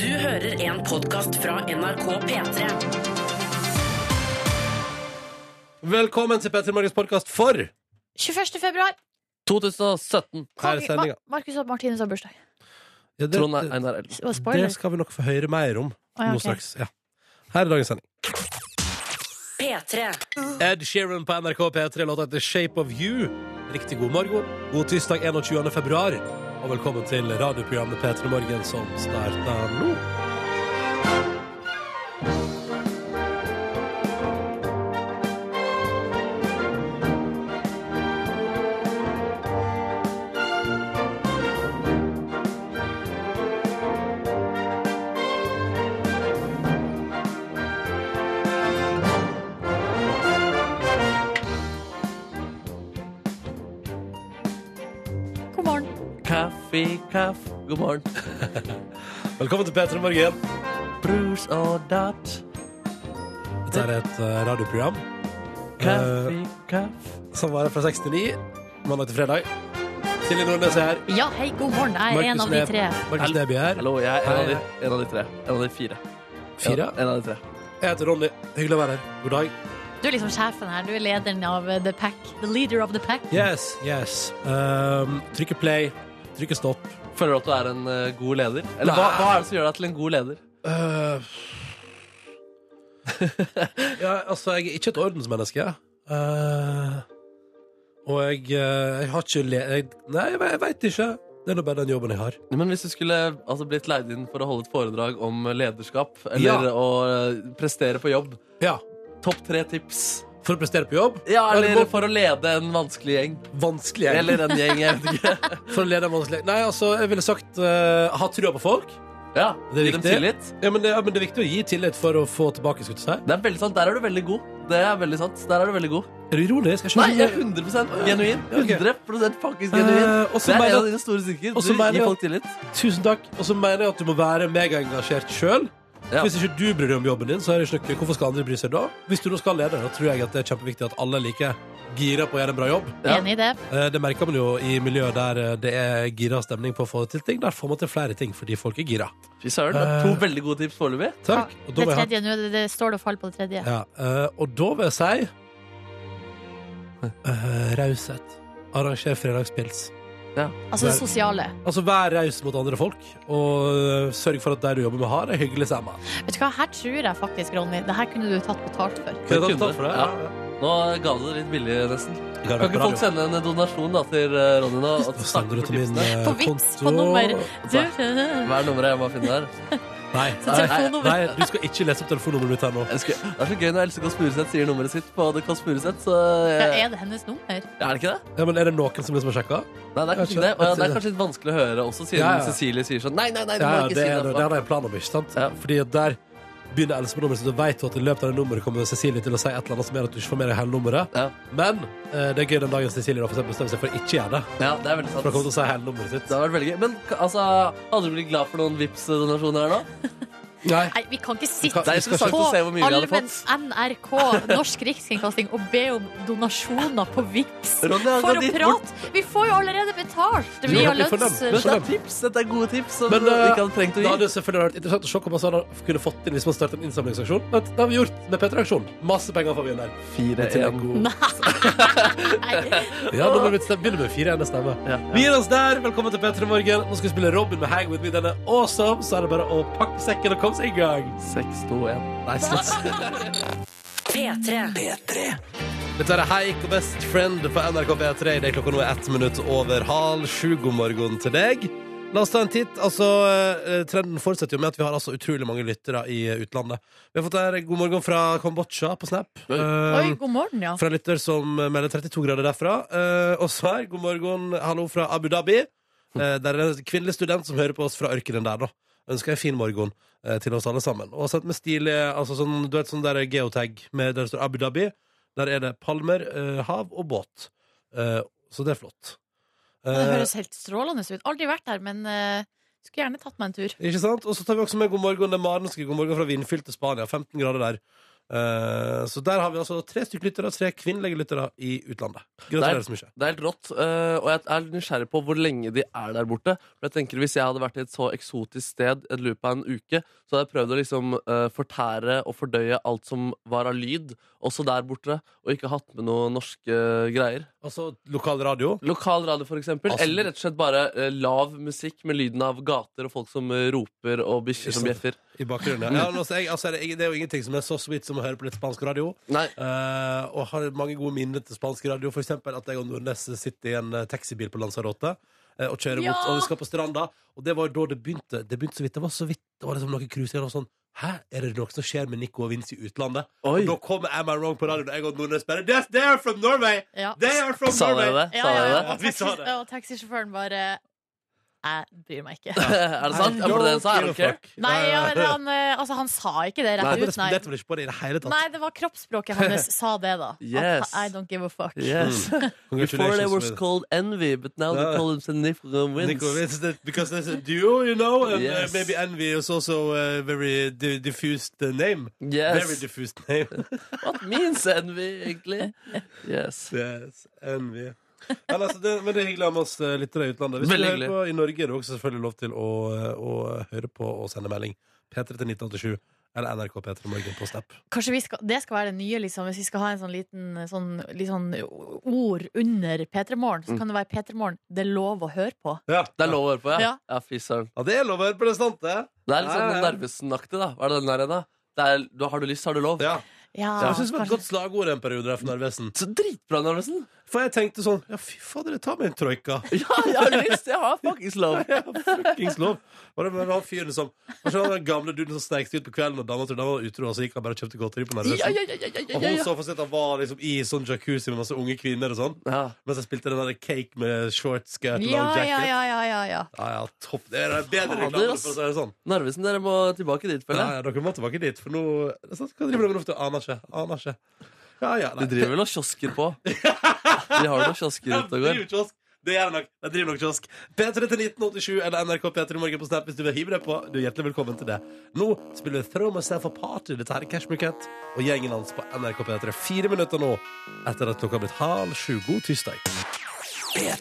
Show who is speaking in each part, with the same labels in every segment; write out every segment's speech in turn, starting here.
Speaker 1: Du hører en podkast fra NRK P3.
Speaker 2: Velkommen til Petter Morgens podkast for
Speaker 3: 21. februar.
Speaker 2: her
Speaker 4: 2017.
Speaker 2: er
Speaker 3: Kong-
Speaker 2: sendinga.
Speaker 3: Ma Markus og Martinus har bursdag.
Speaker 2: Ja, det,
Speaker 4: Trond
Speaker 2: det,
Speaker 4: Einar Elden.
Speaker 3: Det var spoiler.
Speaker 2: det skal vi nok få høre mer om
Speaker 3: Å, ja,
Speaker 2: nå
Speaker 3: ok.
Speaker 2: straks. Ja. Her er dagens sending.
Speaker 1: P3.
Speaker 2: Ed Sheeran på NRK P3 låta heter Shape of You. Riktig god morgen. God tirsdag 21. februar. Og velkommen til radioprogrammet P3 Morgen som starter nå.
Speaker 3: God morgen.
Speaker 4: Kaffe, kaffe, god morgen.
Speaker 2: Velkommen til P3 Morgen.
Speaker 4: Brus og datt.
Speaker 2: Dette er et eh, radioprogram
Speaker 4: Kaffe,
Speaker 2: Eh,
Speaker 4: kaffe.
Speaker 2: som varer fra 6 til 9 mandag til fredag. Silje Nordnes er her.
Speaker 3: Ja, hei, god morgen. Jeg er en av de
Speaker 2: Neb-
Speaker 3: tre.
Speaker 2: Markus Neby er her.
Speaker 4: Hallo, jeg er en av,
Speaker 2: Hei,
Speaker 4: de, en av de tre. En av de fire.
Speaker 2: Fire.
Speaker 4: Ja, en av de tre.
Speaker 2: Jeg heter Ronny. Hyggelig å være her. God dag.
Speaker 3: Du er liksom sjefen her. Du er lederen av eh, The Pack. The leader of the pack.
Speaker 2: Yes, yes. Um, trykke play, trykke stopp.
Speaker 4: Føler du at du er en eh, god leder? Eller hva, hva er det som gjør deg til en god leder?
Speaker 2: Uh, ja, altså, jeg er ikke et ordensmenneske. Uh, og jeg, uh, jeg har ikke le... Jeg, nei, jeg, ve- jeg veit ikke. Det er nå bare den jobben jeg har.
Speaker 4: Men hvis du skulle altså, blitt leid inn for å holde et foredrag om lederskap,
Speaker 2: Ja.
Speaker 4: eller å eh, prestere på jobb,
Speaker 2: Ja,
Speaker 4: topp tre tips?
Speaker 2: For å prestere på jobb.
Speaker 4: Ja,
Speaker 2: Ja, du
Speaker 4: eller
Speaker 2: må-
Speaker 4: for å lede en vanskelig gjeng.
Speaker 2: Vanskelig. jeg.
Speaker 4: Eller en gjeng, jeg vet ikke.
Speaker 2: For å lede en vanskelig Nei, altså, jeg ville sagt uh, ha trua på folk.
Speaker 4: Ja,
Speaker 2: Det er
Speaker 4: Gi dem
Speaker 2: viktig.
Speaker 4: tillit.
Speaker 2: Ja men, det, ja, men det er viktig å gi tillit for å få tilbake skutt seg.
Speaker 4: Det er veldig sant. Der er du veldig god. Det er veldig sant. Der er du veldig god.
Speaker 2: Er du ironisk? Jeg
Speaker 4: Nei,
Speaker 2: skjønner
Speaker 4: jeg er
Speaker 2: ikke-
Speaker 4: 100 genuin.
Speaker 2: Ja, ok.
Speaker 4: 100 faktisk genuin.
Speaker 2: Eh, og så
Speaker 4: Det er
Speaker 2: mener
Speaker 4: en
Speaker 2: jeg-
Speaker 4: av dine store styrker.
Speaker 2: og så
Speaker 4: Du
Speaker 2: mener jeg-
Speaker 4: gir folk tillit.
Speaker 2: Tusen takk. Og så mener jeg at du må være megaengasjert sjøl.
Speaker 4: Ja.
Speaker 2: Hvis ikke du bryr deg om jobben din, så er det ikke noe. hvorfor skal andre bry seg da? Hvis du nå skal lede, da tror jeg at det er kjempeviktig at alle er like gira på å gjøre en bra jobb.
Speaker 4: Ja.
Speaker 3: Enig i det.
Speaker 2: Eh, Det merker man jo i miljøet der eh, det er gira stemning på å få til ting. Der får man til flere ting fordi folk er gira.
Speaker 4: Fy søren. det er
Speaker 2: Eh.
Speaker 4: To veldig gode tips foreløpig.
Speaker 2: Takk. Og da,
Speaker 3: Det
Speaker 2: må jeg ha-
Speaker 3: tredje nå. Det, det står det og faller på det tredje.
Speaker 2: ja, eh, og da vil jeg si eh, raushet. Arranger fredagspils.
Speaker 3: Altså det sosiale.
Speaker 2: Altså Vær raus mot andre folk, og eh, sørg for at de du jobber med, har det hyggelig sammen.
Speaker 3: Vet du hva, her tror jeg faktisk, Ronny, det her kunne du tatt betalt for.
Speaker 2: Kan
Speaker 4: Det
Speaker 2: jeg ta- ta
Speaker 4: kunne.
Speaker 2: for det?
Speaker 4: Ja. Nå ga du det litt billig, nesten.
Speaker 2: Kan
Speaker 4: Kan ikke folk sende en donasjon da, til eh, Ronny nå? Og
Speaker 2: Da
Speaker 4: snakke
Speaker 2: sender du
Speaker 4: for
Speaker 2: til min
Speaker 4: tipsene?
Speaker 2: eh,
Speaker 3: På Vipps, på
Speaker 2: konto.
Speaker 3: nummer. Du,
Speaker 4: Hva er nummeret jeg må finne der?
Speaker 2: Nei,
Speaker 3: Så
Speaker 2: nei,
Speaker 3: telefonnummer.
Speaker 2: nei, du skal ikke lese opp telefonnummeret mitt her nå.
Speaker 4: Jeg skulle, det er så gøy når Else Kåss Furuseth sier nummeret sitt på The Kåss Furuseth. Så
Speaker 3: ja,
Speaker 4: jeg,
Speaker 3: er det hennes nummer?
Speaker 4: er det ikke det?
Speaker 2: Ja, men er det noen som liksom har sjekka?
Speaker 4: Nei, det er kanskje
Speaker 2: Jeg
Speaker 4: ikke det. Og ja,
Speaker 2: tror-
Speaker 4: det er kanskje litt vanskelig å høre også, siden
Speaker 2: Ja, ja.
Speaker 4: Cecilie sier sånn Nei, nei, nei, du
Speaker 2: Ja,
Speaker 4: må
Speaker 2: ja,
Speaker 4: ikke
Speaker 2: det
Speaker 4: si
Speaker 2: er
Speaker 4: det.
Speaker 2: det har jeg planer om, ikke sant?
Speaker 4: Ja.
Speaker 2: Fordi at der begynner Else med nummeret sitt, og vet du at i løpet av det nummeret kommer Cecilie til å si et eller annet som gjør at du ikke får med deg hele nummeret.
Speaker 4: Ja.
Speaker 2: Men eh, det er gøy den dagen Cecilie da for eksempel bestemmer seg for å ikke gjøre det.
Speaker 4: Ja, det er veldig
Speaker 2: For hun
Speaker 4: sant.
Speaker 2: kommer til å si hele nummeret
Speaker 4: Det
Speaker 2: sitt.
Speaker 4: har vært veldig gøy. Men ka- altså, hadde du blitt glad for noen vips donasjoner her nå?
Speaker 2: Nei.
Speaker 3: Nei, vi kan
Speaker 2: kan-
Speaker 3: ikke sitte
Speaker 4: Det er interessant å se hvor mye vi hadde
Speaker 3: allmenn
Speaker 4: fått.
Speaker 3: NRK, Norsk Rikskringkasting, og be om donasjoner på Vipps.
Speaker 4: Ronny altså, har
Speaker 3: For
Speaker 4: gått
Speaker 3: å
Speaker 4: dit bort.
Speaker 3: prate! Vi får jo allerede betalt
Speaker 2: Jo,
Speaker 3: via
Speaker 2: vi får dem.
Speaker 3: lønns...
Speaker 4: Men dette er tips. Dette er gode tips som
Speaker 2: Men,
Speaker 4: du
Speaker 2: eh,
Speaker 4: ikke hadde trengt å
Speaker 2: Da
Speaker 4: gi.
Speaker 2: hadde det selvfølgelig vært interessant å se hva man så hadde kunne fått inn hvis man startet en innsamlingsaksjon. Men Det har vi gjort med P3-aksjonen. Masse penger får vi inn der.
Speaker 4: Fire,
Speaker 2: Til en
Speaker 4: en.
Speaker 2: god-
Speaker 3: Nei.
Speaker 2: Ja, nå må vi stemme- begynne med fire ene stemme.
Speaker 4: Ja,
Speaker 2: Vi gir oss der. Velkommen til P3 Morgen. Nå skal vi spille Robin med Hang With Me. Den er awesome, så er det bare å pakke sekken og komme seg i gang.
Speaker 4: Seks, to, en.
Speaker 2: Nei, slutt.
Speaker 1: P3.
Speaker 2: Dette er Haik og Best Friend på NRK P3. Det er klokka nå er ett minutt over halv sju. God morgen til deg. La oss ta en titt. Altså, eh, Trenden fortsetter jo med at vi har altså utrolig mange lyttere i eh, utlandet. Vi har fått her god morgen fra Kambodsja på Snap.
Speaker 4: Oi.
Speaker 2: Eh,
Speaker 3: Oi, god morgen, ja.
Speaker 2: Fra en lytter som eh, melder 32 grader derfra. Eh, Og så her, god morgen, hallo fra Abu Dhabi. Eh, Der er det en kvinnelig student som hører på oss fra ørkenen der, da. Ønsker en fin morgen eh, til oss alle sammen. Og sendt med stilig altså sånn, Du vet sånn der geotag med, der det står Abu Dhabi. Der er det palmer, eh, hav og båt. Eh, Så det er flott.
Speaker 3: Det
Speaker 2: Eh,
Speaker 3: høres helt strålende ut. Aldri vært der, men eh, skulle gjerne tatt meg en tur.
Speaker 2: Ikke sant? Og så tar vi også med god morgen. Det er Maren som skriver god morgen fra vindfylte Spania. 15 grader der. Eh, så der har vi altså tre stykker lyttere, tre kvinnelige lyttere i utlandet.
Speaker 4: Der-
Speaker 2: Gratulerer så mye.
Speaker 4: Det er helt rått, øh, og jeg er nysgjerrig på hvor lenge de er der borte. For jeg tenker Hvis jeg hadde vært i et så eksotisk sted et løp av en uke, så hadde jeg prøvd å liksom øh, fortære og fordøye alt som var av lyd, også der borte, og ikke hatt med noen norske greier.
Speaker 2: Altså lokal radio.
Speaker 4: Lokal radio, for eksempel.
Speaker 2: Altså-
Speaker 4: eller rett og slett bare øh, lav musikk med lyden av gater og folk som øh, roper og bikkjer som
Speaker 2: Ikke sant.
Speaker 4: bjeffer.
Speaker 2: I bakgrunnen. Ja, men altså, jeg, altså, det, er jo ingenting som er så sweet som å høre på litt spansk radio.
Speaker 4: Nei,
Speaker 2: Eh, og har mange gode minner til spansk radio. For eksempel at jeg og Nordnes sitter i en eh, taxibil på Lanzarote eh, og kjører
Speaker 3: Ja!
Speaker 2: mot Og vi skal på stranda. Og det var da det begynte. Det begynte så vidt, det var så vidt Det var liksom noen cruise igjen og sånn. Hæ, er det noe som skjer med Nico og Vince i utlandet?
Speaker 4: Oi.
Speaker 2: Og da kommer Am I Wrong på radioen, og jeg og Nordnes bare Yes, they are from Norway!
Speaker 3: Ja.
Speaker 2: They are from
Speaker 4: sa dere
Speaker 2: Norway!
Speaker 4: det? Sa dere det?
Speaker 3: Og,
Speaker 2: Vi sa
Speaker 3: taxi,
Speaker 2: det.
Speaker 3: og taxisjåføren bare Jeg bryr meg ikke.
Speaker 4: er det sant? Er det det jeg sa? I don't care.
Speaker 3: Nei, ja, han, eh, altså, han sa ikke det
Speaker 4: Nei,
Speaker 3: rett
Speaker 2: Jeg
Speaker 3: ut, nei.
Speaker 2: responderte vel ikke på det i det hele tatt.
Speaker 3: Nei, det var kroppsspråket hans sa det, da. At
Speaker 4: Yes.
Speaker 3: I don't give a fuck.
Speaker 4: Yes. Before they
Speaker 2: Congratulations.
Speaker 4: were called envy, but now they
Speaker 2: Mm. Ja.
Speaker 4: call themselves Nifron Wins.
Speaker 2: Nico, it's that- because there's a duo, you know, and uh,
Speaker 4: Yes.
Speaker 2: maybe envy is also a very di- diffused uh, name.
Speaker 4: Yes.
Speaker 2: Very diffused name.
Speaker 4: What means envy, egentlig? Yes.
Speaker 2: Yes, envy. Men, altså, det, men det er hyggelig å ha med oss eh, lyttere i utlandet. Hvis
Speaker 4: Veldig
Speaker 2: du hører på i Norge, er det også selvfølgelig lov til å, eh, å høre på og sende melding. P3 til 1987 eller NRK P3 Morgen på Snap.
Speaker 3: Kanskje vi skal, det skal være det nye, liksom. Hvis vi skal ha en sånn liten sånn, litt sånn ord under P3 Morgen,
Speaker 2: Mm.
Speaker 3: så kan det være P3 Morgen. Det er lov å høre på.
Speaker 2: Ja,
Speaker 4: Det er lov å høre på, ja? Ja,
Speaker 3: Ja.
Speaker 4: fy søren.
Speaker 2: Ja, det er lov å høre på det, sant det?
Speaker 4: Det er litt
Speaker 2: Ja,
Speaker 4: sånn
Speaker 2: ja.
Speaker 4: Narvesen-aktig, da. Hva er det den der igjen, da? Det er, du, har du lyst, har du lov?
Speaker 2: Ja.
Speaker 3: Ja,
Speaker 2: Jeg synes det var et
Speaker 3: kanskje-
Speaker 2: godt slagord en periode der for Narvesen.
Speaker 4: Så dritbra, Narvesen!
Speaker 2: For jeg tenkte sånn Ja, fy fader, ta meg en troika.
Speaker 4: Ja, jeg har lyst! Jeg har fuckings lov!
Speaker 2: Fuckings lov. Og det var han fyren som Og så var det den gamle duden som snek seg ut på kvelden, og dama trodde han var utro, og så gikk han bare og kjøpte godteri på Narvesen.
Speaker 4: Ja, ja, ja, ja, ja,
Speaker 2: Og
Speaker 4: ja,
Speaker 2: hun
Speaker 4: ja.
Speaker 2: så for seg at han var liksom i sånn jacuzzi med masse unge kvinner og sånn.
Speaker 4: ja.
Speaker 2: Mens jeg spilte den der cake med short skirt, long
Speaker 3: ja,
Speaker 2: jacket.
Speaker 3: ja, ja, ja, ja, ja.
Speaker 2: Ja, ja, topp. Det er bedre
Speaker 4: Fader,
Speaker 2: reklame,
Speaker 4: ass.
Speaker 2: for å si det sånn.
Speaker 4: Narvesen, dere må tilbake dit,
Speaker 2: Ja,
Speaker 4: føler jeg.
Speaker 2: ja, dere må tilbake dit, for nå det er sant, Hva driver dere med nå? Aner ikke. Aner ikke. Ja, ja,
Speaker 4: De driver vel og kiosker på. De har noen kiosker ute og
Speaker 2: driver
Speaker 4: går.
Speaker 2: kiosk. Det gjør jeg nok. Jeg driver nok kiosk. P3 til 1987 eller NRK P3 Morgen på Snap hvis du vil hive deg på. Du er hjertelig velkommen til det. Nå spiller vi Throw Myself Apart i dette her Cash Bucket og gjengen hans på NRK P3. Fire minutter nå etter at klokka har blitt halv sju. God tirsdag.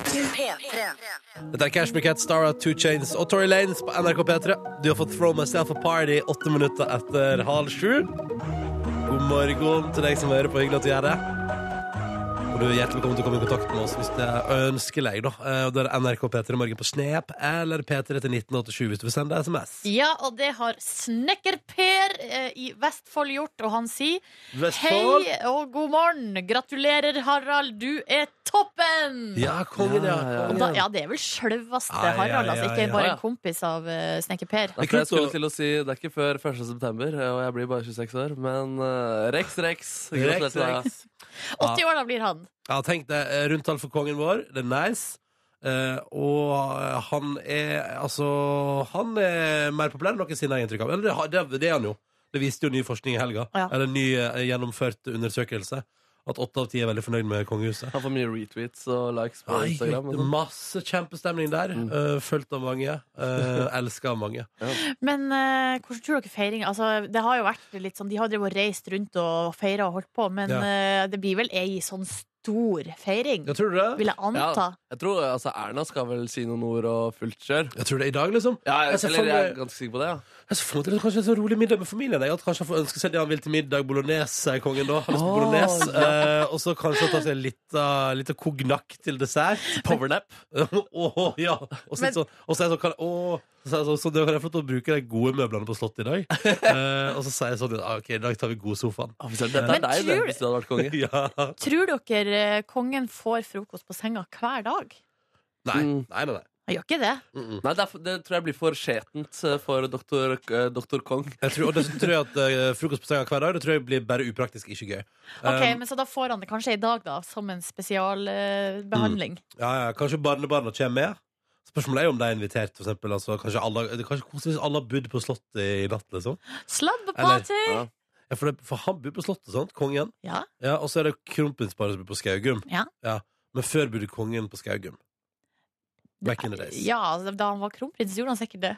Speaker 2: Dette er Cash Bucket, Star of Two Chains og Tory Lanes på NRK P3. Du har fått Throw Myself Apart i åtte minutter etter halv sju. God morgen til deg som hører på. Hyggelig at du gjør det. Og du er hjertelig velkommen til å komme i kontakt med oss hvis det er ønskelig. da. Eh, Og det er NRK P3 Morgen på Snep eller P3 til 1987 hvis du vil sende SMS.
Speaker 3: Ja, og det har Snekker-Per eh, i Vestfold gjort, og han sier
Speaker 2: Vestfold.
Speaker 3: Hei og god morgen! Gratulerer, Harald, du er toppen!
Speaker 2: Ja, kongen, ja.
Speaker 4: Ja, ja, ja.
Speaker 3: Og
Speaker 2: Kongen,
Speaker 3: da,
Speaker 2: ja.
Speaker 3: ja, det er vel sjølveste
Speaker 2: Ja, ja,
Speaker 3: Harald,
Speaker 2: ja, ja,
Speaker 3: altså ikke
Speaker 2: ja.
Speaker 4: Ja,
Speaker 3: bare
Speaker 4: ja.
Speaker 3: en kompis av eh, Snekker-Per.
Speaker 4: Nei, for jeg skulle til å si Det er ikke før 1. september, og jeg blir bare 26 år, men eh, Rex, Rex.
Speaker 2: Rex, Rex.
Speaker 3: 80 år da blir han.
Speaker 2: Ja, tenk det. eh, Rundtall for kongen vår. Det er nice. Eh, og eh, han er altså Han er mer populær enn noensinne, har jeg inntrykk av. Eller det, har- det, det er han jo. Det viste jo ny forskning i helga.
Speaker 3: Ja.
Speaker 2: Eller ny eh, gjennomført undersøkelse. At åtte av ti er veldig fornøyd med kongehuset.
Speaker 4: Han får mye retweets og likes på
Speaker 2: Oi,
Speaker 4: Instagram. og sånn.
Speaker 2: masse kjempestemning der. Mm. Fulgt av mange. Uh, Elska av mange.
Speaker 3: Men eh, hvordan tror dere feiringa altså, Det har jo vært litt sånn De har drevet og reist rundt og feira og holdt på, men
Speaker 2: Ja.
Speaker 3: eh, det blir vel ei sånn stor feiring,
Speaker 2: Ja, tror du det?
Speaker 3: vil jeg anta.
Speaker 4: Ja, jeg tror altså, Erna skal vel si noen ord og fullt kjør.
Speaker 2: Jeg tror det er i dag, liksom.
Speaker 4: Ja, jeg,
Speaker 2: Jeg ser for
Speaker 4: eller, jeg er
Speaker 2: meg-
Speaker 4: ganske sikker på det. Ja.
Speaker 2: Jeg så for meg til kanskje en sånn rolig middag med familien. Jeg. At kanskje han får ønske seg det han vil til middag. Bolognese, sier kongen da. Han har lyst på
Speaker 4: Åh,
Speaker 2: bolognese. Eh, og så kanskje ta seg litt, uh, litt av kognakk til dessert.
Speaker 4: Powernap.
Speaker 2: Åh, ja. Og så er det sånn, og så er det sånn kan, åh, så, er det sånn, så det kan jeg få lov til å bruke de gode møblene på Slottet i dag. Eh, og så sier jeg sånn ah, OK, i dag tar vi godsofaen.
Speaker 4: Å, fy søren, Dette
Speaker 3: Men
Speaker 4: er deg, det,
Speaker 3: tror-
Speaker 4: hvis du hadde vært konge.
Speaker 2: Ja.
Speaker 3: Tror dere eh, kongen får frokost på senga hver dag?
Speaker 2: Nei, nei,
Speaker 4: Mm.
Speaker 2: nei. nei.
Speaker 3: Han gjør ikke det.
Speaker 2: Mm -mm.
Speaker 4: Nei, det, er, for- det tror jeg blir for skjetent eh, for doktor, eh, doktor Kong.
Speaker 2: Jeg tror, og dessuten tror jeg at eh, frokost på senga hver dag Det tror jeg blir bare upraktisk, ikke gøy.
Speaker 3: Ok,
Speaker 2: Um,
Speaker 3: men Så da får han det kanskje i dag, da, som en eh, spesialbehandling.
Speaker 2: Ja, ja, Kanskje barnebarna kommer med? Spørsmålet er jo om de er invitert. For eksempel, altså, kanskje alle, det er kanskje koselig hvis alle har bodd på Slottet i natt. liksom
Speaker 3: Slabbeparty!
Speaker 4: Eller- ja.
Speaker 2: ja, for, det, for han bor på Slottet, sant? kongen.
Speaker 3: Ja.
Speaker 2: Ja, Og så er det kronprinsparet som bor på Skaugum.
Speaker 3: Ja.
Speaker 2: Men før bodde kongen på Skaugum. Back in the days.
Speaker 3: altså, ja, da han var kronprins, gjorde han sikkert det.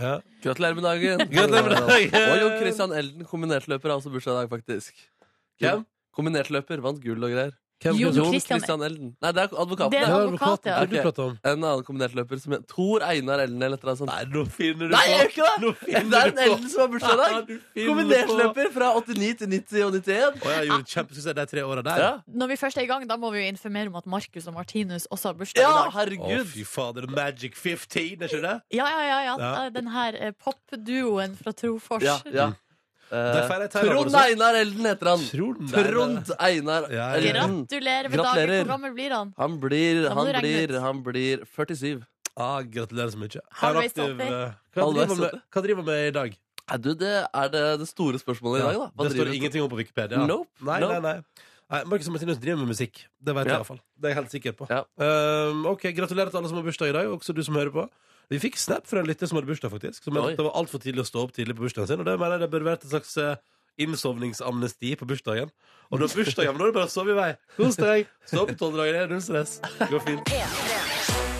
Speaker 2: Ja.
Speaker 4: Gratulerer med dagen!
Speaker 2: Gratulerer med dagen!
Speaker 4: Og Jon Christian Elden, kombinertløper, har også bursdag i dag, faktisk.
Speaker 2: Hvem?
Speaker 4: Kombinertløper. Vant gull og greier.
Speaker 2: Hvem
Speaker 3: Jon
Speaker 4: Jon
Speaker 3: Christian-
Speaker 4: Christian Elden. Nei, det er advokaten.
Speaker 3: Det er
Speaker 4: det.
Speaker 3: advokaten. ja.
Speaker 2: Hva er det du
Speaker 4: Ok.
Speaker 2: prater om?
Speaker 4: En annen kombinertløper som heter Tor Einar Elden eller et eller annet sånt.
Speaker 2: Nei, nå finner du
Speaker 4: Nei, jeg gjør
Speaker 2: på!
Speaker 4: ikke det!
Speaker 2: Nå finner
Speaker 4: Det
Speaker 2: du
Speaker 4: er en
Speaker 2: på.
Speaker 4: Elden som har bursdag i
Speaker 2: Du
Speaker 4: dag.
Speaker 2: finner på.
Speaker 4: Kombinertløper fra 89 til 90 og 91.
Speaker 2: Å, jeg gjorde kjempesuksess de tre åra der.
Speaker 4: Ja,
Speaker 3: Når vi først er i gang, da må vi jo informere om at Markus og Martinus også har bursdag
Speaker 4: ja
Speaker 3: i dag.
Speaker 2: Å,
Speaker 4: herregud.
Speaker 2: fy fader. Magic 15, er ikke det?
Speaker 3: Ja, ja, ja. ja.
Speaker 2: Ja.
Speaker 3: Den her eh, popduoen fra Trofors.
Speaker 4: Ja, ja.
Speaker 2: Der feirer Mm. jeg
Speaker 4: Eh,
Speaker 2: tegnet
Speaker 4: Trond
Speaker 2: vårt.
Speaker 4: Einar Elden heter han.
Speaker 2: Trond Einar.
Speaker 4: Trond Einar
Speaker 2: Ja, ja, ja.
Speaker 4: Elden.
Speaker 3: Gratulerer med
Speaker 4: Gratulerer.
Speaker 3: dagen. Hvor gammel blir han?
Speaker 4: Han blir,
Speaker 3: Da må
Speaker 4: han
Speaker 3: du regne
Speaker 4: blir,
Speaker 3: ut.
Speaker 4: han blir 47.
Speaker 2: Ah, gratulerer så mye.
Speaker 3: Halvveis
Speaker 2: Her er aktiv,
Speaker 3: oppe.
Speaker 2: eh, Hva
Speaker 4: Halvveis
Speaker 2: driver med,
Speaker 4: oppe.
Speaker 2: hva driver med i dag?
Speaker 4: Nei, du, det er det, det store spørsmålet i dag, da. Hva
Speaker 2: det
Speaker 4: driver
Speaker 2: står
Speaker 4: du-
Speaker 2: ingenting om på Wikipedia.
Speaker 4: Nope,
Speaker 2: Nei,
Speaker 4: nope.
Speaker 2: nei, nei. nei Markus og Martinus driver med musikk. Det vet jeg
Speaker 4: Ja.
Speaker 2: i hvert fall Det er jeg helt sikker på.
Speaker 4: Ja.
Speaker 2: Um, ok, Gratulerer til alle som har bursdag i dag, også du som hører på. Vi fikk snap fra en lytter som hadde bursdag, faktisk. Som mente
Speaker 4: Oi.
Speaker 2: at det var altfor tidlig å stå opp tidlig på bursdagen sin. Og det mener jeg det bør være et slags eh, innsovningsamnesti på bursdagen. Og når bursdagen er det bare å sove i vei. Kos deg. Stå opp tolv dager, det er null stress. Det går fint.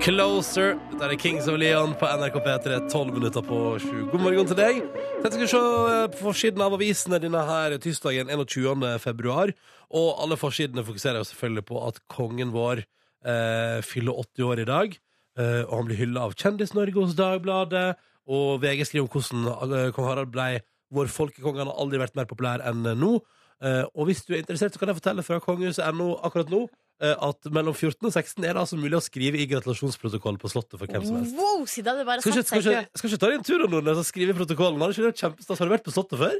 Speaker 2: Closer. Dette er Kings of Leon på NRK P3, 12 minutter på 7. God morgen til deg. Jeg skal se eh, på forsiden av avisene denne her tirsdagen 21. februar. Og alle forsidene fokuserer jo selvfølgelig på at kongen vår eh, fyller 80 år i dag. Eh, og han blir hylla av Kjendis-Norge hos Dagbladet. Og VG skriver om hvordan alle- kong Harald ble vår folkekonge. Han har aldri vært mer populær enn nå. Eh, og hvis du er interessert, så kan jeg fortelle fra kongehuset.no akkurat nå eh, at mellom 14 og 16 er det altså mulig å skrive i gratulasjonsprotokollen på Slottet for hvem som helst.
Speaker 3: Wow, si Mm. det. Det er bare å
Speaker 2: Skal ikke,
Speaker 3: sette
Speaker 2: skal,
Speaker 3: seg i kø.
Speaker 2: ikke, skal ikke ta deg en tur om Nordnes og skrive i protokollen? Har du, ikke det kjempestas? har du vært på Slottet før?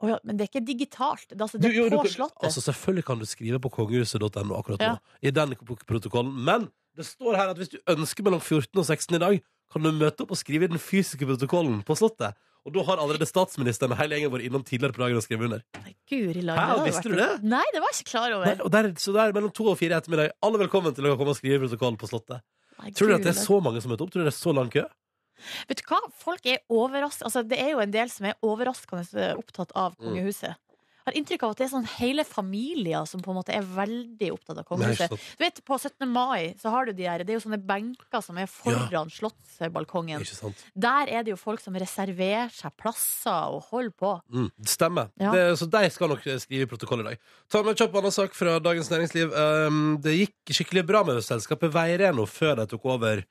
Speaker 3: Å ja, men det er ikke digitalt. Det er, altså, det
Speaker 2: Du- jo,
Speaker 3: er
Speaker 2: du
Speaker 3: på
Speaker 2: kan-
Speaker 3: Slottet.
Speaker 2: Altså, selvfølgelig kan du skrive på kongehuset.no akkurat nå,
Speaker 3: Ja.
Speaker 2: i den prot- protokollen. Men det står her at hvis du ønsker mellom 14 og 16 i dag, kan du møte opp og skrive i den fysiske protokollen på Slottet. Og da har allerede statsministeren og hele gjengen vår innom tidligere på dagen og skrevet under.
Speaker 3: Nei, Guri
Speaker 2: Hæ,
Speaker 3: land, det hadde
Speaker 2: visste
Speaker 3: vært-
Speaker 2: du det?
Speaker 3: Nei, det var jeg ikke klar
Speaker 2: Nei,
Speaker 3: over.
Speaker 2: og der, så der mellom to og fire i ettermiddag, alle velkommen til å komme og skrive i protokollen på Slottet.
Speaker 3: Nei,
Speaker 2: Tror du at
Speaker 3: Guri
Speaker 2: det er
Speaker 3: land.
Speaker 2: så mange som møter opp? Tror du det er så lang kø?
Speaker 3: Vet du hva? Folk er overraskende altså, Det er jo en del som er overraskende eh, opptatt av
Speaker 2: Mm.
Speaker 3: kongehuset. Jeg har inntrykk av at det er sånn hele familier som på en måte er veldig opptatt av kongehuset.
Speaker 2: sant.
Speaker 3: Du vet, På 17. mai så har du de her, det er jo sånne benker som er foran slottsbalkongen.
Speaker 2: Ikke sant.
Speaker 3: Der er det jo folk som reserverer seg plasser og holder på.
Speaker 2: Mm, det stemmer.
Speaker 3: Ja.
Speaker 2: Det, så de skal nok eh, skrive i protokoll i dag. Ta med en kjapp annen sak fra Dagens Næringsliv. Um, det gikk skikkelig bra med selskapet Veireno før de tok over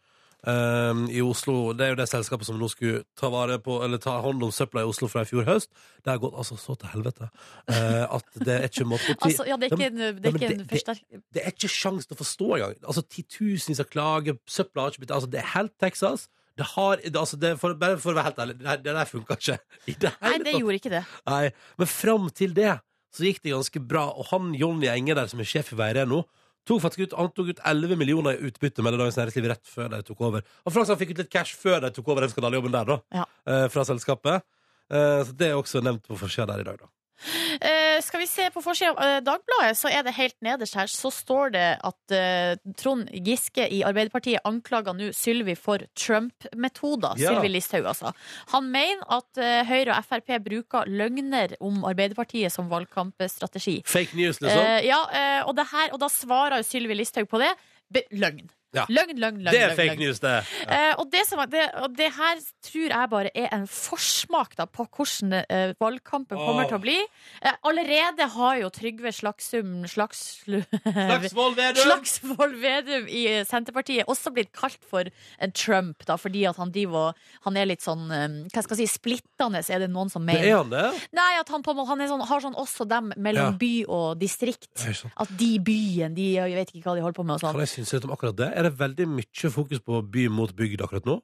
Speaker 2: um, i Oslo. Det er jo det selskapet som nå skulle ta, vare på, eller ta hånd om søpla i Oslo fra i fjor høst. Det har gått altså så til helvete eh, at det er ikke måte på
Speaker 3: Altså, ja, Det er ikke en, det
Speaker 2: Ja,
Speaker 3: er
Speaker 2: men
Speaker 3: ikke
Speaker 2: det-
Speaker 3: en
Speaker 2: det-
Speaker 3: forsterk...
Speaker 2: det er ikke sjans til å forstå engang. Altså, titusenvis av klager, søpla har ikke blitt Altså, det er helt Texas. Det har det, altså, det, for, Bare for å være helt ærlig, det, der- det der funka ikke. I det
Speaker 3: Nei,
Speaker 2: hele
Speaker 3: det
Speaker 2: tatt.
Speaker 3: gjorde ikke det.
Speaker 2: Nei, men fram til det så gikk det ganske bra, og han Jonny Enge der som er sjef i Veireno, tok faktisk ut, han tok ut 11 millioner i utbytte med Dagens Næringsliv rett før de tok over. Og Flaks han fikk ut litt cash før de tok over den skandalejobben der, da,
Speaker 3: Ja.
Speaker 2: eh, fra selskapet. Eh, så det er også nevnt på forsida der i dag, da.
Speaker 3: Eh, skal vi se på forsida av eh, Dagbladet, så er det helt nederst her. Så står det at eh, Trond Giske i Arbeiderpartiet anklager nå Sylvi for Trump-metoder.
Speaker 2: Ja.
Speaker 3: Sylvi Listhaug, altså. Han mener at eh, Høyre og Frp bruker løgner om Arbeiderpartiet som valgkampstrategi.
Speaker 2: Fake news, liksom.
Speaker 3: Eh, ja, eh, og, det her, og da svarer jo Sylvi Listhaug på det. Be løgn.
Speaker 2: Ja.
Speaker 3: Løgn, løgn, løgn.
Speaker 2: det er
Speaker 3: løgn,
Speaker 2: fake
Speaker 3: løgn.
Speaker 2: news, det. Ja.
Speaker 3: Eh, og, det som, er- det, og det her tror jeg bare er en forsmak da, på hvordan eh, valgkampen
Speaker 2: Åh.
Speaker 3: kommer til å bli. Eh, allerede har jo Trygve Slagsum slags,
Speaker 2: Slagsvold Vedum!
Speaker 3: Slagsvold Vedum i eh, Senterpartiet også blitt kalt for en Trump, da, fordi at han, driver, og- han er litt sånn eh, hva skal jeg si, splittende, er det noen som
Speaker 2: Det er
Speaker 3: mener.
Speaker 2: han, det.
Speaker 3: Nei, at han, på en måte, han er sånn, har sånn også dem mellom
Speaker 2: Ja.
Speaker 3: by og distrikt.
Speaker 2: Det er sant.
Speaker 3: At de i byen, de jeg vet ikke hva de holder på med. og sånn
Speaker 2: Kan jeg synes litt om akkurat det? Er det veldig mye fokus på by mot bygd akkurat nå?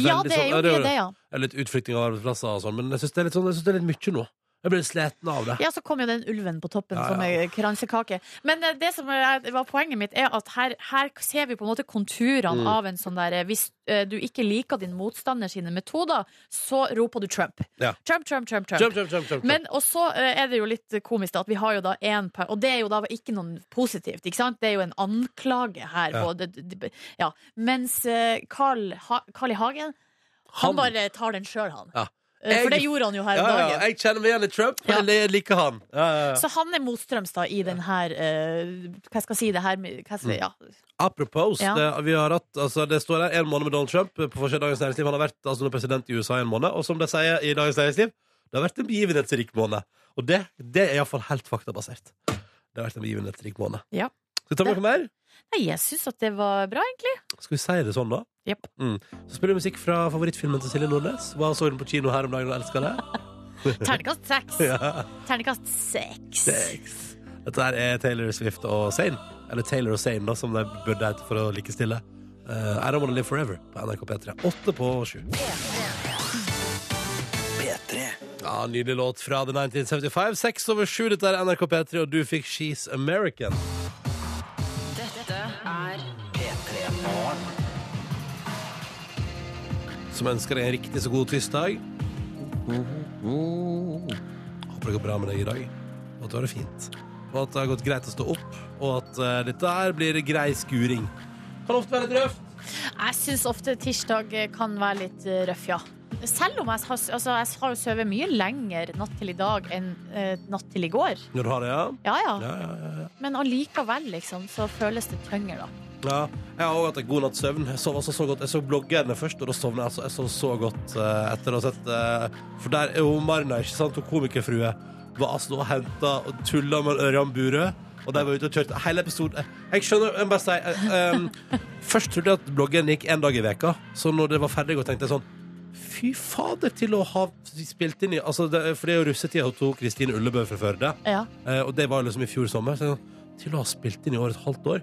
Speaker 3: Ja,
Speaker 2: Veldig
Speaker 3: det er
Speaker 2: sånn-
Speaker 3: jo mye det, ja.
Speaker 2: er litt utflytting av arbeidsplasser og sånn, men jeg syns det er litt sånn, jeg synes det er litt mye nå. Jeg blir litt sliten av det.
Speaker 3: Ja, så kom jo den ulven på toppen
Speaker 2: Ja, ja.
Speaker 3: som en kransekake. Men eh, det som er- var poenget mitt, er at her, her ser vi på en måte konturene
Speaker 2: Mm.
Speaker 3: av en sånn derre Hvis eh, du ikke liker din motstander sine metoder, så roper du Trump.
Speaker 2: Ja.
Speaker 3: Trump, Trump, Trump, Trump.
Speaker 2: Jump, jump, jump, jump, jump.
Speaker 3: Men og så eh, er det jo litt komisk da, at vi har jo da en per- Og det er jo da ikke noe positivt, ikke sant? Det er jo en anklage her.
Speaker 2: Ja.
Speaker 3: På, det, det, ja. Mens eh, Carl, ha, Carl I. Hagen, han,
Speaker 2: Han-
Speaker 3: bare tar den sjøl, han.
Speaker 2: Ja.
Speaker 3: Eh,
Speaker 2: Jeg-
Speaker 3: For det gjorde han jo her
Speaker 2: Ja,
Speaker 3: om
Speaker 2: ja,
Speaker 3: dagen.
Speaker 2: jeg kjenner meg igjen i Trump,
Speaker 3: Ja.
Speaker 2: men jeg liker han. Ja, ja, ja.
Speaker 3: Så han er motstrøms da i den her eh, Hva skal jeg si det her med- hva
Speaker 2: Mm.
Speaker 3: skal, jeg- ja.
Speaker 2: Apropos,
Speaker 3: Ja.
Speaker 2: det, vi har hatt, altså, det står der en måned med Donald Trump på forsiden av Dagens Næringsliv. Han har vært altså, nå president i USA i en måned, og som de sier i Dagens Næringsliv, det har vært en begivenhetsrik måned. Og det, det er iallfall helt faktabasert. Det har vært en begivenhetsrik måned.
Speaker 3: Ja.
Speaker 2: Skal vi ta med noe mer?
Speaker 3: Nei, jeg syns at det var bra, egentlig.
Speaker 2: Skal vi si det sånn, da?
Speaker 3: Jepp.
Speaker 2: Mm. Så spiller vi musikk fra favorittfilmen til Silje Nordnes. Hva så hun på kino her om dagen og elska det?
Speaker 3: Ternekast seks.
Speaker 2: Ja.
Speaker 3: Ternekast seks.
Speaker 2: Sex. Dette her er Taylor Swift og Zayn. Eller Taylor og Zayn, da, som det burde hete for å likestille. Uh, I Don't Wanna Live Forever på NRK P3. Åtte på sju. Ja, Nydelig låt fra The 1975. Seks over sju. Dette er NRK P3, og du fikk She's American.
Speaker 1: Dette er
Speaker 2: Som ønsker deg en riktig så god tirsdag. Håper det går bra med deg i dag, og at du har det fint. Og at det har gått greit å stå opp, og at eh, dette her blir grei skuring. Kan ofte være litt røft.
Speaker 3: Jeg syns ofte tirsdag kan være litt eh, røff, ja. Selv om jeg har, altså, jeg har jo sovet mye lenger natt til i dag enn eh, natt til i går.
Speaker 2: Når du har det, ja?
Speaker 3: Ja, ja.
Speaker 2: Ja, ja, ja, ja.
Speaker 3: Men allikevel, liksom, så føles det tyngre, da.
Speaker 2: ja. Jeg har også hatt en god natts søvn. Jeg sov altså så godt. Jeg så bloggerne først, og da sovna jeg altså. Jeg sov så godt eh, etter å ha sett eh, For der er jo Marna, ikke sant, og komikerfrue, var altså og henta og tulla med Ørjan Burøe. Og de var ute og kjørte hele episoden. Jeg skjønner, jeg må bare si eh, em, Først trodde jeg at bloggen gikk én dag i veka Så når det var ferdig, og tenkte jeg sånn Fy fader, til å ha spilt inn i altså det, For det er jo russetida hun tok Kristine Ullebø fra Førde.
Speaker 3: Ja.
Speaker 2: Eh, og det var liksom i fjor sommer. Så jeg sa, til å ha spilt inn i over et halvt år,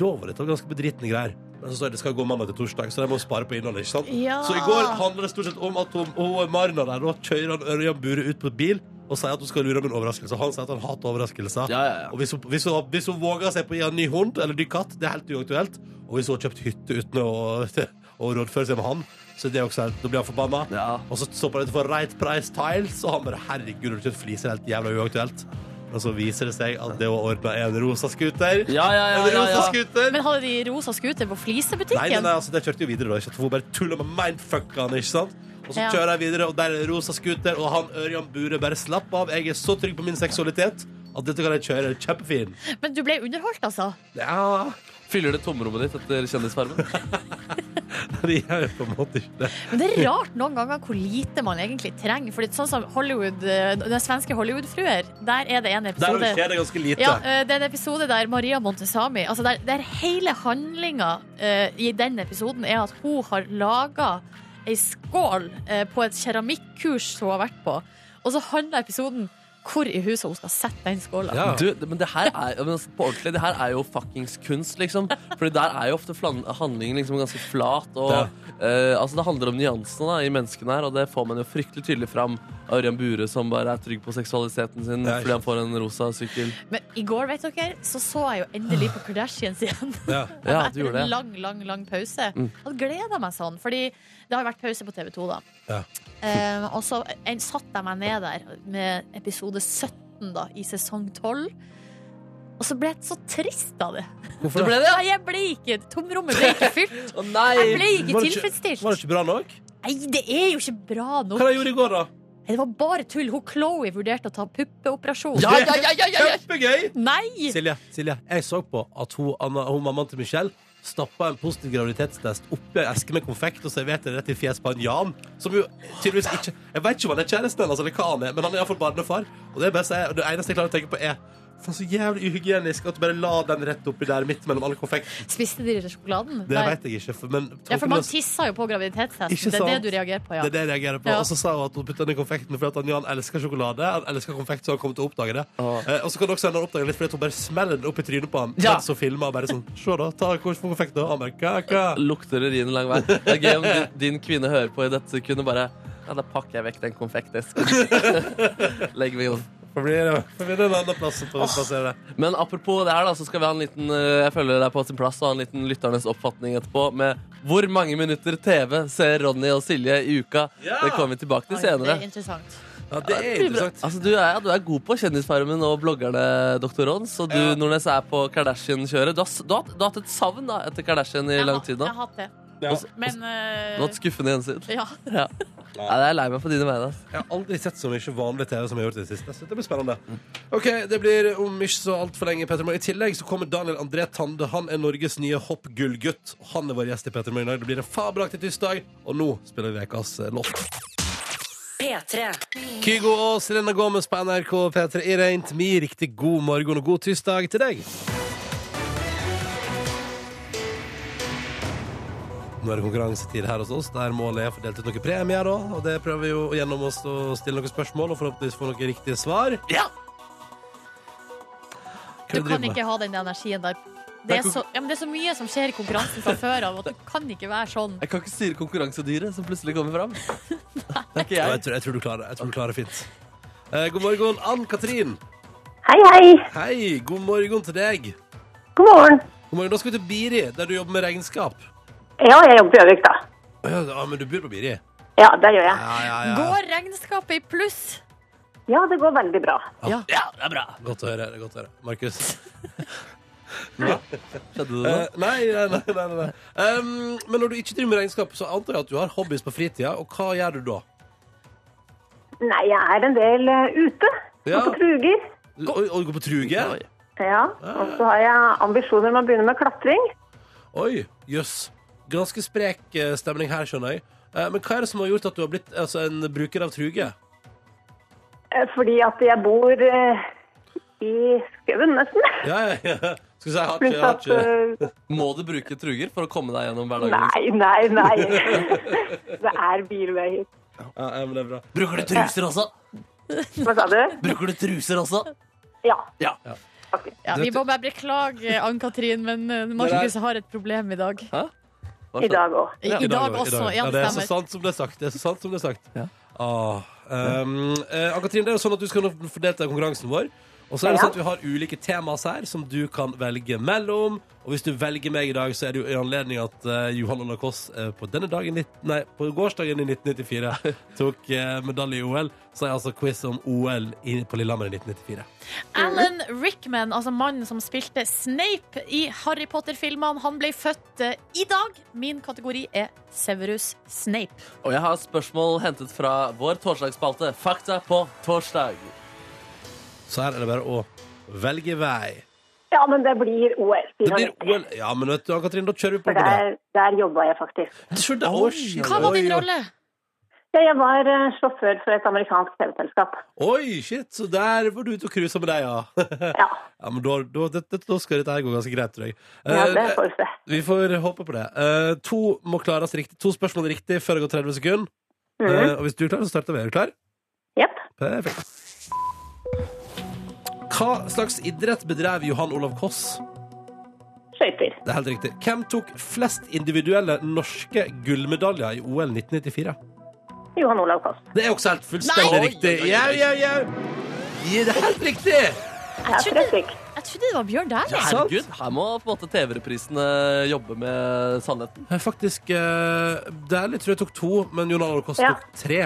Speaker 2: da var dette ganske bedritne greier. Men så står det det skal gå mandag til torsdag, så de må spare på innholdet. ikke sant?
Speaker 3: Ja.
Speaker 2: Så i går handler det stort sett om at hun, hun Marna der da kjører han Ørjan Bure ut på et bil og sier at hun skal lure om en overraskelse. Han sier at han hater overraskelser.
Speaker 4: Ja, ja, ja.
Speaker 2: Og hvis hun, hvis, hun, hvis hun våger seg på å gi han ny hund eller ny katt, det er helt uaktuelt. Og hvis hun har kjøpt hytte uten å, å rådføre seg med han, så er det også helt, da blir han forbanna.
Speaker 4: Ja.
Speaker 2: Og så stopper han utenfor Right Price Tiles, og han bare herregud, har du kjøpt fliser helt jævla uaktuelt? Og så viser det seg at det å ordne en rosa scooter
Speaker 4: Ja, ja, ja,
Speaker 2: En
Speaker 4: ja,
Speaker 2: rosa
Speaker 4: ja.
Speaker 2: scooter!
Speaker 3: Men hadde de rosa scooter på
Speaker 2: Nei, nei,
Speaker 3: flisebutikken?
Speaker 2: nei, altså, det kjørte jo videre, da. Ikke? sant? For hun bare tuller med mindfucka han, ikke sant? Og så
Speaker 3: Ja.
Speaker 2: kjører jeg videre, og der er det rosa scooter, og han Ørjan Bure bare slapp av. Jeg er så trygg på min seksualitet at dette kan jeg kjøre kjempefin.
Speaker 3: Men du ble underholdt, altså?
Speaker 2: Ja,
Speaker 4: Fyller det tomrommet ditt etter Kjendisfarmen?
Speaker 2: det gjør jeg på en måte ikke det.
Speaker 3: Men det er rart noen ganger hvor lite man egentlig trenger. For sånn som Hollywood, eh, den svenske Hollywood-fruer, der Sånn er det en
Speaker 2: Der
Speaker 3: episode
Speaker 2: skjer det ganske lite.
Speaker 3: ja, eh, det er en episode der Maria Montesami altså der, der hele handlinga eh, i den episoden er at hun har laga ei skål eh, på et keramikkurs hun har vært på. Og så handler episoden hvor i huset hun skal sette den skåla.
Speaker 2: Ja.
Speaker 4: Du, det- men det her er, ja, men altså, på ordentlig, det her er jo fuckings kunst, liksom. Fordi der er jo ofte flan- handlingen liksom ganske flat. Og, eh, altså Det handler om nyansene da, i menneskene her, og det får man jo fryktelig tydelig fram. av Ørjan Bure som bare er trygg på seksualiteten sin
Speaker 2: Ja, ikke
Speaker 4: fordi han får en rosa sykkel.
Speaker 3: Men i går vet dere, så så jeg jo endelig på Kardashians igjen.
Speaker 2: Ja.
Speaker 4: Ja, du
Speaker 3: Etter
Speaker 4: gjorde
Speaker 3: en
Speaker 4: det.
Speaker 3: lang, lang lang pause.
Speaker 2: Mm.
Speaker 3: Jeg hadde gleda meg sånn, fordi det har vært pause på TV 2, da.
Speaker 2: Ja.
Speaker 3: Eh, og så en- satte jeg meg ned der med episode 17 da, i sesong 12. Og så ble jeg så trist av det.
Speaker 4: Du ble det?
Speaker 3: Nei, jeg ble ikke, Tomrommet ble ikke fylt.
Speaker 4: Å
Speaker 3: Jeg ble
Speaker 4: nei!
Speaker 3: ikke
Speaker 2: Var det ikke- Var det
Speaker 3: tilfredsstilt.
Speaker 2: ikke bra nok?
Speaker 3: Nei, det er jo ikke bra
Speaker 2: Hva
Speaker 3: nok.
Speaker 2: jeg gjorde i går, da?
Speaker 3: Det var bare tull. Hun Chloé vurderte å ta puppeoperasjon.
Speaker 4: Ja, ja, ja, ja, ja, ja.
Speaker 2: Kjempegøy!
Speaker 3: Nei!
Speaker 2: Silje, Silje, jeg så på at hun, Anna, hun mammaen til Michelle stappa en positiv graviditetstest oppi ei eske med konfekt og serverte det rett i fjeset på han Jan. Som jo tydeligvis ikke Jeg vet ikke om han er kjæresten hennes, eller hva han er, men han er iallfall barnefar. Og det, er bare å si- og det eneste jeg klarer å tenke på, er Faen, så jævlig uhygienisk at du bare la den rett oppi der midt mellom alle konfekten.
Speaker 3: Spiste de sjokoladen?
Speaker 2: Det
Speaker 3: Nei.
Speaker 2: vet jeg ikke, for, men
Speaker 3: Ja, for man
Speaker 2: tankeløs-
Speaker 3: tisser jo på graviditetstesten.
Speaker 2: Ikke
Speaker 3: Det er det
Speaker 2: sant?
Speaker 3: du reagerer på, ja.
Speaker 2: Det er det jeg reagerer på.
Speaker 3: Ja.
Speaker 2: Og så sa hun at hun putta den i konfekten fordi at han Jan elsker sjokolade. Han elsker konfekt, så han kommer til å oppdage det.
Speaker 4: Åh.
Speaker 2: Eh, og så kan det også hende han oppdager litt fordi at hun bare smeller den opp i trynet på han
Speaker 4: Ja.
Speaker 2: mens hun filmer. og Bare sånn, se da, ta en kurs for konfekt da. Han bare, kaka.
Speaker 4: Lukter urin lang vei. Det er gøy om din, din kvinne hører på i dette sekundet bare Ja, da pakker jeg vekk den konfektesken. Legg meg inn.
Speaker 2: Får bli får bli en annen plass å plassere det.
Speaker 4: Men apropos det her, da, så skal vi ha en liten eh, Jeg føler det er på sin plass å ha en liten lytternes oppfatning etterpå med hvor mange minutter TV ser Ronny og Silje i uka.
Speaker 2: Ja!
Speaker 4: Det kommer vi tilbake til
Speaker 3: Oi,
Speaker 4: senere.
Speaker 3: Det er interessant.
Speaker 2: Ja, det er interessant.
Speaker 4: Altså, du, er, du er god på Kjendisfarmen og bloggerne, Dr. Rons. Og du,
Speaker 2: Ja.
Speaker 4: Nordnes, er på Kardashian-kjøret. Du, har s- du, har hatt- du har hatt et savn da, etter Kardashian i
Speaker 3: Jeg
Speaker 4: lang
Speaker 3: har-
Speaker 4: tid
Speaker 3: Jeg
Speaker 4: nå.
Speaker 3: har hatt det.
Speaker 2: Ja.
Speaker 4: Også-
Speaker 3: Men eh,
Speaker 4: Det var et skuffende gjensyn.
Speaker 3: ja.
Speaker 4: Ja. Nei, jeg er lei meg på dine vegne. ass.
Speaker 2: Jeg har aldri sett så mye vanlig TV som jeg har gjort i det siste. Så det blir spennende. Ok, Det blir om ikke så altfor lenge. Petter Morgen. I tillegg så kommer Daniel André Tande. Han er Norges nye hoppgullgutt. Han er vår gjest i Petter Morgen i dag. Det blir en fabelaktig tirsdag, og nå spiller vi ukas eh, låt.
Speaker 1: P3.
Speaker 2: Kygo og Selena Gomez på NRK P3 i Reint. Mi riktig god morgen og god tirsdag til deg. Nå er det konkurransetid her hos oss, der målet er å få delt ut noen premier. da, og Det prøver vi jo gjennom oss å stille noen spørsmål og forhåpentligvis få noen riktige svar.
Speaker 4: Ja!
Speaker 2: Hva
Speaker 3: Du
Speaker 2: driver
Speaker 3: kan
Speaker 2: med?
Speaker 3: ikke ha den energien der.
Speaker 2: Nei,
Speaker 3: Det er,
Speaker 2: kon-
Speaker 3: så, ja, men det er så mye som skjer i konkurransen fra før av, at du kan ikke være sånn.
Speaker 4: Jeg kan ikke styre konkurransedyret som plutselig kommer fram. Det er ikke
Speaker 2: Ja, jeg
Speaker 4: jeg.
Speaker 2: tror, jeg tror du klarer det. Jeg tror du klarer det fint. Eh, god morgen, Ann-Katrin.
Speaker 5: Hei, hei.
Speaker 2: Hei, god morgen til deg.
Speaker 5: God morgen.
Speaker 2: God morgen, Da skal vi til Biri, der du jobber med regnskap.
Speaker 5: Ja, jeg jobber på Gjøvik, da.
Speaker 2: Å Ja, ja, men du bor på Biri?
Speaker 5: Ja, det gjør jeg.
Speaker 2: Ja, ja, ja.
Speaker 3: Går regnskapet i pluss?
Speaker 5: Ja, det går veldig bra.
Speaker 4: Ja, det er bra.
Speaker 2: Godt å høre. det er godt å høre. Markus?
Speaker 4: Skjedde det nå?
Speaker 2: Eh, nei, nei, nei. nei, nei, nei. Um, men når du ikke driver med regnskap, så antar jeg at du har hobbies på fritida. Og hva gjør du da?
Speaker 5: Nei, jeg er en del eh, ute.
Speaker 2: Ja.
Speaker 5: Og på truger.
Speaker 2: Du- Oi, oi, går på truge?
Speaker 4: Oi.
Speaker 5: Ja.
Speaker 2: Ah.
Speaker 5: Og så har jeg ambisjoner om å begynne med klatring.
Speaker 2: Oi, jøss. Ganske sprek eh, stemning her, skjønner jeg. Eh, men hva er det som har gjort at du har blitt altså, en bruker av truge?
Speaker 5: Eh, Fordi at jeg bor eh, i skauen, nesten.
Speaker 2: Ja, ja, ja. Skal vi si jeg har ikke, jeg
Speaker 5: Pluss
Speaker 2: har
Speaker 5: at
Speaker 2: ikke.
Speaker 5: eh,
Speaker 4: Må du bruke truger for å komme deg gjennom hverdagen?
Speaker 5: Nei, nei, nei. Det er bilvei hit.
Speaker 2: Ja, ja, men det er bra.
Speaker 4: Bruker du truser også?
Speaker 5: Hva sa du?
Speaker 4: Bruker du truser også?
Speaker 5: Ja.
Speaker 4: Ja.
Speaker 5: Faktisk.
Speaker 3: Ja, vi må bare beklage, Ann-Katrin, men eh, Markus har et problem i dag.
Speaker 4: Hva
Speaker 5: I
Speaker 4: skjedde?
Speaker 5: dag òg.
Speaker 3: I, i dag også. Ja,
Speaker 2: det
Speaker 3: det
Speaker 2: er så
Speaker 3: stemmer.
Speaker 2: sant som det er sagt. Det er så sant som det er sagt.
Speaker 4: Ja.
Speaker 2: Ah, um, eh, Ann-Katrin, det er jo sånn at du skal nå få delta i konkurransen vår. Og så er det
Speaker 5: Ja.
Speaker 2: sånn at vi har ulike temas her som du kan velge mellom. Og hvis du velger meg i dag, så er det jo i anledning at eh, Johan Ola Koss eh, på denne dagen, nitt- nei, på gårsdagen i 1994 tok eh, medalje i OL. Så er altså quiz om OL i, på Lillehammer i 1994.
Speaker 3: Alan Rickman, altså mannen som spilte Snape i Harry Potter-filmene, han ble født eh, i dag. Min kategori er Severus Snape.
Speaker 4: Og jeg har spørsmål hentet fra vår torsdagsspalte Fakta på torsdag.
Speaker 2: Så her er det bare å velge vei.
Speaker 5: Ja, men det blir OL.
Speaker 2: Det blir OL. Ja, men vet du, Ann-Katrin, da kjører vi på
Speaker 5: For
Speaker 2: med det.
Speaker 5: der, der jobba jeg faktisk.
Speaker 2: Se der. Oi, oi,
Speaker 3: Hva var din
Speaker 2: oi.
Speaker 3: rolle?
Speaker 5: Ja, jeg var eh, sjåfør for et amerikansk TV-selskap.
Speaker 2: Oi, shit, så der var du ute og cruisa med deg, ja.
Speaker 5: Ja,
Speaker 2: ja men da, da, dette- da skal dette her gå ganske greit, tror jeg.
Speaker 5: ja, det
Speaker 2: Eh,
Speaker 5: får vi se.
Speaker 2: vi får håpe på det. Eh, to må klares riktig. To spørsmål riktig før det går 30 sekunder.
Speaker 4: Mhm.
Speaker 2: Eh, og hvis du er klar, så starter vi. Er du klar?
Speaker 5: Jepp.
Speaker 2: Perfekt. Hva slags idrett bedrev Johan Olav Koss?
Speaker 5: Skøyter.
Speaker 2: Det er helt riktig. Hvem tok flest individuelle norske gullmedaljer i OL 1994?
Speaker 5: Johan Olav Koss.
Speaker 2: Det er også helt fullstendig
Speaker 4: Nei!
Speaker 2: riktig.
Speaker 4: Oi, oi, oi, oi.
Speaker 2: Jau, jau, jau. Ja, det er helt riktig!
Speaker 5: Jeg er tre stykk.
Speaker 3: Jeg trodde det var Bjørn Dæhlie.
Speaker 4: Herregud, her må på en måte TV-reprisene jobbe med sannheten.
Speaker 2: Jeg Faktisk, eh, Dæhlie tror jeg tok to, men Jon Arne Kåss
Speaker 5: Ja.
Speaker 2: tok tre.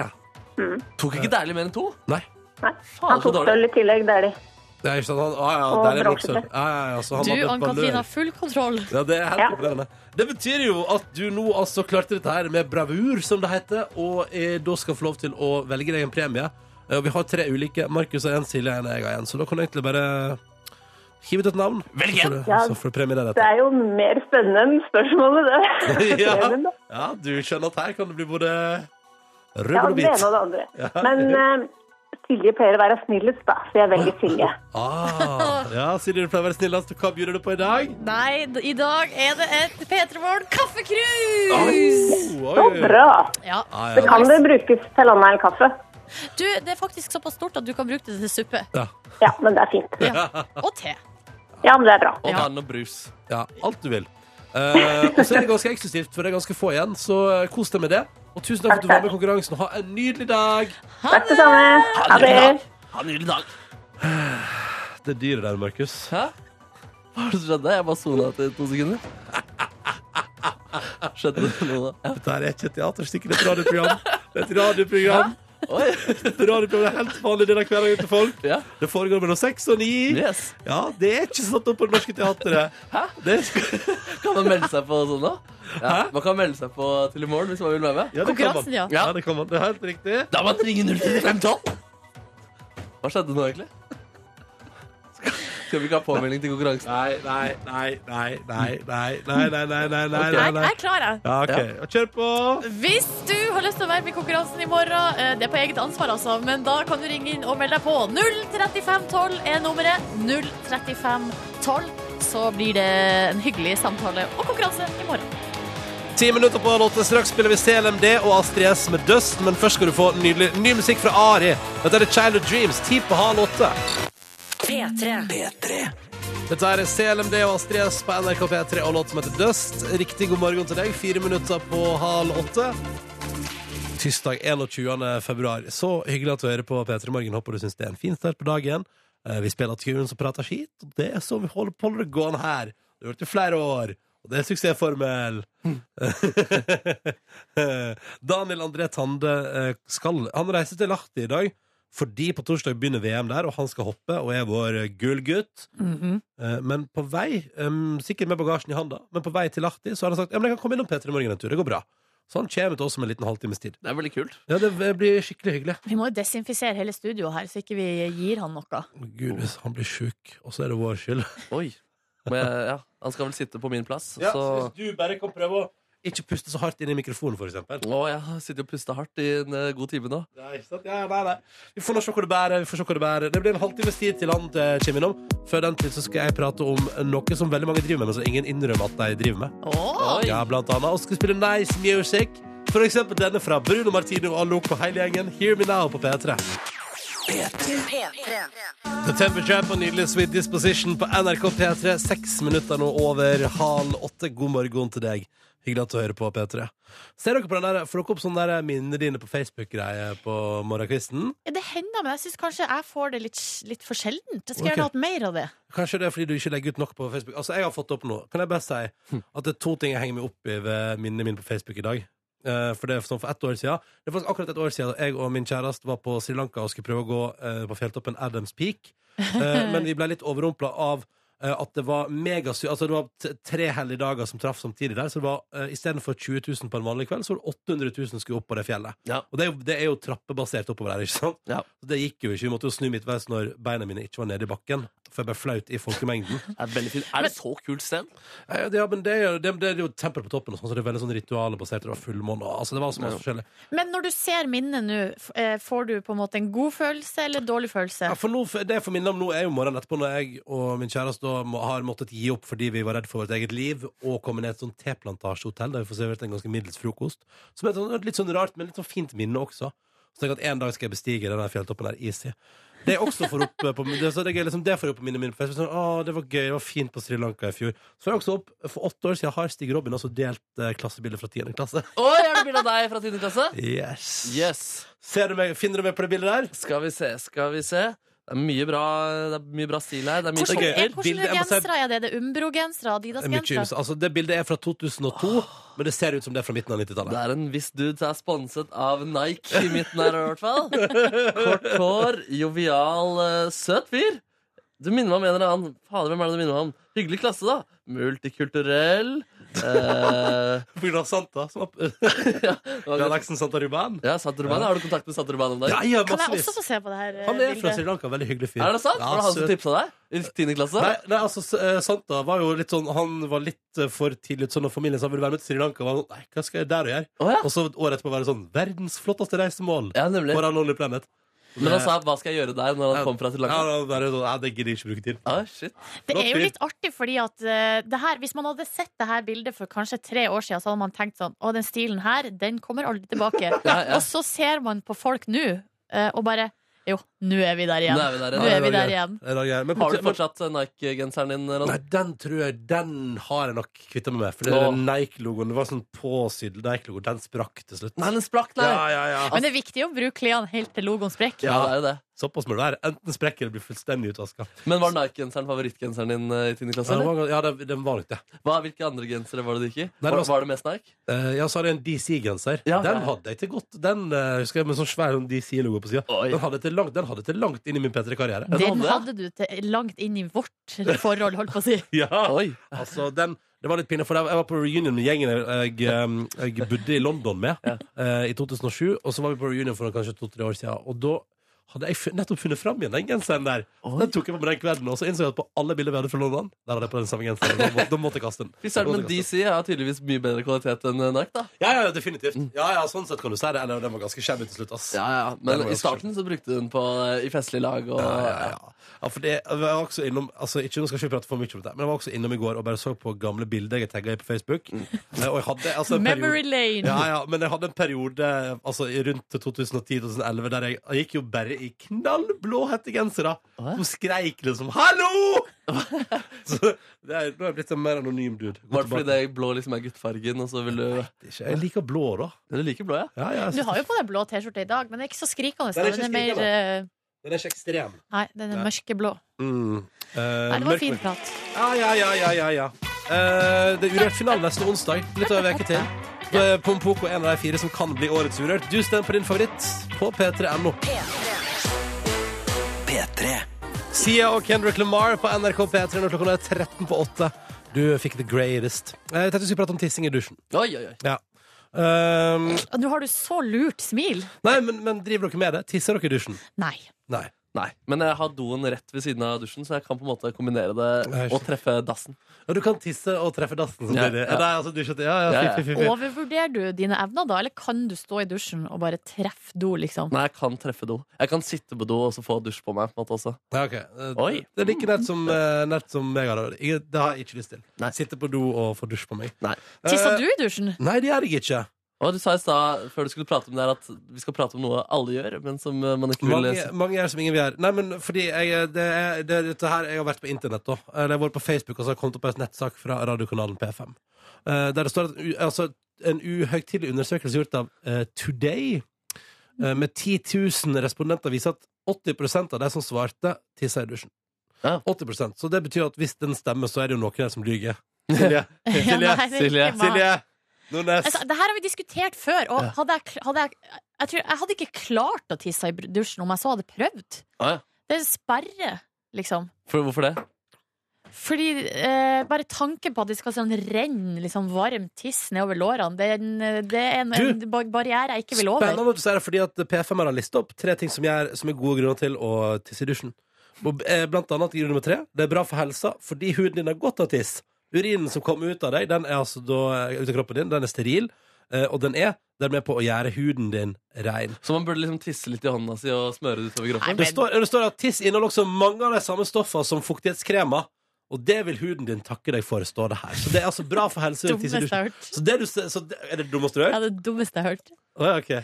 Speaker 4: Tok ikke Dæhlie mer enn to?
Speaker 2: Nei.
Speaker 5: Nei.
Speaker 4: Faen,
Speaker 5: Han
Speaker 4: så
Speaker 5: tok
Speaker 4: dårlig.
Speaker 5: sølv i tillegg, det er de.
Speaker 2: Det er ikke sant. Han, ah, ja,
Speaker 5: Og
Speaker 2: Dæhlie er
Speaker 5: bronse.
Speaker 2: boksør. Ja, ja, ja, så han
Speaker 3: Du,
Speaker 2: var blitt ballør.
Speaker 3: Ann-Katrin, har full kontroll.
Speaker 2: Ja, det er helt
Speaker 5: Ja.
Speaker 2: imponerende. Det betyr jo at du nå altså klarte dette her med bravur, som det heter, og eh, da skal få lov til å velge deg en premie. Eh, Og vi har tre ulike. Markus har én, Silje har én, jeg har én. Så da kan du egentlig bare hive ut et navn. Velg en!
Speaker 5: Ja.
Speaker 2: Så får du premie der
Speaker 5: Det
Speaker 2: etter.
Speaker 5: er jo mer spennende enn spørsmålet, det.
Speaker 2: Ja.
Speaker 5: Premien, da.
Speaker 2: ja, du skjønner at her kan det bli både
Speaker 5: Ja,
Speaker 2: rubbel og
Speaker 5: det
Speaker 2: bit.
Speaker 5: ene og det andre.
Speaker 2: Ja.
Speaker 5: Men eh, Silje pleier å være snillest, da, så jeg velger Silje.
Speaker 2: Ah, ja, Silje, du pleier å være snillest. Hva byr du på i dag?
Speaker 3: Nei, d- i dag er det et P3 Morgen
Speaker 2: Oi,
Speaker 3: kaffekrus!
Speaker 2: Oh, oi,
Speaker 5: Så
Speaker 2: oi.
Speaker 5: bra!
Speaker 3: Ja.
Speaker 2: Ja, ja.
Speaker 5: Det kan det brukes til annet enn kaffe.
Speaker 3: Du, det er faktisk såpass stort at du kan bruke det til suppe.
Speaker 2: Ja.
Speaker 5: Ja, men det er fint.
Speaker 3: Ja. Og te.
Speaker 5: Ja, men det er bra.
Speaker 4: Og
Speaker 3: Ja.
Speaker 4: vann og brus.
Speaker 2: ja, alt du vil. Eh, og så er det ganske eksklusivt, for det er ganske få igjen. Så eh, kos deg med det. Og tusen takk for at du var med i konkurransen. Ha en nydelig dag!
Speaker 5: Takk det samme. Ha det.
Speaker 4: Ha en nydelig dag.
Speaker 2: Det dyret der, Markus.
Speaker 4: Hæ? Hva var det som skjedde? Jeg bare sona etter to sekunder. Skjedde det noe da? Ja.
Speaker 2: Dette her er ikke et teaterstykke, det er et radioprogram. Det er et radioprogram.
Speaker 4: Oi,
Speaker 2: Radioprogrammet er helt vanlig denne kvelden ute folk.
Speaker 4: ja,
Speaker 2: Det foregår mellom seks og ni.
Speaker 4: yes.
Speaker 2: Ja, det er ikke satt opp på Det Norske Teatret.
Speaker 4: Hæ?
Speaker 2: Det,
Speaker 4: Kan man melde seg på sånn, da? Ja,
Speaker 2: Hæ?
Speaker 4: man kan melde seg på til i morgen hvis man vil være med.
Speaker 2: ja, det kan man.
Speaker 3: Konkurransen, ja.
Speaker 2: ja. Det kan man. Det er helt riktig.
Speaker 4: Da må man ringe 03512! Hva skjedde nå, egentlig? Skal- Skal vi ikke ha påmelding til konkurransen?
Speaker 2: Nei, nei, nei, nei, nei, nei, nei, nei, nei, nei, nei, nei,
Speaker 3: Jeg,
Speaker 2: nei.
Speaker 3: jeg er klar, jeg.
Speaker 2: Ja, ok. Og Kjør på.
Speaker 3: Hvis du har lyst til å være med i konkurransen i morgen, eh, det er på eget ansvar, altså, men da kan du ringe inn og melde deg på. 03512 er nummeret. 03512. Så blir det en hyggelig samtale og konkurranse i morgen.
Speaker 2: Ti minutter på halv åtte. Straks spiller vi CLMD og Astrid S med Dust, men først skal du få nydelig ny musikk fra Ari. Dette er The Child of Dreams, ti på halv åtte.
Speaker 1: P3.
Speaker 2: Dette er CLMD og Astrid S på NRK P3 og låt som heter Dust. Riktig god morgen til deg. Fire minutter på halv åtte. Tirsdag 21. februar. Så hyggelig at du hører på P3 Morgen. Håper du syns det er en fin start på dagen. Eh, Vi spiller tunes og prater skit, og det er så vi holder på det gående her. Det har vært i flere år, og det er suksessformel. Daniel André Tande eh, skal Han reiser til Lahti i dag. Fordi på torsdag begynner VM der, og han skal hoppe og er vår eh, gullgutt. Eh, Men på vei, em, sikkert med bagasjen i handa, men på vei til Lahti, så har han sagt ja, men jeg kan komme innom Peter i morgen en tur. Det går bra. Så han kommer til oss om en liten halvtimes tid.
Speaker 4: Det er veldig kult.
Speaker 2: Ja, det blir skikkelig hyggelig.
Speaker 3: Vi må jo desinfisere hele studioet her, så ikke vi gir han noe.
Speaker 2: Å, Gud, hvis han blir sjuk, og så er det vår skyld.
Speaker 4: Oi. Men, jeg- ja, han skal vel sitte på min plass, så
Speaker 2: hvis du bare kan prøve å ikke puste så hardt inn i mikrofonen, for eksempel.
Speaker 4: Å, jeg har sittet og pusta hardt i en eh, god time nå.
Speaker 2: Nei, ikke sant? Ja, nei, nei. Vi får nå se hvor det bærer. Vi får se hvor Det bærer Det blir en halvtimes tid til han eh, kommer innom. Før den tid så skal jeg prate om noe som veldig mange driver med, men som ingen innrømmer at de driver med.
Speaker 3: Åh,
Speaker 4: Oi.
Speaker 2: Ja, blant annet. Og skal spille nice music. For eksempel denne fra Bruno Martino og Loco hele gjengen. Hear me now på P3. The Temper Jump og nydelig Sweet Disposition på NRK P3. Seks minutter nå over halv åtte. God morgen til deg. Hyggelig at du hører på, P3. Ser dere på den der, Får dere opp sånne der minner dine på Facebook-greie på morgenkvisten?
Speaker 3: Ja, det hender, men jeg syns kanskje jeg får det litt, litt for sjeldent. Jeg skulle
Speaker 2: Ok.
Speaker 3: gjerne hatt mer av det.
Speaker 2: Kanskje det er fordi du ikke legger ut nok på Facebook. Altså, jeg har fått opp nå. Kan jeg bare si at det er to ting jeg henger meg opp i ved minnene mine på Facebook i dag. Eh, for det er sånn for ett år siden. Det er faktisk akkurat et år siden da jeg og min kjæreste var på Sri Lanka og skulle prøve å gå eh, på fjelltoppen Adams Peak. Eh, men vi ble litt overrumpla av eh, at det var megasy... Altså, det var t tre helligdager som traff samtidig der. Så det var uh, istedenfor 20 000 på en vanlig kveld, så var det 800 000 skulle opp på det fjellet.
Speaker 4: Ja.
Speaker 2: Og det er, jo, det er jo trappebasert oppover der, ikke sant?
Speaker 4: Ja.
Speaker 2: Så Det gikk jo ikke. Vi måtte jo snu midtveis når beina mine ikke var nede i bakken. For jeg ble flaut i folkemengden.
Speaker 4: Det er, veldig fint. er det så kult sted?
Speaker 2: Eh, Ja, men det er, jo- det, det er jo tempel på toppen, og sånn, så det er veldig sånn ritualbasert. Det var fullmåne og altså, Det var så masse forskjellig.
Speaker 3: Men når du ser minnet nå, f- eh, får du på en måte en god følelse eller en dårlig følelse?
Speaker 2: Ja, for nå, for det jeg får minne om nå, er jo morgenen etterpå, når jeg og min kjæreste da må, har måttet gi opp fordi vi var redd for vårt eget liv, og komme ned til et sånt teplantasjehotell der vi får servert en ganske middels frokost. Som er et sånt, litt sånn rart, men litt sånn fint minne også. Så tenker jeg at en dag skal jeg bestige den der fjelltoppen der easy. Det er også for opp eh, på det, så det, er gøy, liksom, det får jeg opp på minnet mitt. for jeg synes Sånn, «Å, det var gøy, det var fint på Sri Lanka i fjor. Så får jeg også opp, For åtte år siden har Stig Robin også delt eh, klassebilder fra 10. klasse.
Speaker 4: Oi, er det bilde av deg fra 10. klasse?
Speaker 2: Yes.
Speaker 4: Yes.
Speaker 2: Ser du meg, finner du meg på det bildet der?
Speaker 4: Skal vi se, skal vi se. Det er mye bra, det er mye bra stil her. Det er mye
Speaker 3: Hvordan,
Speaker 2: Det er gøy.
Speaker 3: er, hvordan
Speaker 2: Bildet- jeg må si-
Speaker 3: gensere er det? Det er Umbro-gensere,
Speaker 2: Det er Mye ymse.
Speaker 3: Adidas-gensere?
Speaker 2: altså, det bildet er fra 2002, men det ser ut som det er fra midten av 90-tallet.
Speaker 4: Det er en viss dude som er sponset av Nike i midten her, i hvert fall. Kort hår, jovial, eh, søt fyr. Du minner meg om en eller annen. Fader, hvem er det du minner meg om? Hyggelig klasse, da. Multikulturell. Eh,
Speaker 2: På grunn av Santa. Som var, Galaksen Santa Ruban.
Speaker 4: ja, Saturban. Har du kontakt med Saturban om dagen?
Speaker 2: Ja, ja,
Speaker 3: Kan jeg også
Speaker 2: massevis.
Speaker 3: få se på det her eh,
Speaker 2: Han er fra
Speaker 3: bildet?
Speaker 2: Sri Lanka. Veldig hyggelig fyr.
Speaker 4: Er det sant?
Speaker 2: Ja,
Speaker 4: Var det han som
Speaker 2: søt.
Speaker 4: tipsa deg i 10. klasse?
Speaker 2: Nei, nei, altså, s- eh, Santa var jo litt sånn Han var litt eh, for tidlig ute sånn, og familien sa ville være med til Sri Lanka. Var han, sånn, nei, hva skal jeg der og gjøre?
Speaker 4: Å, ja.
Speaker 2: Og så året etterpå var det sånn verdens flotteste reisemål.
Speaker 4: ja, nemlig.
Speaker 2: Foran Lonely Planet.
Speaker 4: Men han sa 'hva skal jeg gjøre der' når han kom fra Sri
Speaker 2: Ja,
Speaker 4: Lanka?
Speaker 2: da var det sånn, nei, det gidder jeg ikke bruke tid på.
Speaker 4: Ah, shit.
Speaker 3: Det er
Speaker 2: Flott
Speaker 3: jo
Speaker 2: bil.
Speaker 3: litt artig, fordi at eh, det her, hvis man hadde sett det her bildet for kanskje tre år siden, så hadde man tenkt sånn Å, den stilen her, den kommer aldri tilbake.
Speaker 4: Ja, ja.
Speaker 3: Og så ser man på folk nå, eh, og bare Jo, nå er vi der
Speaker 4: Nå
Speaker 3: igjen.
Speaker 4: er vi der
Speaker 3: Nå
Speaker 4: igjen.
Speaker 3: er vi
Speaker 2: det var
Speaker 3: der
Speaker 2: gøy.
Speaker 3: igjen.
Speaker 2: Det var gøy. Men,
Speaker 4: Har du fortsatt eh, Nike-genseren din,
Speaker 2: Nei,
Speaker 4: Ronny?
Speaker 2: den tror jeg Den har jeg nok kvitta meg med. For det
Speaker 4: Åh.
Speaker 2: er Nike-logoen. Det var sånn påsydd Nike-logo. Den sprakk til slutt.
Speaker 4: Nei, den sprakk, nei.
Speaker 2: Ja, ja, ja.
Speaker 3: Men det er viktig å bruke klærne helt til logoen sprekker.
Speaker 4: Ja, det er jo det.
Speaker 2: Såpass må det være. Enten sprekker eller blir fullstendig utvaska.
Speaker 4: Men var Nike-genseren favorittgenseren din eh, i 10. klasse? eller?
Speaker 2: Ja, det- den var nok det.
Speaker 4: Hva, hvilke andre gensere var det du gikk i?
Speaker 2: Nei, det
Speaker 4: Var,
Speaker 2: var-
Speaker 4: var det mest Nike?
Speaker 2: Eh, ja, så har jeg en DC-genser.
Speaker 4: Ja.
Speaker 2: den hadde jeg til godt. Den eh, husker jeg med sånn svær sånn DC-logo på sida.
Speaker 4: Oi.
Speaker 2: Den hadde jeg til langt, den hadde jeg til langt inn i min P3-karriere.
Speaker 4: Ja, det
Speaker 3: Den
Speaker 4: hadde jeg.
Speaker 3: hadde du til langt inn i vårt forhold, holdt på å si.
Speaker 2: Ja.
Speaker 4: Oi.
Speaker 2: Altså, den, det var litt pinlig, for jeg jeg var på reunion med gjengen jeg, um, jeg bodde i London med eh, i 2007. Og så var vi på reunion for kanskje to-tre år siden, og da hadde jeg fun- nettopp funnet fram igjen den genseren der.
Speaker 4: Oi.
Speaker 2: Den tok jeg på meg den kvelden, og så innså jeg at på alle bilder vi hadde fra London, der hadde jeg på den samme genseren. Da må- Da måtte jeg kaste den.
Speaker 4: Fy søren, men
Speaker 2: Da måtte jeg kaste den.
Speaker 4: DC har tydeligvis mye bedre kvalitet enn eh, Nike, da.
Speaker 2: Ja, ja, definitivt. Ja, ja, sånn sett kan du si det. Eller den var ganske skjebne til slutt, ass.
Speaker 4: Ja, ja.
Speaker 2: Den
Speaker 4: Men
Speaker 2: var
Speaker 4: i
Speaker 2: jeg også
Speaker 4: starten så brukte du den på, eh, i festlige lag og
Speaker 2: ja, ja, ja. ja, for det jeg var også innom altså, Ikke nå skal jeg ikke prate for mye om dette, men jeg var også innom i går og bare så på gamle bilder jeg tagga i på Facebook.
Speaker 4: Mm.
Speaker 2: Eh, Og jeg hadde altså en periode-
Speaker 3: Memory lane.
Speaker 2: Ja, ja, men jeg hadde en periode altså, i rundt 2010-2011 der jeg, jeg gikk jo bare i knallblå hettegensere
Speaker 4: Hva?
Speaker 2: som skreik liksom 'hallo!' så det er, nå er jeg blitt en mer anonym dude. Gå
Speaker 4: Var det fordi
Speaker 2: tilbake.
Speaker 4: det blå liksom er guttfargen, og så vil du
Speaker 2: Ikke- Jeg liker blå, da.
Speaker 4: Du liker blå, ja?
Speaker 2: Ja, ja, jeg
Speaker 3: Du
Speaker 2: synes
Speaker 3: har jo
Speaker 2: det-
Speaker 3: på deg blå T-skjorte i dag, men den er ikke så skrikende.
Speaker 2: Den er
Speaker 3: Den er
Speaker 2: ikke
Speaker 3: mer eh,
Speaker 2: Den er ikke ekstrem.
Speaker 3: Nei, den er
Speaker 2: Nei.
Speaker 3: mørkeblå.
Speaker 2: Mm. Eh,
Speaker 3: Nei, det var
Speaker 2: mørk-
Speaker 3: fin prat.
Speaker 2: Ja, ja, ja, ja, ja, ja. Eh, det er urørt finale neste onsdag. Litt over en uke til. Da er Pompoko en av de fire som kan bli årets Urørt. Du stemmer på din favoritt på p3.no. Sia og Kendrick Lamar på NRK P3 når klokka er 13 på 8. Du fikk the greatest. Eh, Jeg tenkte vi skulle prate om tissing i dusjen.
Speaker 4: Oi, oi, oi.
Speaker 2: Ja. Ehm,
Speaker 3: Og Nå har du så lurt smil.
Speaker 2: nei, men, men driver dere med det? Tisser dere i dusjen?
Speaker 3: Nei.
Speaker 2: Nei.
Speaker 4: Nei. Men jeg har doen rett ved siden av dusjen, så jeg kan på en måte kombinere
Speaker 2: Nei,
Speaker 4: det og
Speaker 2: skjønner.
Speaker 4: treffe dassen.
Speaker 2: Og du kan tisse og treffe dassen
Speaker 4: Ja,
Speaker 2: samtidig?
Speaker 4: ja.
Speaker 2: Nei, altså dusje til Ja, ja,
Speaker 4: Ja,
Speaker 2: fint,
Speaker 4: ja.
Speaker 2: fint, fint, fint.
Speaker 3: Overvurderer du dine evner da, eller kan du stå i dusjen og bare treffe do, liksom?
Speaker 4: Nei, jeg kan treffe do. Jeg kan sitte på do og så få dusj på meg. på en måte også
Speaker 2: Ja, ok. Eh,
Speaker 4: Oi.
Speaker 2: Det er like nært som, eh, nært som meg har det. Jeg- Det har jeg ikke lyst til.
Speaker 4: Nei.
Speaker 2: Sitte på do og få dusj på meg.
Speaker 4: Nei.
Speaker 3: Tissa
Speaker 2: Eh,
Speaker 3: du i dusjen?
Speaker 2: Nei, det gjør jeg ikke.
Speaker 4: Og Du sa i stad før du skulle prate om det her at vi skal prate om noe alle gjør, men som eh, man ikke vil
Speaker 2: Mange,
Speaker 4: lese.
Speaker 2: mange gjør som ingen vil gjøre. Nei, men fordi jeg, det er, det er dette her Jeg har vært på internett, da. Eller jeg har vært på Facebook, og så har jeg kommet opp en nettsak fra radiokanalen P5. Eh, Der det står at u- altså, en uhøytidelig undersøkelse gjort av eh, Today eh, med 10 000 respondenter viser at 80 av de som svarte, tissa i dusjen.
Speaker 4: Ja.
Speaker 2: 80 Så det betyr at hvis den stemmer, så er det jo noen her som lyver.
Speaker 3: Ja,
Speaker 2: Silje,
Speaker 3: nei, det er
Speaker 4: Silje,
Speaker 3: ikke meg.
Speaker 2: Silje Nordnes.
Speaker 3: Altså, det her har vi diskutert før, og hadde jeg, kl- hadde jeg, jeg, tror, jeg hadde ikke klart å tisse i dusjen om jeg så hadde prøvd.
Speaker 4: Ah, ja.
Speaker 3: Det er en sperre, liksom.
Speaker 4: For, hvorfor det?
Speaker 3: Fordi eh, bare tanken på at det skal sånn renne liksom varm tiss nedover lårene, det er en, det er en,
Speaker 2: Du!
Speaker 3: en bar- barriere jeg ikke vil over.
Speaker 2: Spennende at du sier det, fordi at P5 har listet opp tre ting som, gjør, som er gode grunner til å tisse i dusjen. Og, eh, Blant annet grunn nummer tre. Det er bra for helsa fordi huden din har godt av tiss. Urinen som kommer ut av deg, den er altså da, ut av kroppen din, den er steril, eh, og den er dermed på å gjøre huden din rein.
Speaker 4: Så man burde liksom tisse litt i hånda si og smøre det utover kroppen?
Speaker 3: Nei,
Speaker 2: Det står, det står at tiss inneholder også mange av de samme stoffene som fuktighetskremer. Og det vil huden din takke deg for, står det her. Så det er altså bra for helsa å tisse i
Speaker 3: Dummeste jeg
Speaker 2: dusjen.
Speaker 3: har hørt.
Speaker 2: Så det du, ser- så det, er det dummeste du
Speaker 3: Ja,
Speaker 2: har hørt?
Speaker 3: det dummeste jeg har hørt.
Speaker 2: Å, Ja, ok.
Speaker 3: Ja,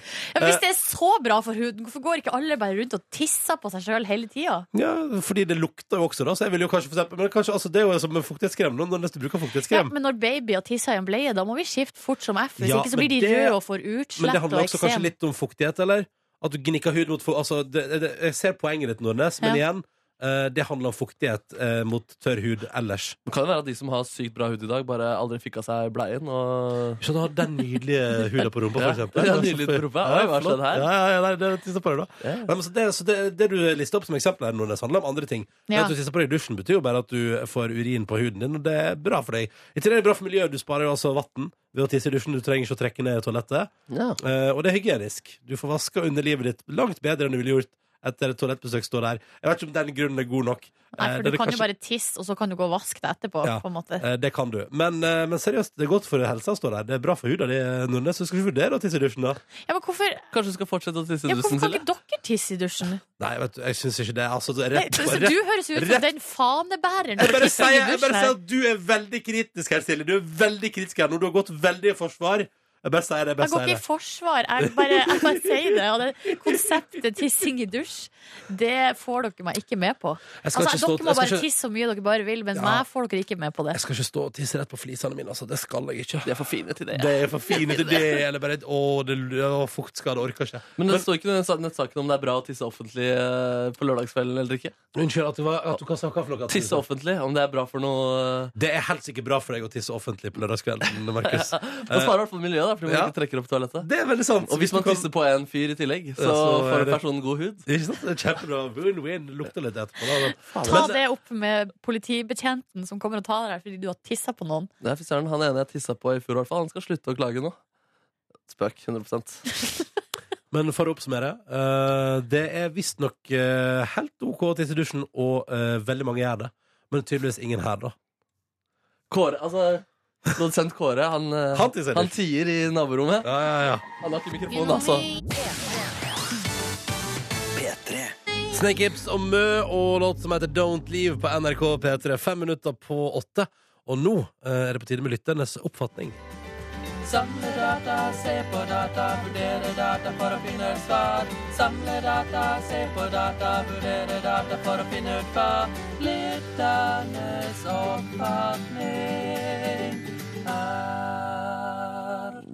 Speaker 2: Eh.
Speaker 3: men hvis det er så bra for huden, hvorfor går ikke alle bare rundt og tisser på seg sjøl hele tida?
Speaker 2: Ja, fordi det lukter jo også, da. Så jeg vil jo kanskje for eksempel, Men kanskje, altså, det er jo som en fuktighetskrem. Noen har lyst til å bruke
Speaker 3: Ja,
Speaker 2: fuktighetskrem.
Speaker 3: men når babyer tisser i en bleie, da må vi skifte fort som F. Hvis
Speaker 2: Ja,
Speaker 3: ikke så
Speaker 2: men
Speaker 3: blir de
Speaker 2: det-
Speaker 3: røde og
Speaker 2: men,
Speaker 3: får
Speaker 2: det
Speaker 3: utslett og
Speaker 2: handler også kanskje
Speaker 3: eksem.
Speaker 2: litt om fuktighet, eller? At du gnikker hud mot fu- Altså, det, det, jeg ser poenget ditt, Nordnes, men
Speaker 3: Ja.
Speaker 2: igjen, eh, det handler om fuktighet eh, mot tørr hud ellers.
Speaker 4: Det kan jo være at de som har sykt bra hud i dag, bare aldri fikk av seg bleien. Og...
Speaker 2: Sånn å ha den nydelige huden på rumpa, for
Speaker 4: Ja,
Speaker 2: eksempel.
Speaker 4: ja, nydelig på rumpa. Oi, hva
Speaker 2: flott.
Speaker 4: skjedde her?
Speaker 2: Ja, ja, ja, nei, det tisser på deg, da. Nei, men så det, så det, det du lister opp som eksempel her, Nordnes, handler om andre ting. Det
Speaker 3: Ja.
Speaker 2: at du tisser på deg i dusjen, betyr jo bare at du får urin på huden din, og det er bra for deg. I tillegg er det bra for miljøet. Du sparer jo altså vann ved å tisse i dusjen. Du trenger ikke å trekke ned i toalettet.
Speaker 4: Ja.
Speaker 2: Eh, og det er hygienisk. Du får vaska underlivet ditt langt bedre enn du ville gjort etter et toalettbesøk står der. Jeg vet ikke om den grunnen er god nok.
Speaker 3: Nei,
Speaker 2: Eh,
Speaker 3: for
Speaker 2: det
Speaker 3: du
Speaker 2: er
Speaker 3: kan
Speaker 2: kanskje-
Speaker 3: jo bare tisse, og så kan du gå og vaske deg etterpå,
Speaker 2: Ja.
Speaker 3: på en måte.
Speaker 2: Eh, Det kan du. Men, eh, men seriøst, det er godt for helsa å stå der. Det er bra for huda di, Nordnes. Så skal du ikke vurdere å tisse i dusjen, da.
Speaker 3: Ja, men hvorfor, ja,
Speaker 4: Kanskje du skal fortsette å tisse
Speaker 2: sånn
Speaker 4: i
Speaker 3: hvorfor
Speaker 4: dusjen,
Speaker 3: kan
Speaker 4: Silje?
Speaker 3: ikke dere tisse i dusjen?
Speaker 2: Nei, vet du, jeg syns ikke det. Altså, det er
Speaker 3: Nei,
Speaker 2: rett,
Speaker 3: så
Speaker 2: rett
Speaker 3: du høres jo ut som
Speaker 2: rett-
Speaker 3: den fanebæreren
Speaker 2: Jeg
Speaker 3: som
Speaker 2: bare
Speaker 3: tisser i
Speaker 2: sier jeg
Speaker 3: dusjen.
Speaker 2: bare sier
Speaker 3: her.
Speaker 2: at du er veldig kritisk her, Silje. Du er veldig kritisk her nå. Du har gått veldig i forsvar. Jeg bare sier det. jeg
Speaker 3: Jeg
Speaker 2: Bare sier
Speaker 3: går ikke i
Speaker 2: det.
Speaker 3: forsvar. Jeg bare, jeg bare sier det. Og det konseptet tissing i dusj, det får dere meg ikke med på.
Speaker 2: Jeg skal
Speaker 3: Altså,
Speaker 2: ikke stå-
Speaker 3: dere må
Speaker 2: jeg skal
Speaker 3: bare
Speaker 2: ikke-
Speaker 3: tisse så mye dere bare vil, men
Speaker 2: Ja.
Speaker 3: meg får dere ikke med på det.
Speaker 2: Jeg skal ikke stå og tisse rett på flisene mine, altså. Det skal jeg ikke.
Speaker 4: De er for fine til det.
Speaker 2: Det er for fine til det, eller bare Å, det, å fuktskade orker ikke.
Speaker 4: Men det står ikke i den sa- nettsaken om det er bra å tisse offentlig eh, på lørdagskvelden eller ikke.
Speaker 2: Unnskyld at du, var, at du hva sa hva for noe? at du-
Speaker 4: Tisse offentlig, om det er bra for noe eh,
Speaker 2: Det er helt sikkert bra for deg å tisse offentlig på lørdagskvelden, Markus.
Speaker 4: Man sparer i hvert fall miljøet, da, fordi man
Speaker 2: ja.
Speaker 4: ikke trekker opp toalettet.
Speaker 2: Det er veldig sant.
Speaker 4: Og hvis
Speaker 2: du
Speaker 4: man
Speaker 2: kan-
Speaker 4: tisser på en fyr i tillegg, så,
Speaker 2: så er
Speaker 4: får
Speaker 2: det-
Speaker 4: personen god hud.
Speaker 2: Ikke sant? Det er kjempebra. Win-win. Lukter litt etterpå. Da. men-
Speaker 3: Ta
Speaker 2: Men-
Speaker 3: det opp med politibetjenten som kommer og tar deg her fordi du har tissa på noen.
Speaker 4: Nei, fy søren, han ene jeg tissa på i fjor, i hvert fall, han skal slutte å klage nå. Spøk. 100
Speaker 2: Men for å oppsummere, eh, det er visstnok uh, helt OK å tisse i dusjen, og eh, veldig mange gjør det. Men tydeligvis ingen her, da.
Speaker 4: Kåre, altså Produsent Kåre, han, eh,
Speaker 2: Han tisser i
Speaker 4: han
Speaker 2: dusj.
Speaker 4: tier i naborommet.
Speaker 2: Ja, ja, ja.
Speaker 4: Han har ikke mikrofon, altså.
Speaker 2: Snake Hips og Mø og låt som heter Don't Leave på NRK P3. Fem minutter på åtte. Og nå eh, er det på tide med lytternes oppfatning.
Speaker 4: Samle data, se på data, vurdere data for å finne et svar. Samle data, se på data, vurdere data for å finne ut hva. Lytternes oppfatning er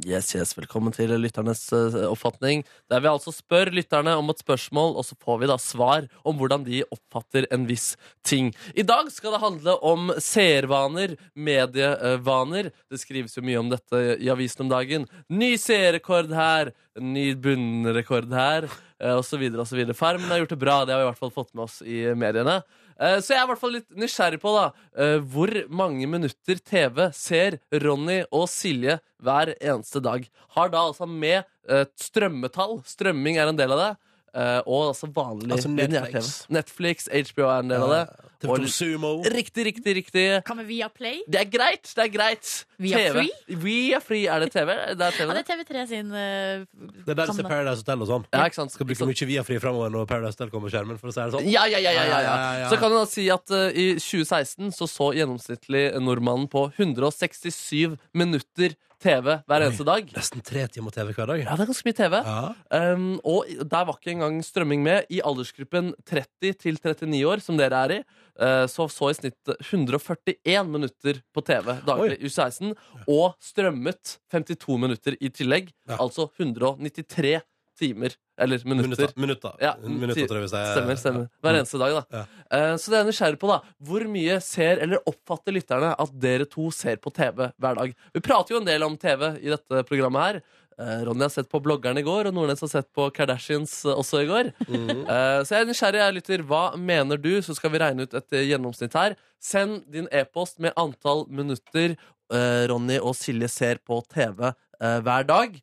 Speaker 4: Yes, yes, velkommen til lytternes eh, oppfatning. Der vi altså spør lytterne om et spørsmål, og så får vi da svar om hvordan de oppfatter en viss ting. I dag skal det handle om seervaner, medievaner. Det skrives jo mye om dette i avisen om dagen. Ny seerrekord her, ny bunnrekord her, eh, og så videre og så videre. Farmen har gjort det bra, det har vi i hvert fall fått med oss i mediene. Eh, Så jeg er i hvert fall litt nysgjerrig på da eh, hvor mange minutter TV ser Ronny og Silje hver eneste dag. Har da altså med eh, strømmetall. Strømming er en del av det. eh, Og altså vanlig
Speaker 2: Altså
Speaker 4: lineær
Speaker 2: Netflix.
Speaker 4: TV. Netflix, HBO er en del av det.
Speaker 2: TV
Speaker 4: Og-
Speaker 2: Eh, Sumo.
Speaker 4: Riktig, riktig, riktig.
Speaker 3: Kan vi via Play?
Speaker 4: Det er greit! det er greit
Speaker 3: Vi er
Speaker 4: TV. Vi er fri. Er det TV? Det er TV
Speaker 3: Ja,
Speaker 4: det?
Speaker 3: det er TV3 sin eh,
Speaker 2: Det er der som er Paradise Hotel og sånn.
Speaker 4: Ja, ikke sant?
Speaker 2: Skal bruke
Speaker 4: Ikke sant?
Speaker 2: mye viafri framover når Paradise Hotel kommer på skjermen. For å si det sånn.
Speaker 4: Ja ja ja, ja,
Speaker 2: Ja,
Speaker 4: ja,
Speaker 2: ja, ja,
Speaker 4: ja.
Speaker 2: ja.
Speaker 4: Så kan du da si at eh, i 2016 så så gjennomsnittlig nordmannen på 167 minutter TV hver eneste dag.
Speaker 2: Nesten tre timer TV hver dag.
Speaker 4: Ja, det er ganske mye TV.
Speaker 2: Ja.
Speaker 4: Um, og der var ikke engang strømming med. I aldersgruppen 30 til 39 år, som dere er i, eh, så så i snitt 141 minutter på TV daglig i U16. Og strømmet 52 minutter i tillegg.
Speaker 2: Ja.
Speaker 4: Altså 193 timer, eller minutter.
Speaker 2: Minutter. Minutter,
Speaker 4: Ja,
Speaker 2: minutter tror jeg vi sier.
Speaker 4: Stemmer, stemmer. Hver eneste dag, da.
Speaker 2: Ja.
Speaker 4: Eh, Så det er jeg nysgjerrig på, da. Hvor mye ser eller oppfatter lytterne at dere to ser på TV hver dag? Vi prater jo en del om TV i dette programmet her. Eh, Ronny har sett på bloggeren i går, og Nordnes har sett på Kardashians eh, også i går.
Speaker 2: Mhm.
Speaker 4: Eh, Så jeg er nysgjerrig, jeg lytter. Hva mener du? Så skal vi regne ut et eh, gjennomsnitt her. Send din e-post med antall minutter eh, Ronny og Silje ser på TV eh, hver dag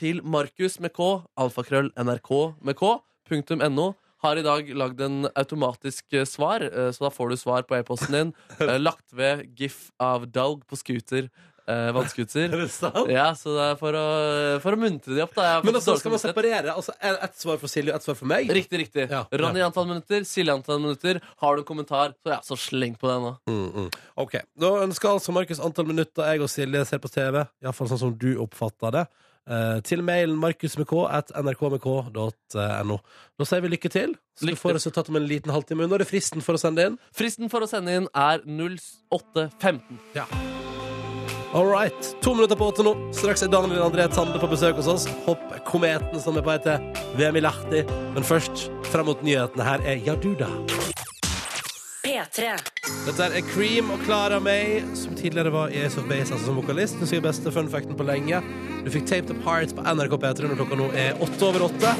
Speaker 4: til Markus med K, alfakrøll NRK med K, punktum NO. Har i dag lagd en automatisk eh, svar, eh, så da får du svar på e-posten din. Eh, Lagt ved gif av Dalg på scooter. eh,
Speaker 2: Er
Speaker 4: Vannscooter.
Speaker 2: det sant?
Speaker 4: Ja, så det er for å, for å muntre de opp, da. Jeg har
Speaker 2: Men
Speaker 4: fått
Speaker 2: altså,
Speaker 4: dårlig
Speaker 2: skal man
Speaker 4: samvittighet.
Speaker 2: separere? Altså, ett svar for Silje og ett svar for meg?
Speaker 4: Riktig, riktig.
Speaker 2: Ja.
Speaker 4: Ronny antall minutter, Silje antall minutter. Har du en kommentar, så, ja, så sleng på den nå.
Speaker 2: Mm, mm. Ok, Da ønsker altså Markus antall minutter jeg og Silje ser på TV, iallfall sånn som du oppfatter det, eh, til mailen markusmk at nrkmk.no. eh, Da sier vi lykke til. Så
Speaker 4: Lykke
Speaker 2: du får
Speaker 4: til.
Speaker 2: resultatet om en liten halvtime. Nå er det fristen for å sende inn.
Speaker 4: Fristen for å sende inn er 08.15.
Speaker 2: All right. To minutter på åtte nå. Straks er Daniel André Tande på besøk hos oss. Hopp kometen som er på vei til VM i Lahti. Men først, frem mot nyhetene her er Jaduda.
Speaker 1: P3.
Speaker 2: Dette er Cream og Clara May, som tidligere var i Ace of Base altså som vokalist. Hun sier beste fun facten på lenge. Du fikk Taped Up Hearts på NRK P3 når klokka nå er åtte over åtte.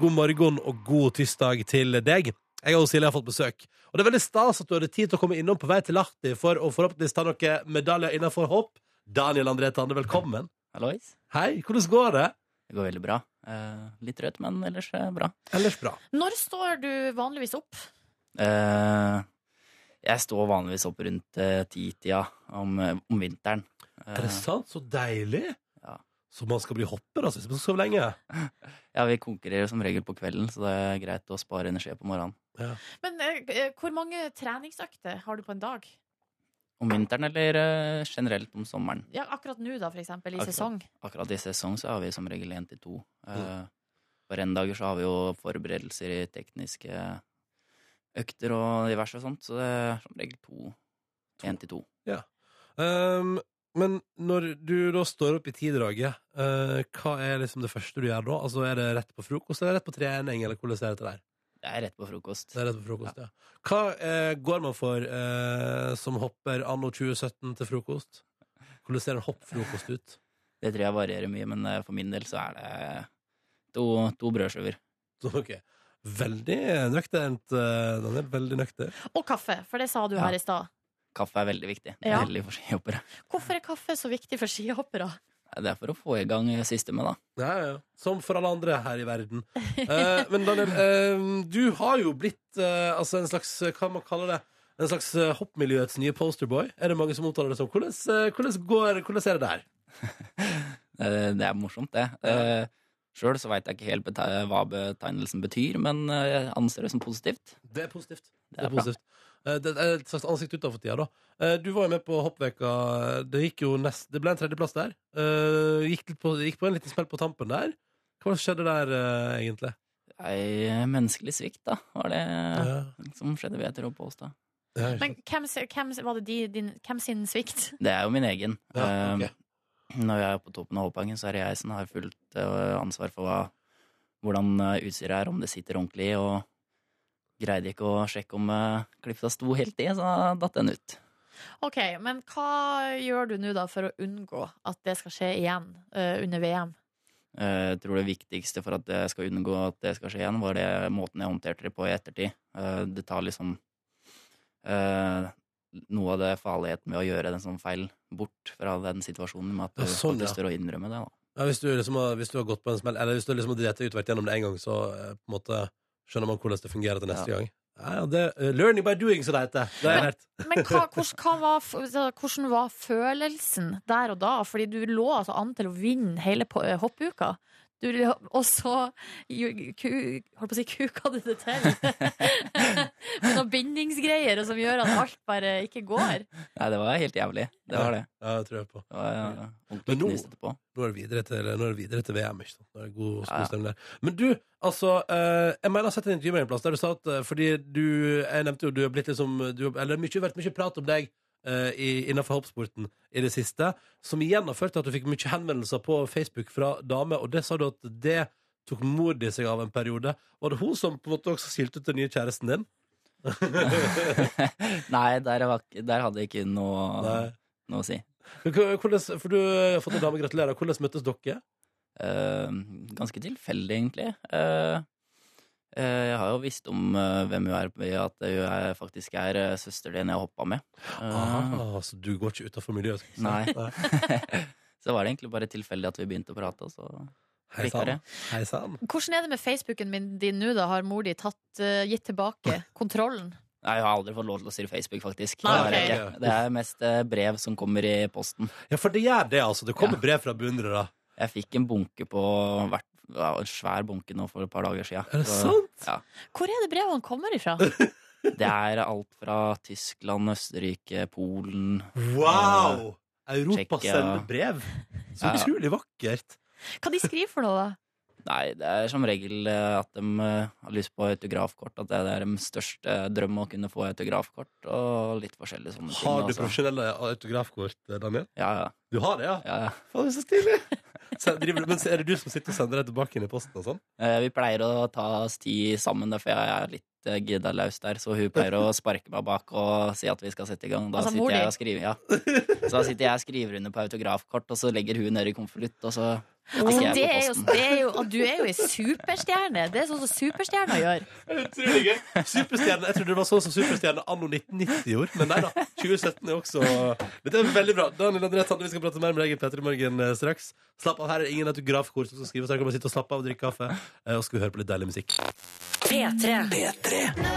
Speaker 2: God morgen og god tirsdag til deg. Jeg og Silje har fått besøk. Og det er veldig stas at du hadde tid til å komme innom på vei til Lahti for å forhåpentligvis ta noen medaljer innenfor hopp. Daniel André Tande, velkommen.
Speaker 6: Hallois.
Speaker 2: Hei, hvordan går det?
Speaker 6: Det går veldig bra. Eh, litt trøtt, men ellers eh, bra.
Speaker 2: Ellers bra.
Speaker 3: Når står du vanligvis opp?
Speaker 6: Eh, jeg står vanligvis opp rundt eh, ti-tida om, eh, om vinteren. Eh,
Speaker 2: Er det sant? Så deilig.
Speaker 6: Ja.
Speaker 2: Så man skal bli hopper, altså, hvis man skal sove lenge.
Speaker 6: ja, vi konkurrerer som regel på kvelden, så det er greit å spare energi på morgenen.
Speaker 3: Men eh, eh, hvor mange treningsøkter har du på en dag?
Speaker 6: Om vinteren eller eh, generelt om sommeren.
Speaker 3: Ja, akkurat nå, da, for eksempel, i
Speaker 6: Akkurat.
Speaker 3: sesong.
Speaker 6: Akkurat i sesong så har vi som regel én til to. Eh, På renndager så har vi jo forberedelser i tekniske økter og diverse og sånt, så det er som regel to. Én til to.
Speaker 2: Um, men når du da står opp i tidraget, eh, hva er liksom det første du gjør da? Altså Er det rett på frokost, eller er det rett på trening, eller hvordan er det til deg?
Speaker 6: Det er rett på frokost.
Speaker 2: Det er rett på frokost, ja. Hva eh, går man for eh, som hopper anno 2017 til frokost? Hvordan ser en hoppfrokost ut?
Speaker 6: Det tror jeg varierer mye, men eh, for min del så er det to, to brødskiver.
Speaker 2: Så, ok. Veldig nøkternt. eh, Den er veldig nøktern.
Speaker 3: Og kaffe, for det sa du
Speaker 6: Ja.
Speaker 3: her i stad.
Speaker 6: Kaffe er veldig viktig. Det er
Speaker 3: Ja.
Speaker 6: Veldig for skihoppere.
Speaker 3: Hvorfor er kaffe så viktig for skihoppere?
Speaker 6: Nei, Det er for å få i gang systemet, da.
Speaker 2: Ja, ja. Som for alle andre her i verden. Eh, men Daniel, eh, du har jo blitt eh, altså en slags eh, Hva man kaller det? En slags eh, hoppmiljøets nye posterboy. Er det mange som omtaler det som? Hvordan, eh, hvordan, går, hvordan er det der?
Speaker 6: Eh, Det er morsomt, det. Eh, Sjøl så veit jeg ikke helt bete- hva betegnelsen betyr, men eh, jeg anser det som positivt.
Speaker 2: Det er positivt.
Speaker 6: Det er bra.
Speaker 2: positivt. Eh, Det er et slags ansikt utenfor tida, da. Eh, Du var jo med på hoppveka. Det gikk jo nest, det ble en tredjeplass der. Eh, Gikk, litt på, gikk på en liten smell på tampen der. Hva skjedde der, eh, egentlig?
Speaker 6: Ei eh, menneskelig svikt, da, var det
Speaker 2: Ja.
Speaker 6: som skjedde ved etter å påstå.
Speaker 2: Ja,
Speaker 3: Men hvem, si- hvem, si- var det de, din, hvem sin svikt?
Speaker 6: Det er jo min egen.
Speaker 2: ja,
Speaker 6: Eh,
Speaker 2: ok.
Speaker 6: Når jeg er på toppen av hopphangen, så er det jeg som har fullt eh, ansvar for hva, hvordan eh, utstyret er, om det sitter ordentlig, og greide ikke å sjekke om eh, klipsa sto helt i, så da datt den ut.
Speaker 3: Ok, men hva gjør du nå da for å unngå at det skal skje igjen eh, under VM?
Speaker 6: Eh, Jeg tror det viktigste for at jeg skal unngå at det skal skje igjen, var det måten jeg håndterte det på i ettertid. Eh, Det tar liksom eh, noe av det farligheten ved å gjøre en sånn feil bort fra den situasjonen, med at
Speaker 2: Ja,
Speaker 6: du
Speaker 2: sånn,
Speaker 6: faktisk
Speaker 2: ja.
Speaker 6: tør å innrømme det. da.
Speaker 2: Ja, hvis, du liksom har, hvis du har gått på en smell, eller hvis du liksom har driti ut hvert gjennom det en gang, så eh, på en måte skjønner man hvordan det fungerer til neste
Speaker 6: Ja.
Speaker 2: gang. Ja, ja, det, eh, learning by doing, som det heter. Det har jeg lært.
Speaker 3: Men hva, hvordan, hva var, f- så hvordan var følelsen der og da? Fordi du lå altså an til å vinne hele på- eh, hoppuka. Du, og så ju- ku, holdt på å si kuka du det til. Med noen bindingsgreier og som gjør at alt bare ikke går.
Speaker 6: Nei, det var helt jævlig. Det var det.
Speaker 2: Ja, det tror jeg på. Mm.
Speaker 6: Det var eh,
Speaker 2: Men
Speaker 6: ordentlig
Speaker 2: nå-
Speaker 6: knust etterpå.
Speaker 2: Nå er det videre til, nå er det videre til VM, ikke sant? Nå er det god,
Speaker 6: Ja, ja.
Speaker 2: god stemning der. Men du, altså, eh, jeg mener jeg har sett en intervju med deg en plass der du sa at eh, fordi du, jeg nevnte jo, du har blitt liksom, du, har- eller mye, vært mye prat om deg eh, i, innenfor hoppsporten i det siste, som igjen har ført til at du fikk mye henvendelser på Facebook fra damer, og det sa du at det tok mor di seg av en periode. Var det hun som på en måte også skilte ut den nye kjæresten din?
Speaker 6: Nei, der, var, ikke- der hadde jeg ikke noe,
Speaker 2: Nei.
Speaker 6: noe å si.
Speaker 2: Hvordan, for du har fått en dame, gratulerer. Hvordan møttes dere?
Speaker 6: Eh, ganske tilfeldig, egentlig. Eh, eh, jeg har jo visst om eh, hvem hun er, ved at hun er, faktisk er eh, søster til en jeg hoppa med. Eh,
Speaker 2: Ah, så du går ikke utenfor miljøet? skal du si.
Speaker 6: Nei. så var det egentlig bare tilfeldig at vi begynte å prate, og så
Speaker 2: Hei
Speaker 6: Klikka
Speaker 2: sann.
Speaker 6: det.
Speaker 2: Hei sann.
Speaker 3: Hvordan er det med Facebooken min din nå? da? Har mor di tatt, eh, gitt tilbake kontrollen?
Speaker 6: Nei, jeg har aldri fått lov til å styre Facebook, faktisk.
Speaker 3: Nei,
Speaker 6: det, har jeg
Speaker 2: ok.
Speaker 6: ikke. det er mest eh, brev som kommer i posten.
Speaker 2: Ja, for det gjør det, altså. Det kommer
Speaker 6: Ja.
Speaker 2: brev fra beundrere.
Speaker 6: Jeg fikk en bunke på hvert ja, en svær bunke nå for et par dager siden.
Speaker 2: Er det
Speaker 6: Så-
Speaker 2: sant?
Speaker 6: Ja.
Speaker 3: Hvor er det brevene kommer ifra?
Speaker 6: Det er alt fra Tyskland, Østerrike, Polen
Speaker 2: Wow! Europa
Speaker 6: Tsjekkia.
Speaker 2: sender brev. Så
Speaker 6: Ja.
Speaker 2: utrolig vakkert.
Speaker 3: Hva de skriver for noe, da?
Speaker 6: Nei, det er som regel eh, at de eh, har lyst på autografkort. At det er deres største drøm å kunne få autografkort, og litt forskjellige sånne
Speaker 2: Har du
Speaker 6: ting. altså.
Speaker 2: profesjonelle autografkort, Daniel?
Speaker 6: Ja, ja,
Speaker 2: Du har det, ja?
Speaker 6: ja, ja.
Speaker 2: Faen, det er så stilig! Så driver du- Men så er det du som sitter og sender det tilbake inn i posten og sånn?
Speaker 6: Eh, Vi pleier å ta oss tid sammen, da, for jeg er litt eh, gidda løs der. Så hun pleier å sparke meg bak og si at vi skal sette i gang. Da
Speaker 3: Altså, mor
Speaker 6: sitter
Speaker 3: di?
Speaker 6: jeg og skriver, ja. Så da sitter jeg og skriver under på autografkort, og så legger hun ned i konvolutt, og så
Speaker 3: Altså,
Speaker 6: stikker
Speaker 3: det er
Speaker 6: jeg
Speaker 3: jo,
Speaker 6: på posten.
Speaker 3: det er jo, du er jo ei superstjerne. Det er sånn som superstjerner gjør.
Speaker 2: Utrolig gøy. Superstjerne. Jeg trodde det var sånn som Superstjerne anno 1990 gjorde, men nei da. 2017 er også Dette er veldig bra. Daniel André Sande, vi skal prate mer med deg i P3 Morgen eh, straks. Slapp av, her er det ingen autografkort som skal skrives. Her kan man sitte og slappe av og drikke kaffe, eh, og skal vi høre på litt deilig musikk.
Speaker 1: P3.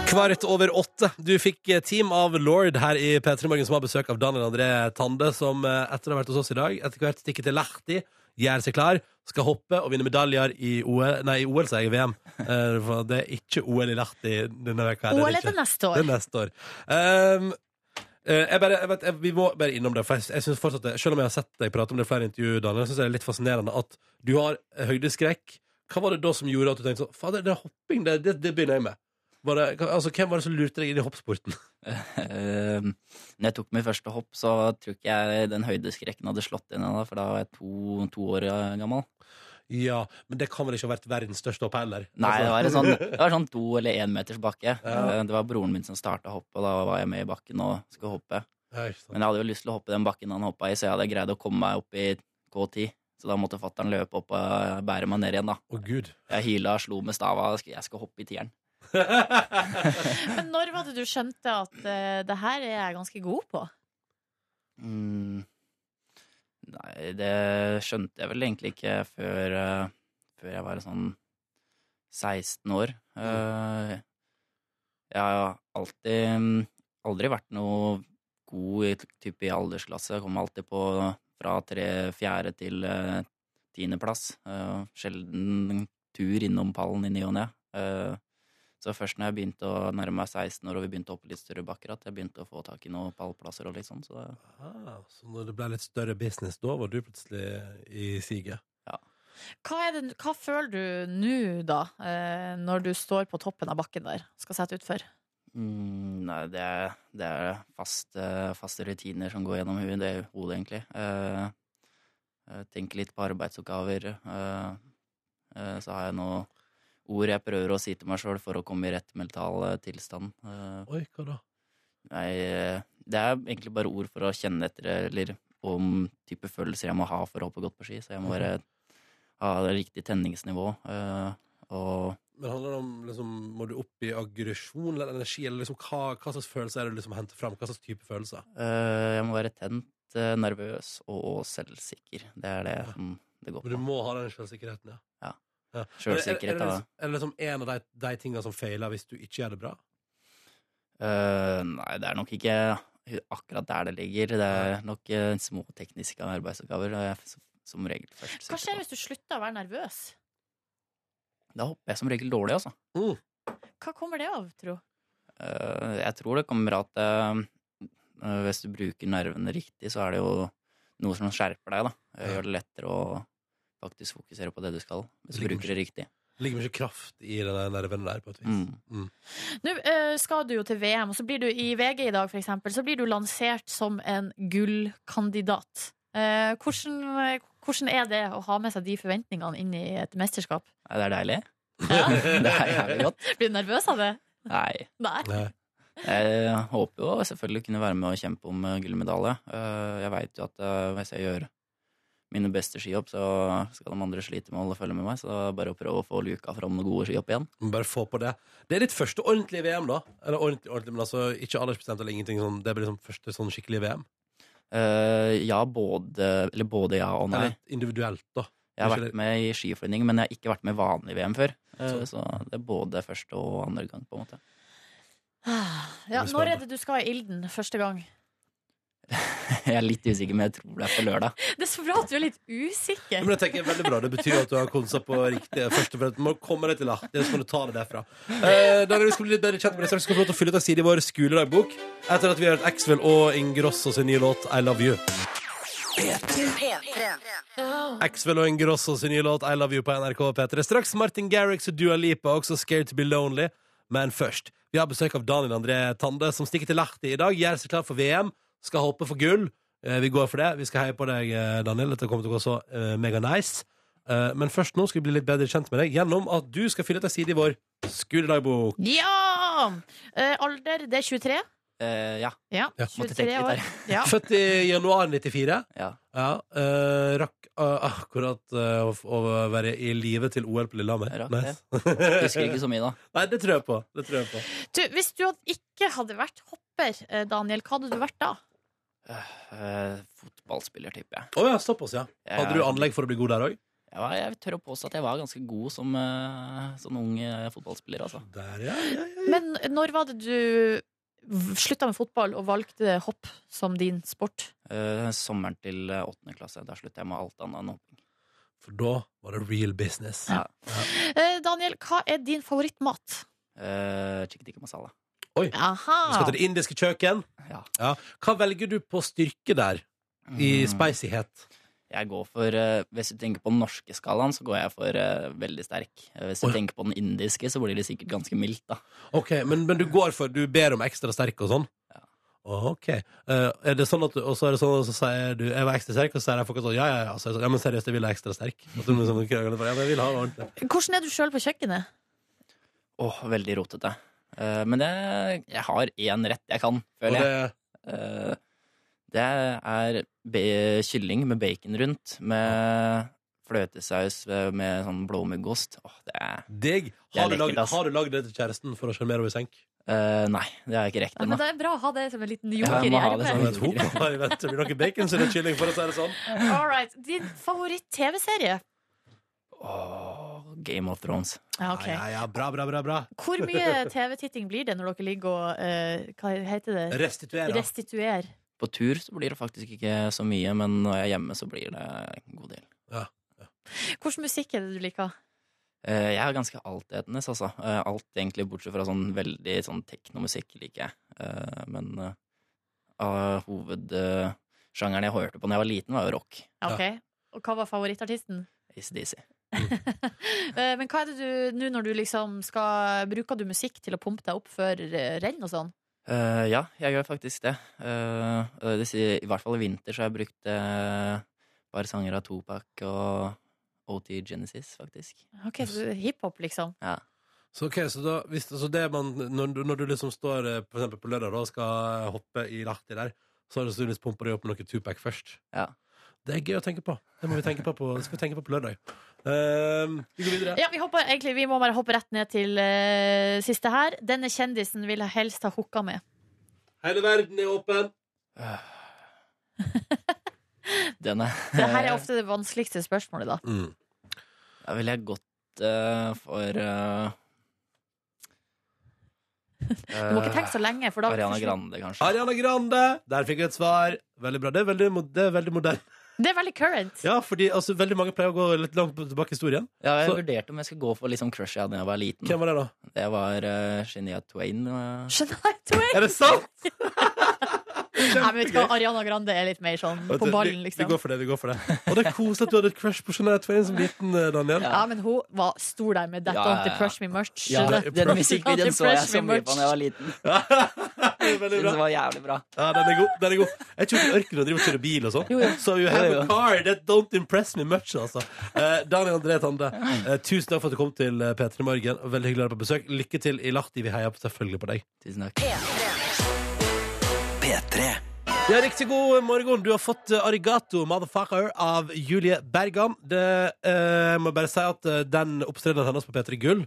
Speaker 2: Kvart over åtte. Du fikk eh, team av Lord her i P3 Morgen, som har besøk av Daniel André Tande, som eh, etter å ha vært hos oss i dag, etter hvert stikker til Lahti, gjør seg klar, skal hoppe og vinne medaljer i OL, nei, i OL, sier jeg, i VM. Eh, for det er ikke OL i Lahti denne veka. her, det er
Speaker 3: OL
Speaker 2: det
Speaker 3: er
Speaker 2: ikke.
Speaker 3: det
Speaker 2: Det
Speaker 3: neste
Speaker 2: er
Speaker 3: år.
Speaker 2: neste år. Ehm, Eh, jeg bare, jeg vet, jeg, vi må bare innom det, for jeg, jeg synes fortsatt det, selv om jeg har sett deg prate om det i flere intervjuer, Daniel, jeg synes det er litt fascinerende at du har eh, høydeskrekk. Hva var det da som gjorde at du tenkte sånn, fader, det er hopping, det, det, det begynner jeg med. Var det, hva- altså, hvem var det som lurte deg inn i hoppsporten?
Speaker 6: Eh, Når jeg tok mitt første hopp, så tror ikke jeg den høydeskrekken hadde slått inn ennå, for da var jeg to, to år eh, gammel.
Speaker 2: Ja, men det kan vel ikke ha vært verdens største hopp heller?
Speaker 6: Nei, det
Speaker 2: Altså,
Speaker 6: var en sånn, det var sånn to eller én meters bakke.
Speaker 2: Ja.
Speaker 6: Eh, Det var broren min som starta hoppet, og da var jeg med i bakken og skulle hoppe.
Speaker 2: ja, ikke sant.
Speaker 6: Men jeg hadde jo lyst til å hoppe den bakken han hoppa i, så jeg hadde greid å komme meg opp i K10. Så da måtte fatter'n løpe opp og bære meg ned igjen, da.
Speaker 2: Å, Gud.
Speaker 6: Jeg hyla og slo med stava. Jeg skal- Jeg skal hoppe i tieren.
Speaker 3: Men når var det du skjønte at eh, det her er jeg ganske god på?
Speaker 6: Mm. Nei, det skjønte jeg vel egentlig ikke før, eh, før jeg var sånn 16 år. Eh, jeg har alltid mm, aldri vært noe god i, t- type i aldersklasse. Jeg kom alltid på fra tre, fjerde til eh, tiendeplass. Eh, sjelden tur innom pallen i ny og ne. Eh, så først når jeg begynte å nærme meg 16 år og vi begynte å hoppe litt større bakker, at jeg begynte å få tak i noen pallplasser og litt sånn. Så det
Speaker 2: Ah, så når det ble litt større business, da var du plutselig i siget?
Speaker 3: Hva, er det, hva føler du nå, da, eh, når du står på toppen av bakken der skal sette utfor?
Speaker 6: Mm, nei, det er, det er faste, faste rutiner som går gjennom hodet, det er hodet egentlig. Eh, eh, tenker litt på arbeidsoppgaver. Eh, eh, så har jeg noen ord jeg prøver å si til meg sjøl for å komme i rett mental eh, tilstand. Eh,
Speaker 2: Oi, hva da?
Speaker 6: nei, eh, det er egentlig bare ord for å kjenne etter eller om type følelser jeg må ha for å hoppe godt på ski. Så jeg må bare ha det riktig tenningsnivå. Eh, og
Speaker 2: Men handler det om, liksom, Må du opp i aggresjon eller energi? Eller liksom, hva, hva slags følelser er det du liksom henter fram? Hva slags type følelser?
Speaker 6: Eh, jeg må være tent, eh, nervøs og, og selvsikker. Det er det
Speaker 2: Ja.
Speaker 6: som det går
Speaker 2: Men du
Speaker 6: på.
Speaker 2: må ha den selvsikkerheten, ja.
Speaker 6: Ja.
Speaker 2: Ja.
Speaker 6: Selvsikkerhet,
Speaker 2: er, det- er, det
Speaker 6: da.
Speaker 2: liksom- er det liksom en av de, de tingene som feiler hvis du ikke gjør det bra?
Speaker 6: Eh, nei, det er nok ikke akkurat der det ligger. Det er nok eh, små tekniske arbeidsoppgaver og jeg, som- som regel først.
Speaker 3: Hva
Speaker 6: sitter
Speaker 3: skjer
Speaker 6: på.
Speaker 3: hvis du slutter å være nervøs?
Speaker 6: Da hopper jeg som regel dårlig, altså.
Speaker 2: Mm.
Speaker 3: Hva kommer det av, tro?
Speaker 6: Eh, jeg tror det kommer at eh, eh, hvis du bruker nervene riktig, så er det jo noe som skjerper deg, da. Eh,
Speaker 2: Ja.
Speaker 6: Gjør det lettere å faktisk fokusere på det du skal, hvis du
Speaker 2: Ligger
Speaker 6: bruker det riktig.
Speaker 2: Det ligger mye kraft i den der nerven der, på et vis.
Speaker 6: Mm.
Speaker 3: Nå eh, skal du jo til VM, og så blir du i VG i dag, for eksempel, så blir du lansert som en gullkandidat. Eh, hvordan, hvordan er det å ha med seg de forventningene inn i et mesterskap?
Speaker 6: Nei, det er deilig.
Speaker 3: Ja.
Speaker 6: Det er jævlig godt.
Speaker 3: Blir du nervøs av det?
Speaker 6: Nei.
Speaker 3: Nei.
Speaker 2: Nei.
Speaker 6: Jeg håper jo selvfølgelig å kunne være med og kjempe om eh, gullmedalje. Eh, Jeg veit jo at eh, hvis jeg gjør mine beste skihopp, så skal de andre slite med å holde følge med meg. Så det er bare å prøve å få luka fram noen gode skihopp igjen.
Speaker 2: Men Bare få på det. Det er ditt første ordentlige VM, da? Eller ordentlig, ordentlig, men altså ikke aldersbestemt eller ingenting sånn. Det blir liksom første sånn skikkelig VM?
Speaker 6: Eh, Ja, både Eller både ja og nei.
Speaker 2: Eller individuelt, da?
Speaker 6: Jeg har vært med i skiforeningen, men jeg har ikke vært med i vanlig VM før. Så, så det er både første og andre gang, på en måte.
Speaker 3: Ah, Ja, når er det du skal i ilden første gang?
Speaker 6: Jeg er litt usikker, men jeg tror det er på lørdag.
Speaker 3: Det er så bra at du er litt usikker.
Speaker 2: Men det tenker jeg er veldig bra. Det betyr at du har konsa på riktig. Først og fremst må du komme deg til artig, så kan du ta det derfra. Eh, Daniel, vi skal bli litt bedre kjent med deg straks. Vi skal få lov til å fylle ut en side i vår skoledagbok etter at vi har hørt Axwell og Ingrosso sin nye låt I Love You. Axwell og Ingrosso sin nye låt I Love You på NRK P3. Straks Martin Garrix og Dua Lipa, også Scared to Be Lonely. Men først, vi har besøk av Daniel André Tande, som stikker til Lahti i dag. Gjør seg klar for VM, skal hoppe for gull. Eh, Vi går for det. Vi skal heie på deg, eh, Daniel. Dette kommer til å gå så eh, mega nice. Eh, Men først nå skal vi bli litt bedre kjent med deg gjennom at du skal fylle ut en side i vår skoledagbok.
Speaker 3: Ja! Eh, alder, det er 23.
Speaker 6: Eh, ja.
Speaker 3: Ja,
Speaker 2: Ja.
Speaker 6: Måtte
Speaker 3: 23
Speaker 6: tenke litt
Speaker 3: år.
Speaker 6: her.
Speaker 3: Ja.
Speaker 2: Født i januar 94.
Speaker 6: Ja.
Speaker 2: Ja, eh, rakk eh, akkurat eh, å, f- å være i live til OL på Lillehammer.
Speaker 6: Rakk
Speaker 2: Nice.
Speaker 6: Husker ikke så mye, da.
Speaker 2: Nei, det tror jeg på. Det tror jeg på.
Speaker 3: Du, hvis du hadde ikke hadde vært hopper, eh, Daniel, hva hadde du vært da?
Speaker 6: Eh, fotballspiller, tipper jeg.
Speaker 2: Å ja, såpass, ja. Hadde du anlegg for å bli god der òg?
Speaker 6: Jeg, var, jeg tør å påstå at jeg var ganske god som eh, sånn ung eh, fotballspiller, altså.
Speaker 2: Der, ja, ja, ja.
Speaker 3: Men når var det du v- slutta med fotball og valgte hopp som din sport?
Speaker 6: Eh, sommeren til eh, åttende klasse, da slutta jeg med alt annet enn hopping.
Speaker 2: For da var det real business.
Speaker 6: Ja.
Speaker 3: Eh, Daniel, hva er din favorittmat?
Speaker 6: Uh, Chikkadikka masala.
Speaker 2: Oi.
Speaker 3: Aha.
Speaker 2: Vi skal til det indiske kjøkken.
Speaker 6: Ja.
Speaker 2: Hva velger du på styrke der, i
Speaker 6: Mm.
Speaker 2: speisighet?
Speaker 6: Jeg går for, eh, Hvis du tenker på den norske skalaen, så går jeg for eh, veldig sterk. Eh, Hvis du
Speaker 2: Oi.
Speaker 6: tenker på den indiske, så blir det sikkert ganske mildt, da.
Speaker 2: Ok, men, men du går for Du ber om ekstra sterk og sånn?
Speaker 6: Ja.
Speaker 2: Ok. Eh, er det sånn at du, og så er det sånn at så sier du 'jeg var ekstra sterk', og så sier jeg folk sånn 'ja, ja, ja', så er det sånn, ja men seriøst, jeg vil ha ekstra sterk. At du liksom krangler for, ja, men jeg vil ha det ordentlig.
Speaker 3: Hvordan er du sjøl på kjøkkenet?
Speaker 6: Åh, veldig rotete. Eh, Men det, jeg har én rett jeg kan,
Speaker 2: Og
Speaker 6: føler jeg.
Speaker 2: det,
Speaker 6: Eh, Det er be- kylling med bacon rundt, med fløtesaus eh, med sånn blåmuggost. Åh, det er
Speaker 2: Digg.
Speaker 6: Det er
Speaker 2: Har, du
Speaker 6: lekkert,
Speaker 2: lagd-
Speaker 6: ass.
Speaker 2: har du lagd det til kjæresten for å sjarmere henne i senk?
Speaker 6: eh, Nei, det har jeg ikke rekt
Speaker 3: Ja, men
Speaker 6: ennå.
Speaker 3: det er bra å ha det som en liten
Speaker 6: Ja,
Speaker 3: joker
Speaker 6: jeg
Speaker 3: i
Speaker 6: må ha det
Speaker 2: Ja,
Speaker 6: som
Speaker 3: ermet.
Speaker 2: men hun kommer i vente. Blir det noe bacon, så er det kylling, for å si det sånn.
Speaker 3: All right. Din favoritt-TV-serie?
Speaker 6: Åh, Game of Thrones.
Speaker 3: Ja, ok.
Speaker 2: Ja, ja, ja, bra, bra, bra, bra.
Speaker 3: Hvor mye TV-titting blir det når dere ligger og eh, Hva heter det?
Speaker 2: Restituere.
Speaker 3: Restituer.
Speaker 6: På tur så blir det faktisk ikke så mye, men når jeg er hjemme, så blir det en god del.
Speaker 3: Hvilken musikk er det du liker?
Speaker 6: Eh, Jeg er ganske altetende, altså. Eh, Alt egentlig bortsett fra sånn veldig sånn teknomusikk liker jeg. Eh, Men eh, av hovedsjangeren jeg hørte på da jeg var liten, var jo rock.
Speaker 3: Ja, Ok. Og hva var favorittartisten?
Speaker 6: ACDC.
Speaker 3: Eh, Men hva er det du nå når du liksom skal Bruker du musikk til å pumpe deg opp før eh, renn og sånn?
Speaker 6: Eh, Ja, jeg gjør faktisk det. Eh, eh, det sier- I hvert fall i vinter så har jeg brukt eh, bare sanger av Topak og OT Genesis, faktisk.
Speaker 3: Ok, så du- hiphop, liksom.
Speaker 2: Så, ok, så, da, hvis, så det man, når, du- når du liksom står eh, for eksempel på lørdag da, og skal eh, hoppe i lakti der, så har du sannsynligvis pumpa deg opp med noe tupac først.
Speaker 6: Ja.
Speaker 2: Det er gøy å tenke på. Det må vi tenke på på, det skal vi tenke på på lørdag. Ehm, vi går videre.
Speaker 3: Ja, vi, hopper, egentlig, vi må bare hoppe rett ned til eh, siste her. Denne kjendisen vil jeg helst ha hooka med.
Speaker 2: Hele verden er åpen.
Speaker 6: Den er
Speaker 3: Det her er ofte det vanskeligste spørsmålet, da.
Speaker 2: Mm.
Speaker 6: Da ville jeg gått eh, for eh,
Speaker 3: Du må ikke tenke så lenge, for da
Speaker 6: Ariana Grande, kanskje.
Speaker 2: Ariana Grande! Der fikk vi et svar. Veldig bra. Det er veldig, mo- det er veldig moderne.
Speaker 3: Det er veldig current.
Speaker 2: Ja, fordi altså, veldig mange pleier å gå litt langt tilbake i historien.
Speaker 6: Ja, jeg
Speaker 2: Så-
Speaker 6: vurderte om jeg skulle gå for liksom crushet jeg hadde da jeg var liten.
Speaker 2: Hvem var det, da?
Speaker 6: Det var uh, Shania Twain. eh.
Speaker 3: Shania Twain.
Speaker 2: Er det sant?
Speaker 3: Nei, men vet du hva, Ariana Grande er litt mer sånn på ballen,
Speaker 2: Vi, vi
Speaker 3: liksom.
Speaker 2: går for det. vi går for det Og det er koselig at du hadde et crush på Shania Twain som liten, eh, Daniel.
Speaker 3: Ja, men hun var stor der med That
Speaker 6: Ja,
Speaker 3: Don't
Speaker 6: ja, ja.
Speaker 3: Depress Me Much.
Speaker 6: ja,
Speaker 3: Det-
Speaker 6: den musikkvideoen så jeg så mye på da jeg var liten.
Speaker 2: Veldig
Speaker 6: Det
Speaker 2: bra.
Speaker 6: var jævlig bra.
Speaker 2: Ja, den er god. den er god Jeg tror ikke ørkenen driver og kjører bil og sånn. So you have
Speaker 6: Jo,
Speaker 2: a
Speaker 6: jo.
Speaker 2: car that don't impress me much, altså. Eh, Daniel André Tande, eh, tusen takk for at du kom til eh, P3 Morgen. og Veldig hyggelig å ha deg på besøk. Lykke til i Lahti. Vi heier selvfølgelig på deg.
Speaker 6: Tusen takk.
Speaker 2: Ja, riktig god morgen. Du har fått eh, Arigato Motherfucker av Julie Bergan. Det, eh, jeg må bare si at eh, den opptredenen hennes på P3 Gull,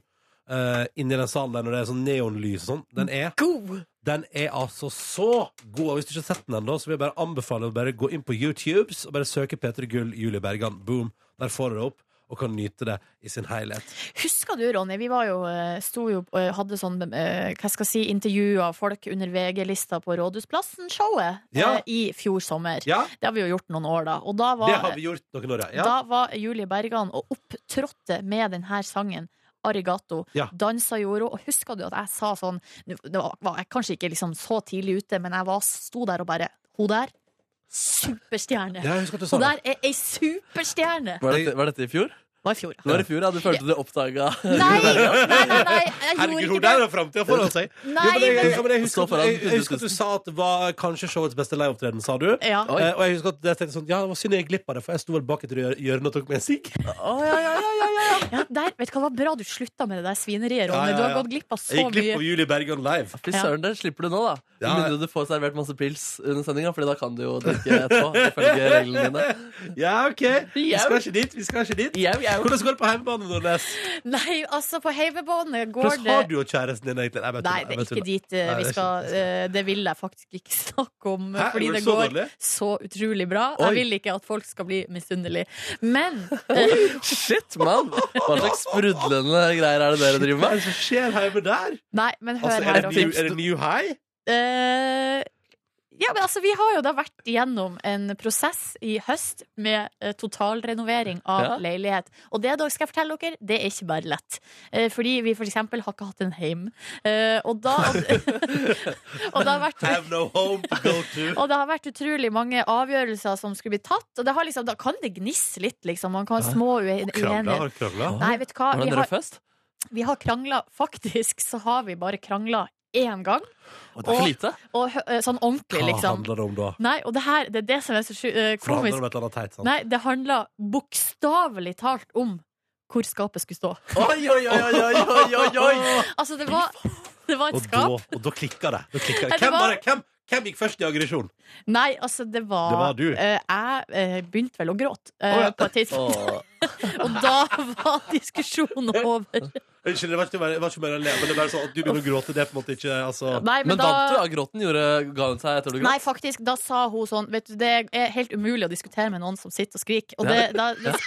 Speaker 2: eh, inni den salen der når det er sånn neonlys og sånn, den er
Speaker 3: God!
Speaker 2: Den er altså så god. Og hvis du ikke har sett den ennå, så vil jeg bare anbefale å bare gå inn på YouTubes og bare søke P3 Gull Julie Bergan. Boom. Der får du det opp. Og kan nyte det i sin helhet.
Speaker 3: Husker du, Ronny, vi var jo, eh, sto jo eh, hadde sånn eh, hva skal jeg si, intervju av folk under VG-lista på Rådhusplassen-showet eh,
Speaker 2: Ja.
Speaker 3: i fjor sommer.
Speaker 2: Ja,
Speaker 3: Det har vi jo gjort noen år, da. Og da
Speaker 2: det har
Speaker 3: var,
Speaker 2: vi gjort noen år, ja.
Speaker 3: da var Julie Bergan og opptrådte med denne sangen. Arigato.
Speaker 2: Ja.
Speaker 3: Dansa gjorde hun. Og husker du at jeg sa sånn nå- Det var, var jeg kanskje ikke liksom så tidlig ute, men jeg var, sto der og bare Hun der, superstjerne!
Speaker 2: ja. Jeg husker at du sa
Speaker 3: Hun
Speaker 2: det.
Speaker 3: der er ei superstjerne!
Speaker 4: Var dette, var dette i fjor?
Speaker 3: Var i fjor, ja.
Speaker 4: Det var i fjor, ja. Du følte du oppdaga
Speaker 3: Nei, nei, nei, nei, jeg gjorde
Speaker 2: Herregud,
Speaker 3: ikke
Speaker 2: hun
Speaker 3: det.
Speaker 2: der har framtida foran seg!
Speaker 3: Nei,
Speaker 2: Jo, men jeg, jeg,
Speaker 3: men
Speaker 2: ja, men jeg, husker,
Speaker 4: Stå
Speaker 2: at-
Speaker 4: foran
Speaker 2: jeg, jeg husker at
Speaker 4: 100 000.
Speaker 2: du sa at det var kanskje showets beste liveopptreden, sa du.
Speaker 3: Ja.
Speaker 4: Oi.
Speaker 2: Eh, og jeg husker at jeg tenkte sånn Ja, det var synd jeg gikk glipp av det, for jeg sto vel bak et hjør- hjørne og tok meg en sigg.
Speaker 3: ja, der, vet du hva, det var bra du slutta med det der svineriet, Ronny.
Speaker 2: Ja, ja,
Speaker 3: Du har
Speaker 2: ja.
Speaker 3: gått glipp av
Speaker 2: Jeg
Speaker 3: så
Speaker 2: gikk glipp av
Speaker 3: mye.
Speaker 2: Julie Bergan live.
Speaker 4: Fy
Speaker 3: Ja.
Speaker 4: søren, det slipper du nå, da. Med
Speaker 2: Ja.
Speaker 4: mindre du får servert masse pils under sendinga, Fordi da kan du jo drikke etterpå. Ifølge reglene dine.
Speaker 2: Ja, OK. Vi skal ikke dit. Vi skal ikke dit.
Speaker 4: Jau, jau.
Speaker 2: Hvordan går det på hjemmebane, Nordnes?
Speaker 3: Nei, altså, på heimebane går
Speaker 2: Hvordan
Speaker 3: det
Speaker 2: har du og kjæresten din egentlig? Jeg bare
Speaker 3: Nei,
Speaker 2: tuller, jeg
Speaker 3: det er
Speaker 2: bare
Speaker 3: ikke
Speaker 2: tuller.
Speaker 3: dit eh,
Speaker 2: Nei,
Speaker 3: vi
Speaker 2: det er
Speaker 3: skal.
Speaker 2: ikke- det
Speaker 3: eh, Det vil jeg faktisk ikke snakke om, eh,
Speaker 2: Hæ?
Speaker 3: fordi
Speaker 2: Gjorde
Speaker 3: det
Speaker 2: du så
Speaker 3: går
Speaker 2: dårlig?
Speaker 3: så utrolig bra.
Speaker 2: Oi.
Speaker 3: Jeg vil ikke at folk skal bli misunnelige. Men eh,
Speaker 4: Shit, mann! Hva slags sprudlende greier er det dere driver
Speaker 2: Hva er
Speaker 4: med?
Speaker 2: det som skjer hjemme der?
Speaker 3: Nei, men hør
Speaker 2: Altså, er,
Speaker 3: her,
Speaker 2: det
Speaker 3: dere.
Speaker 2: new, er det new high?
Speaker 3: Eh, Ja, men altså, vi har jo da vært igjennom en prosess i høst med eh, totalrenovering av
Speaker 4: Ja.
Speaker 3: leilighet. Og det dere skal jeg fortelle dere, det er ikke bare lett. Eh, fordi vi for eksempel har ikke hatt en heim. Eh, og da og, det har vært
Speaker 2: Have no home to go to.
Speaker 3: og det har vært utrolig mange avgjørelser som skulle bli tatt. Og det har liksom, da kan det gnisse litt, liksom. Man kan ha små ue-
Speaker 2: Krangla
Speaker 3: uenigheter.
Speaker 2: har krangla.
Speaker 3: Nei, vet du hva.
Speaker 4: Var det
Speaker 3: Vi
Speaker 4: en
Speaker 3: har,
Speaker 4: røff fest?
Speaker 3: vi har krangla Faktisk så har vi bare krangla én gang.
Speaker 4: Det er for lite.
Speaker 3: Og, hø- eh, sånn
Speaker 2: Hva
Speaker 3: ordentlig, liksom.
Speaker 2: handler det om da?
Speaker 3: Nei, og det her, det er det som er så sju- eh,
Speaker 2: For det handler
Speaker 3: komisk.
Speaker 2: om et eller annet teit, sant?
Speaker 3: Nei, det handler bokstavelig talt om hvor skapet skulle stå.
Speaker 2: Oi, oi, oi, oi, oi, oi, oi, oi.
Speaker 3: Altså, det var, det var et
Speaker 2: Og da,
Speaker 3: skap.
Speaker 2: og da klikka det. Da klikka
Speaker 3: Nei,
Speaker 2: det.
Speaker 3: det
Speaker 2: Hvem,
Speaker 3: var-
Speaker 2: var det? Hvem, hvem gikk først i aggresjon?
Speaker 3: Nei, altså, det var
Speaker 2: Det var du.
Speaker 3: eh, jeg eh, begynte vel å gråte eh,
Speaker 2: Å, ja.
Speaker 3: på et tidspunkt,
Speaker 4: Åh.
Speaker 3: og da var diskusjonen over.
Speaker 2: Unnskyld, det var ikke, det var ikke mer å le, men det er bare sånn at du begynner å gråte. Det er på en måte ikke altså,
Speaker 3: Nei, men,
Speaker 4: Men vant du
Speaker 3: da
Speaker 4: av gråten? Gjorde, ga hun seg etter du
Speaker 3: Nei,
Speaker 4: gråt?
Speaker 3: faktisk, da sa hun sånn Vet du, det er helt umulig å diskutere med noen som sitter og skriker. Og
Speaker 4: Ja.
Speaker 3: det, da, det,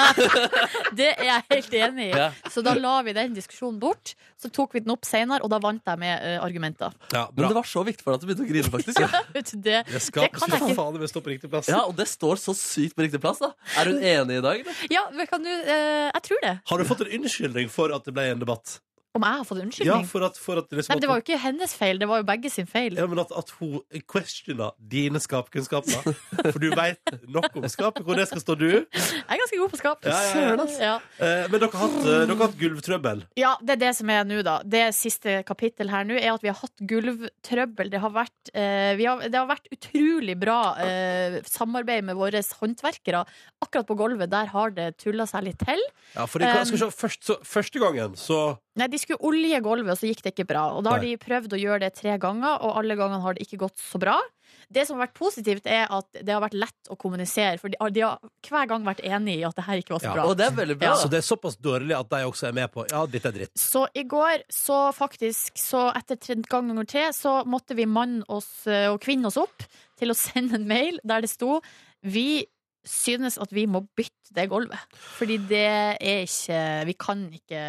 Speaker 3: det er jeg helt enig i.
Speaker 4: Ja.
Speaker 3: Så da la vi den diskusjonen bort. Så tok vi den opp seinere, og da vant jeg med eh, argumenter.
Speaker 2: Ja,
Speaker 4: Men det
Speaker 2: bra.
Speaker 4: var så viktig for deg at du begynte å grine, faktisk. Ja,
Speaker 3: Vet du, det,
Speaker 2: Det
Speaker 3: det
Speaker 2: skapet
Speaker 3: kan jeg
Speaker 2: skulle
Speaker 3: ikke.
Speaker 2: faen meg stå på riktig plass.
Speaker 4: og det står så sykt på riktig plass, da. Er hun enig i dag? eller?
Speaker 3: Ja, men kan du, eh, jeg tror det.
Speaker 2: Har du fått en unnskyldning for at det ble en debatt?
Speaker 3: Om jeg har fått
Speaker 2: Ja,
Speaker 3: unnskyldning?
Speaker 2: for at, for at liksom
Speaker 3: Nei,
Speaker 2: at-
Speaker 3: det var jo ikke hennes feil, det var jo begge sin feil.
Speaker 2: Ja, men at, at hun questiona dine skapkunnskaper. For du veit nok om skapet, hvor det skal stå du.
Speaker 3: Jeg er ganske god på skap.
Speaker 2: Ja, ja, ja.
Speaker 3: altså. Ja.
Speaker 2: Eh, men dere har hatt, eh, dere har hatt gulvtrøbbel.
Speaker 3: Ja, det er det som er nå, da. Det siste kapittel her nå er at vi har hatt gulvtrøbbel. Det har vært, eh, vi har, det har vært utrolig bra eh, samarbeid med våre håndverkere. Akkurat på gulvet, der har det tulla seg litt til.
Speaker 2: Ja, for det,
Speaker 3: Um,
Speaker 2: skal vi se, først, så, første gangen så
Speaker 3: Nei, de skulle olje gulvet, og så gikk det ikke bra. Og da har
Speaker 2: Nei.
Speaker 3: de prøvd å gjøre det tre ganger, og alle gangene har det ikke gått så bra. Det som har vært positivt, er at det har vært lett å kommunisere, for de har, de har hver gang vært enig i at det her ikke var så
Speaker 2: Ja,
Speaker 3: bra.
Speaker 4: Og det er veldig bra.
Speaker 3: Ja.
Speaker 2: Så det er såpass dårlig at de også er med på Ja, dette er dritt.
Speaker 3: Så i går, så faktisk, så etter tre- gang nummer tre, så måtte vi manne oss eh, og kvinne oss opp til å sende en mail der det sto Vi synes at vi må bytte det gulvet. Fordi det er ikke Vi kan ikke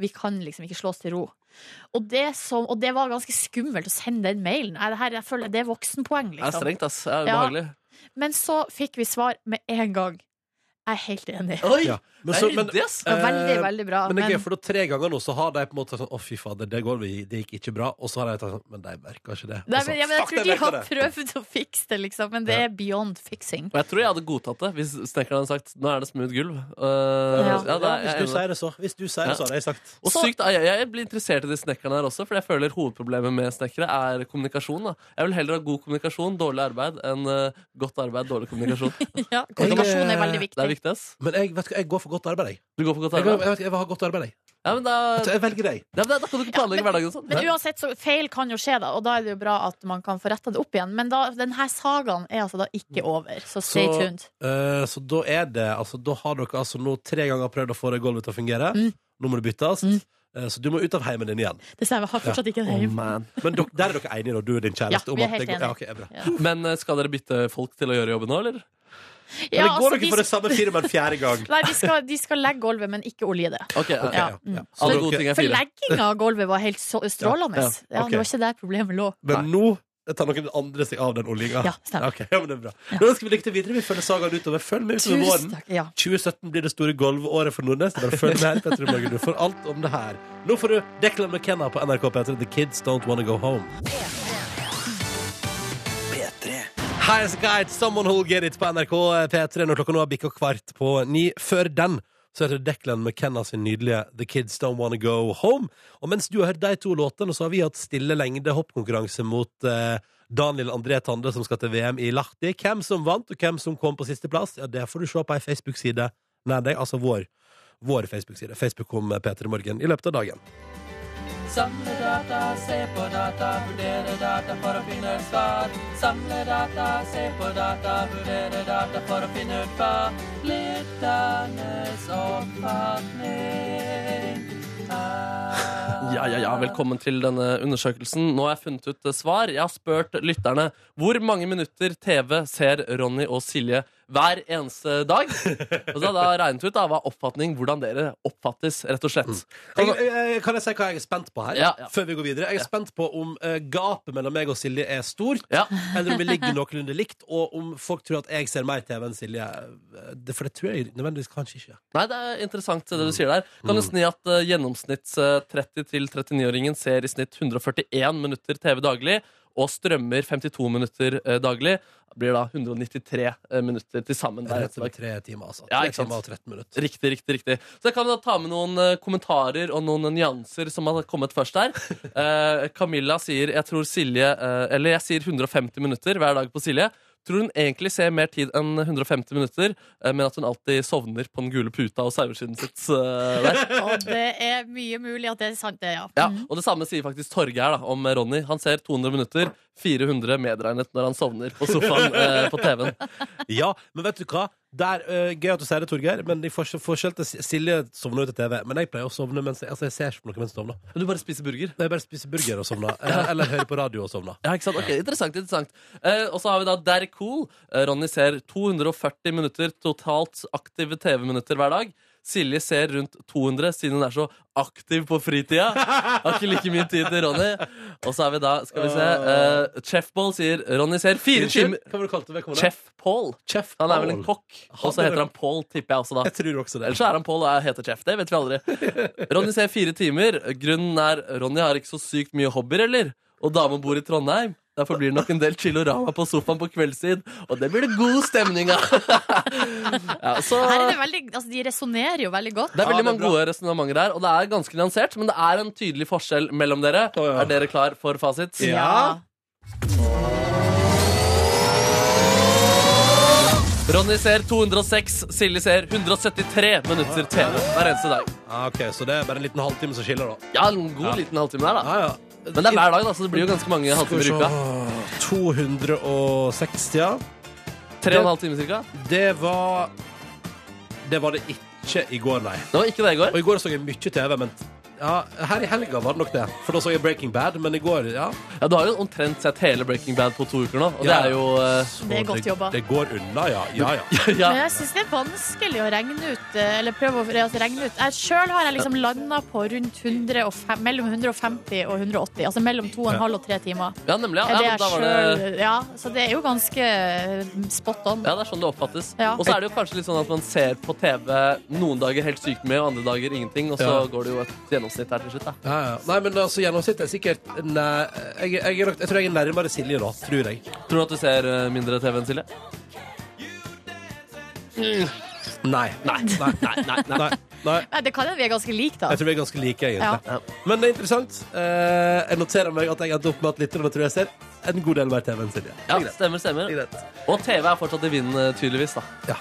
Speaker 3: Vi kan liksom ikke slå oss til ro. Og det, som, og det var ganske skummelt å sende den mailen. Nei, det, her, jeg føler, det er voksenpoeng,
Speaker 4: Det er
Speaker 3: liksom.
Speaker 4: strengt, ass. Det er
Speaker 3: Ja.
Speaker 4: ubehagelig.
Speaker 3: Men så fikk vi svar med en gang. Jeg er helt enig.
Speaker 4: Oi!
Speaker 2: Ja. Men,
Speaker 4: Det
Speaker 2: så,
Speaker 4: er
Speaker 2: men,
Speaker 4: ryddig, ass.
Speaker 3: Det var veldig,
Speaker 2: eh,
Speaker 3: veldig bra.
Speaker 2: men det er
Speaker 3: men-
Speaker 2: gøy, for da tre ganger nå så har de på en måte sagt sånn Å, fy fader, det gulvet det gikk ikke bra. Og så har de tatt sånn Men de merka ikke det. Og
Speaker 3: Nei,
Speaker 2: så,
Speaker 3: men, ja, men jeg
Speaker 2: «Fuck,
Speaker 3: tror
Speaker 2: de
Speaker 3: de har
Speaker 2: merker det!»
Speaker 3: prøvd å fikse det, liksom, men det
Speaker 2: Ja.
Speaker 3: er beyond fixing.
Speaker 4: Og jeg tror jeg hadde godtatt det hvis snekkeren hadde sagt nå er det smooth gulv. Eh,
Speaker 3: Ja.
Speaker 4: ja, det er, jeg
Speaker 2: Ja,
Speaker 4: er
Speaker 2: hvis du
Speaker 4: enig.
Speaker 2: sier det, så. Hvis du sier det, så har jeg sagt.
Speaker 4: og
Speaker 3: Så-
Speaker 4: sykt, jeg, jeg blir interessert i de snekkerne her også, for jeg føler hovedproblemet med snekkere er kommunikasjon. Da. Jeg vil heller ha god kommunikasjon, dårlig arbeid, enn eh, godt arbeid, dårlig kommunikasjon.
Speaker 3: Ja, kommunikasjon
Speaker 2: Jeg, eh,
Speaker 3: er veldig
Speaker 4: Det
Speaker 3: viktig.
Speaker 4: er viktig, ass.
Speaker 2: Men jeg, vet du, hva, jeg går for godt arbeid, jeg.
Speaker 4: Du går for godt
Speaker 2: Jeg,
Speaker 4: arbeid?
Speaker 2: jeg, jeg, jeg har godt arbeid, jeg.
Speaker 4: Ja, men da,
Speaker 2: Så jeg velger deg.
Speaker 4: ja, men da, da kan du ikke planlegge
Speaker 3: men-
Speaker 4: hverdagen sånn.
Speaker 3: Men uansett, så feil kan jo skje, da, og da er det jo bra at man kan få retta det opp igjen. Men da, denne sagaen er altså da ikke over, så stay
Speaker 2: Så-
Speaker 3: tuned.
Speaker 2: Eh, så da er det altså, Da har dere altså nå tre ganger prøvd å få det gulvet til å fungere.
Speaker 3: Mm.
Speaker 2: Nå må det byttes. Eh, Så du må ut av heimen din igjen.
Speaker 3: Det stemmer, jeg har fortsatt ikke en
Speaker 4: Oh,
Speaker 3: heim.
Speaker 4: man.
Speaker 2: Men dere, der er dere enige, da, du og din kjæreste?
Speaker 3: Ja,
Speaker 2: om
Speaker 3: vi er
Speaker 2: at det går- Ja,
Speaker 3: helt enige.
Speaker 2: ok, er bra.
Speaker 4: Men eh, skal dere bytte folk til å gjøre jobben nå, eller?
Speaker 2: Men det går
Speaker 3: altså,
Speaker 2: dere
Speaker 3: de-
Speaker 2: for det samme firmaet en fjerde gang.
Speaker 3: Nei, de skal, de skal legge gulvet, men ikke olje det.
Speaker 4: Ok,
Speaker 2: Ok,
Speaker 4: ja.
Speaker 2: ja, ja. Så
Speaker 4: Alle
Speaker 2: dere-
Speaker 4: gode ting er
Speaker 3: For
Speaker 4: fire.
Speaker 3: legginga av gulvet var helt så- strålende.
Speaker 4: Ja,
Speaker 3: Ja,
Speaker 4: ja,
Speaker 2: ok.
Speaker 3: Det var ikke der problemet lå.
Speaker 2: Men nå tar noen andre seg av den oljinga.
Speaker 3: Ja, stemmer.
Speaker 2: Ok, ja, men det er bra. Nå skal vi lykke til videre. Vi følger sagaen utover. Følg med utover
Speaker 3: Tusen
Speaker 2: våren.
Speaker 3: takk. Ja.
Speaker 2: 2017 blir det store golvåret for Nordnes. Bare følg med her, Petter i Morgen. Du får alt om det her. Nå får du Declan McKenna på NRK P3. The Kids Don't Wanna Go Home. Highest Guide, Someone Who'll Get It på NRK eh, P3 når klokka nå har bikka kvart på ni. Før den så heter Declan McKenna sin nydelige The Kids Don't Wanna Go Home. Og mens du har hørt de to låtene, så har vi hatt stille lengde hoppkonkurranse mot eh, Daniel André Tande, som skal til VM i Lahti. Hvem som vant, og hvem som kom på sisteplass, ja, det får du se på ei Facebook-side nær deg, altså vår. Vår Facebook-side. Facebook kom Peter i morgen i løpet av dagen.
Speaker 7: Samle data, se på data, vurdere data for å finne ut svar. Samle data, se på data, vurdere data for å finne ut hva lytternes oppfatning er.
Speaker 4: Ja, ja, ja, velkommen til denne undersøkelsen. Nå har jeg funnet ut eh, svar. Jeg har spurt lytterne hvor mange minutter TV ser Ronny og Silje hver eneste dag. Og så har jeg da regnet ut da, hva oppfatning, hvordan dere oppfattes, rett og slett.
Speaker 2: Kan, jeg, eh, kan jeg si hva jeg er spent på her?
Speaker 4: Altså- Ja, ja.
Speaker 2: Før vi går videre Jeg er spent på om eh, gapet mellom meg og Silje er stort,
Speaker 4: Ja.
Speaker 2: eller om vi ligger noenlunde likt, og om folk tror at jeg ser mer TV enn Silje. Eh, det- For det tror jeg nødvendigvis kanskje ikke.
Speaker 4: Nei, det er interessant det du sier der. Kan nesten gi at eh, gjennomsnitts eh, 30-39-åringen ser i snitt 141 minutter TV daglig, og strømmer 52 minutter eh, daglig. Det blir da 193 eh, minutter til sammen
Speaker 2: Det er
Speaker 4: der.
Speaker 2: rett og slett tre timer, altså.
Speaker 4: Ja,
Speaker 2: Tre
Speaker 4: ikke sant.
Speaker 2: timer og 13 minutter.
Speaker 4: Riktig, riktig, riktig. Så jeg kan da ta med noen eh, kommentarer og noen nyanser som har kommet først her. Eh, Camilla sier jeg tror Silje eh, Eller jeg sier 150 minutter hver dag på Silje. Tror hun egentlig ser mer tid enn 150 minutter, eh, men at hun alltid sovner på den gule puta og saueskinnet sitt. eh, der.
Speaker 3: Og det er mye mulig at det er sant, det, ja.
Speaker 4: Ja,
Speaker 3: Mm.
Speaker 4: og det samme sier faktisk Torge her da, om Ronny. Han ser 200 minutter, 400 medregnet når han sovner på sofaen eh, på TV-en.
Speaker 2: Ja, men vet du hva? Der, eh, gøy at du sier det, Torgeir, men i forskjell, forskjell til Silje sovner jo til TV. Men jeg pleier å sovne mens jeg, altså, jeg ser ikke på noe mens jeg sovner.
Speaker 4: Men du bare spiser burger.
Speaker 2: Jeg bare spiser burger og sovner. eh, Eller hører på radio og sovner.
Speaker 4: Ja, ikke sant? Ok, Interessant. interessant. Eh, og så har vi da Der Cool. Eh, Ronny ser 240 minutter totalt aktive TV-minutter hver dag. Silje ser rundt 200, siden hun er så aktiv på fritida. Har ikke like mye tid til Ronny. Og så har vi da, skal vi se eh, Chef Ball sier Ronny ser fire
Speaker 2: Unnskyld,
Speaker 4: timer
Speaker 2: Hva var det du kalte det? Hva var det?
Speaker 4: Chef Paul.
Speaker 2: Chef
Speaker 4: Han er vel en
Speaker 2: Paul.
Speaker 4: kokk. Og så heter han Paul, tipper jeg også da.
Speaker 2: Jeg tror også det.
Speaker 4: Ellers så er han Pål og jeg heter Chef. Det vet vi aldri. Ronny ser fire timer. Grunnen er Ronny har ikke så sykt mye hobbyer, eller? Og dama bor i Trondheim. Derfor blir det nok en del chillorama på sofaen på kveldstid. Og det blir det god stemning av! ja, så
Speaker 3: Her er det veldig, altså, de resonnerer jo veldig godt.
Speaker 4: det er veldig
Speaker 2: Ja, det er
Speaker 4: mange gode resonnementer her, og det er ganske nyansert, men det er en tydelig forskjell mellom dere.
Speaker 2: Å, ja.
Speaker 4: Er dere klar for fasit?
Speaker 2: Ja.
Speaker 4: Ronny ser 206, Silje ser 173 minutter TV hver eneste dag.
Speaker 2: Ah, ok, Så det er bare en liten halvtime som skiller, da.
Speaker 4: Ja, en god
Speaker 2: Ja.
Speaker 4: liten halvtime der, da.
Speaker 2: Ja, ja.
Speaker 4: Men det er hver dag, da, så det blir jo ganske mange
Speaker 2: Skal vi
Speaker 4: halvtimer i
Speaker 2: se.
Speaker 4: uka.
Speaker 2: 260, ja.
Speaker 4: Tre og en halv time cirka.
Speaker 2: Det var Det var det ikke i går, nei.
Speaker 4: Det var ikke det i går.
Speaker 2: Og i går så jeg mye TV, men ja, her i helga var det nok det. For da så jeg Breaking Bad, men i går, ja.
Speaker 4: Ja, du har jo omtrent sett hele Breaking Bad på to uker nå, og det
Speaker 2: Ja.
Speaker 4: er jo eh,
Speaker 2: Så
Speaker 3: Det er godt jobba.
Speaker 2: Det går unna, ja. Ja, ja.
Speaker 4: ja.
Speaker 3: Men jeg syns det er vanskelig å regne ut. eh, Eller prøve å altså, regne ut. Jeg sjøl har jeg liksom landa på rundt 105, mellom 150 og 180. Altså mellom 2,5 og 3 timer.
Speaker 4: ja, nemlig.
Speaker 3: Er
Speaker 4: Ja.
Speaker 3: det
Speaker 4: Ja, men
Speaker 3: jeg
Speaker 4: da var det
Speaker 3: selv, ja, så det er jo ganske eh, spot on.
Speaker 4: ja, det er sånn det oppfattes.
Speaker 3: Ja.
Speaker 4: Og så er det jo kanskje litt sånn at man ser på TV noen dager helt sykt mye, og andre dager ingenting, og så
Speaker 2: Ja.
Speaker 4: går det jo et gjennomsnitt her til slutt, da.
Speaker 2: ja, ja. Nei, men altså, gjennomsnittet er sikkert nei, jeg, jeg, er nok- jeg tror jeg er nærmere Silje, da. Tror jeg.
Speaker 4: Tror du at du ser eh, mindre TV enn Silje?
Speaker 2: Nei. Nei, nei, nei. nei, nei. nei.
Speaker 3: Nei, det kan hende vi er ganske like, da.
Speaker 2: Jeg tror vi er ganske like, egentlig. Men det er interessant. Eh, jeg noterer meg at jeg endte opp med at lytterne tror jeg ser en god del mer TV enn Silje.
Speaker 4: Ja,
Speaker 2: Det er greit.
Speaker 4: stemmer, stemmer.
Speaker 2: Det er greit.
Speaker 4: Og TV er fortsatt i vinden, eh, tydeligvis, da.
Speaker 2: Ja,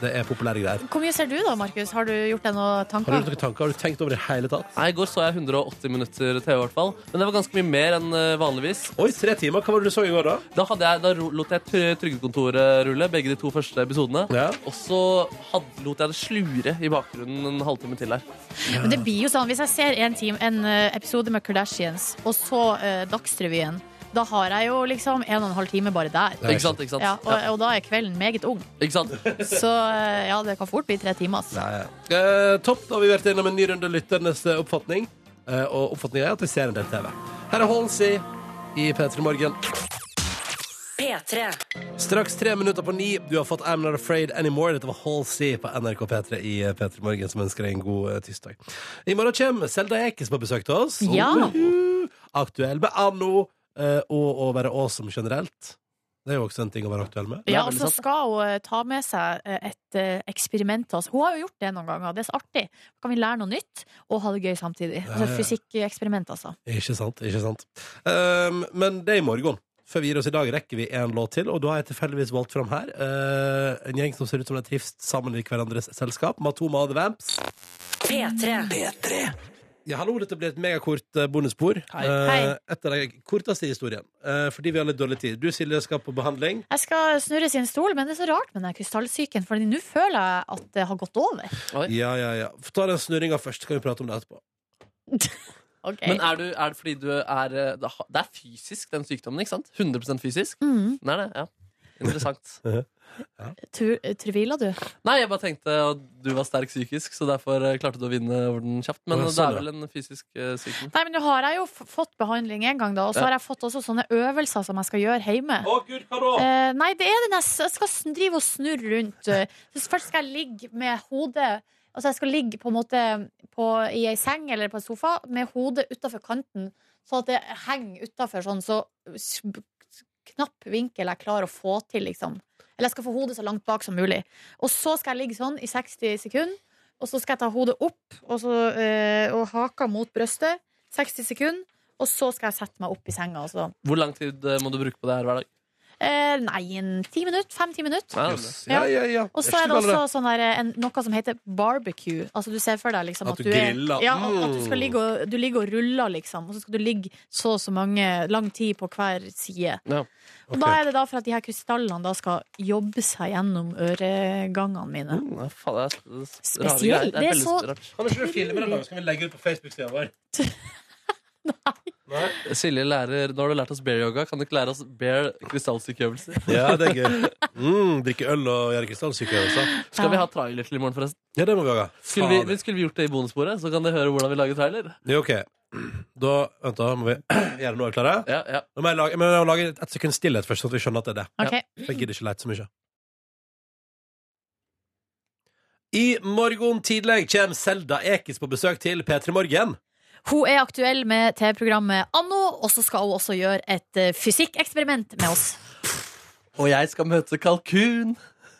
Speaker 2: det er populære greier.
Speaker 3: Hvor mye ser du da, Markus? Har du gjort deg noen
Speaker 2: Har du
Speaker 3: tanker?
Speaker 2: gjort noen tanker? Har du tenkt over det i hele tatt?
Speaker 4: Nei, I går så jeg 180 minutter TV, i hvert fall. Men det var ganske mye mer enn eh, vanligvis.
Speaker 2: Oi, tre timer. Hva var det du så i går, da?
Speaker 4: Da, hadde jeg, da ro- lot jeg tr- Trygdekontoret rulle, begge de to første episodene.
Speaker 2: Ja.
Speaker 4: Og så hadde, lot jeg det slure i bakgrunnen en halvtime til der.
Speaker 3: Men det blir jo sånn, Hvis jeg ser en, time, en eh, episode med Kardashians og så eh, Dagsrevyen, da har jeg jo liksom en og en halv time bare der.
Speaker 2: Ja,
Speaker 4: Ikke sant? ikke sant?
Speaker 3: Ja, og, og da er kvelden meget ung.
Speaker 4: Ikke sant?
Speaker 3: Så eh, ja, det kan fort bli tre timer. altså. ass.
Speaker 2: Eh, topp, da har vi vært gjennom en ny runde lytternes eh, oppfatning. Eh, og oppfatningen er at vi ser en del TV. Her er Halsey i P3 Morgen.
Speaker 1: P3.
Speaker 2: Straks tre minutter på ni. Du har fått I'm Not Afraid Anymore. Dette var Halsey på NRK P3 i eh, P3 Morgen, som ønsker deg en god eh, tirsdag. I morgen kommer Selda Ekiz på besøk til oss.
Speaker 3: Ja.
Speaker 2: Uhuhu. Aktuell med Anno eh, og å være awesome generelt. Det er jo også en ting å være aktuell med.
Speaker 3: Ja, og
Speaker 4: veldig
Speaker 3: så
Speaker 4: sant.
Speaker 3: skal hun eh, ta med seg eh, et eh, eksperiment til oss. Hun har jo gjort det noen ganger, det er så artig. Da kan vi lære noe nytt og ha det gøy samtidig.
Speaker 2: Ja,
Speaker 3: Altså
Speaker 2: ja.
Speaker 3: fysikkeksperiment, altså.
Speaker 2: Ikke sant, ikke sant. Ehm, men det er i morgen. Før vi gir oss i dag, rekker vi en låt til, og da har jeg tilfeldigvis valgt fram her eh, en gjeng som ser ut som de trives sammen i hverandres selskap. Matoma og The Vamps.
Speaker 1: P3.
Speaker 2: Ja, hallo, dette blir et megakort eh, bonusbord.
Speaker 4: Hei.
Speaker 2: Eh,
Speaker 3: Hei.
Speaker 2: Et av de korteste i historien, eh, fordi vi har litt dårlig tid. Du, Silje, skal på behandling.
Speaker 3: Jeg skal snurre sin stol, men det er så rart med den krystallsyken, for nå føler jeg at det har gått over.
Speaker 4: Oi.
Speaker 2: Ja, ja, ja. Få Ta den snurringa først, så kan vi prate om det etterpå.
Speaker 4: Men er, du, er det fordi du er eh, Det ha- det er fysisk, den sykdommen, ikke sant? 100 fysisk?
Speaker 3: mm.
Speaker 4: Den er det, ja. Interessant.
Speaker 3: Tur- eh, Trivila du?
Speaker 4: Nei, jeg bare tenkte at du var sterk psykisk, så derfor eh, klarte du å vinne over den kjapt.
Speaker 2: Å,
Speaker 4: Men
Speaker 2: ja,
Speaker 4: det
Speaker 2: sånn,
Speaker 4: er
Speaker 2: ja.
Speaker 4: vel en fysisk eh, syk den.
Speaker 3: Nei, men nå har jeg jo f fått behandling en gang, da. Og så
Speaker 4: Ja.
Speaker 3: har jeg fått også sånne øvelser som jeg skal gjøre hjemme.
Speaker 2: Å, gud, hva da?
Speaker 3: Eh, nei, det er den jeg, s- jeg skal sn- drive og snurre rundt. eh. Så først skal jeg ligge med hodet Altså jeg skal ligge på en måte på, i ei seng eller på en sofa med hodet utafor kanten, sånn at det henger utafor sånn, så s- b- s- knapp vinkel jeg klarer å få til, liksom. Eller jeg skal få hodet så langt bak som mulig. Og så skal jeg ligge sånn i 60 sekunder, og så skal jeg ta hodet opp og, så, eh, og haka mot brøstet. 60 sekunder. Og så skal jeg sette meg opp i senga. Altså.
Speaker 4: Hvor lang tid eh, må du bruke på det her hver dag?
Speaker 3: Eh, nei, en ti minutter. Fem-ti minutter.
Speaker 4: Nei,
Speaker 2: Jøss. Ja, ja, ja.
Speaker 3: Og så er det også sånn der, en, noe som heter barbecue. Altså Du ser for deg liksom,
Speaker 2: At
Speaker 3: at,
Speaker 2: du
Speaker 3: du er-
Speaker 2: griller.
Speaker 3: Ja, at, at du,
Speaker 2: Mm.
Speaker 3: skal ligge og, du ligger og ruller, liksom. Og så skal du ligge så og så mange lang tid på hver side.
Speaker 4: Ja.
Speaker 3: Og Da er det da for at de her krystallene da skal jobbe seg gjennom øregangene mine.
Speaker 2: Mm.
Speaker 4: Nei, faen, det er det er rare
Speaker 3: Spesielt.
Speaker 4: greier.
Speaker 3: Det er
Speaker 4: veldig
Speaker 3: så-
Speaker 4: rart.
Speaker 2: Kan ikke du filme den, da? Skal vi legge ut på Facebook-sida vår? Nei.
Speaker 4: Silje lærer Nå har du lært oss bear yoga. Kan du ikke lære oss bear krystallsykeøvelser?
Speaker 2: Ja, det er gøy. Mm, drikke øl og gjøre krystallsykeøvelser.
Speaker 4: Skal vi ha trailer til i morgen, forresten?
Speaker 2: Ja, det må vi ha.
Speaker 4: Skulle vi, men skulle vi gjort det i bonussporet, så kan dere høre hvordan vi lager trailer?
Speaker 2: Ja, OK. Da Vent, da må vi gjøre noe. Er vi klare?
Speaker 4: Ja, ja.
Speaker 2: Nå må jeg lage, men jeg må lage et sekund stillhet først, sånn at vi skjønner at det er det.
Speaker 3: Ok.
Speaker 2: For jeg gidder ikke lete så mye. I morgen tidlig kommer Selda Ekiz på besøk til P3 Morgen.
Speaker 3: Hun er aktuell med TV-programmet Anno, og så skal hun også gjøre et eh, fysikkeksperiment med oss.
Speaker 4: Og jeg skal møte kalkun.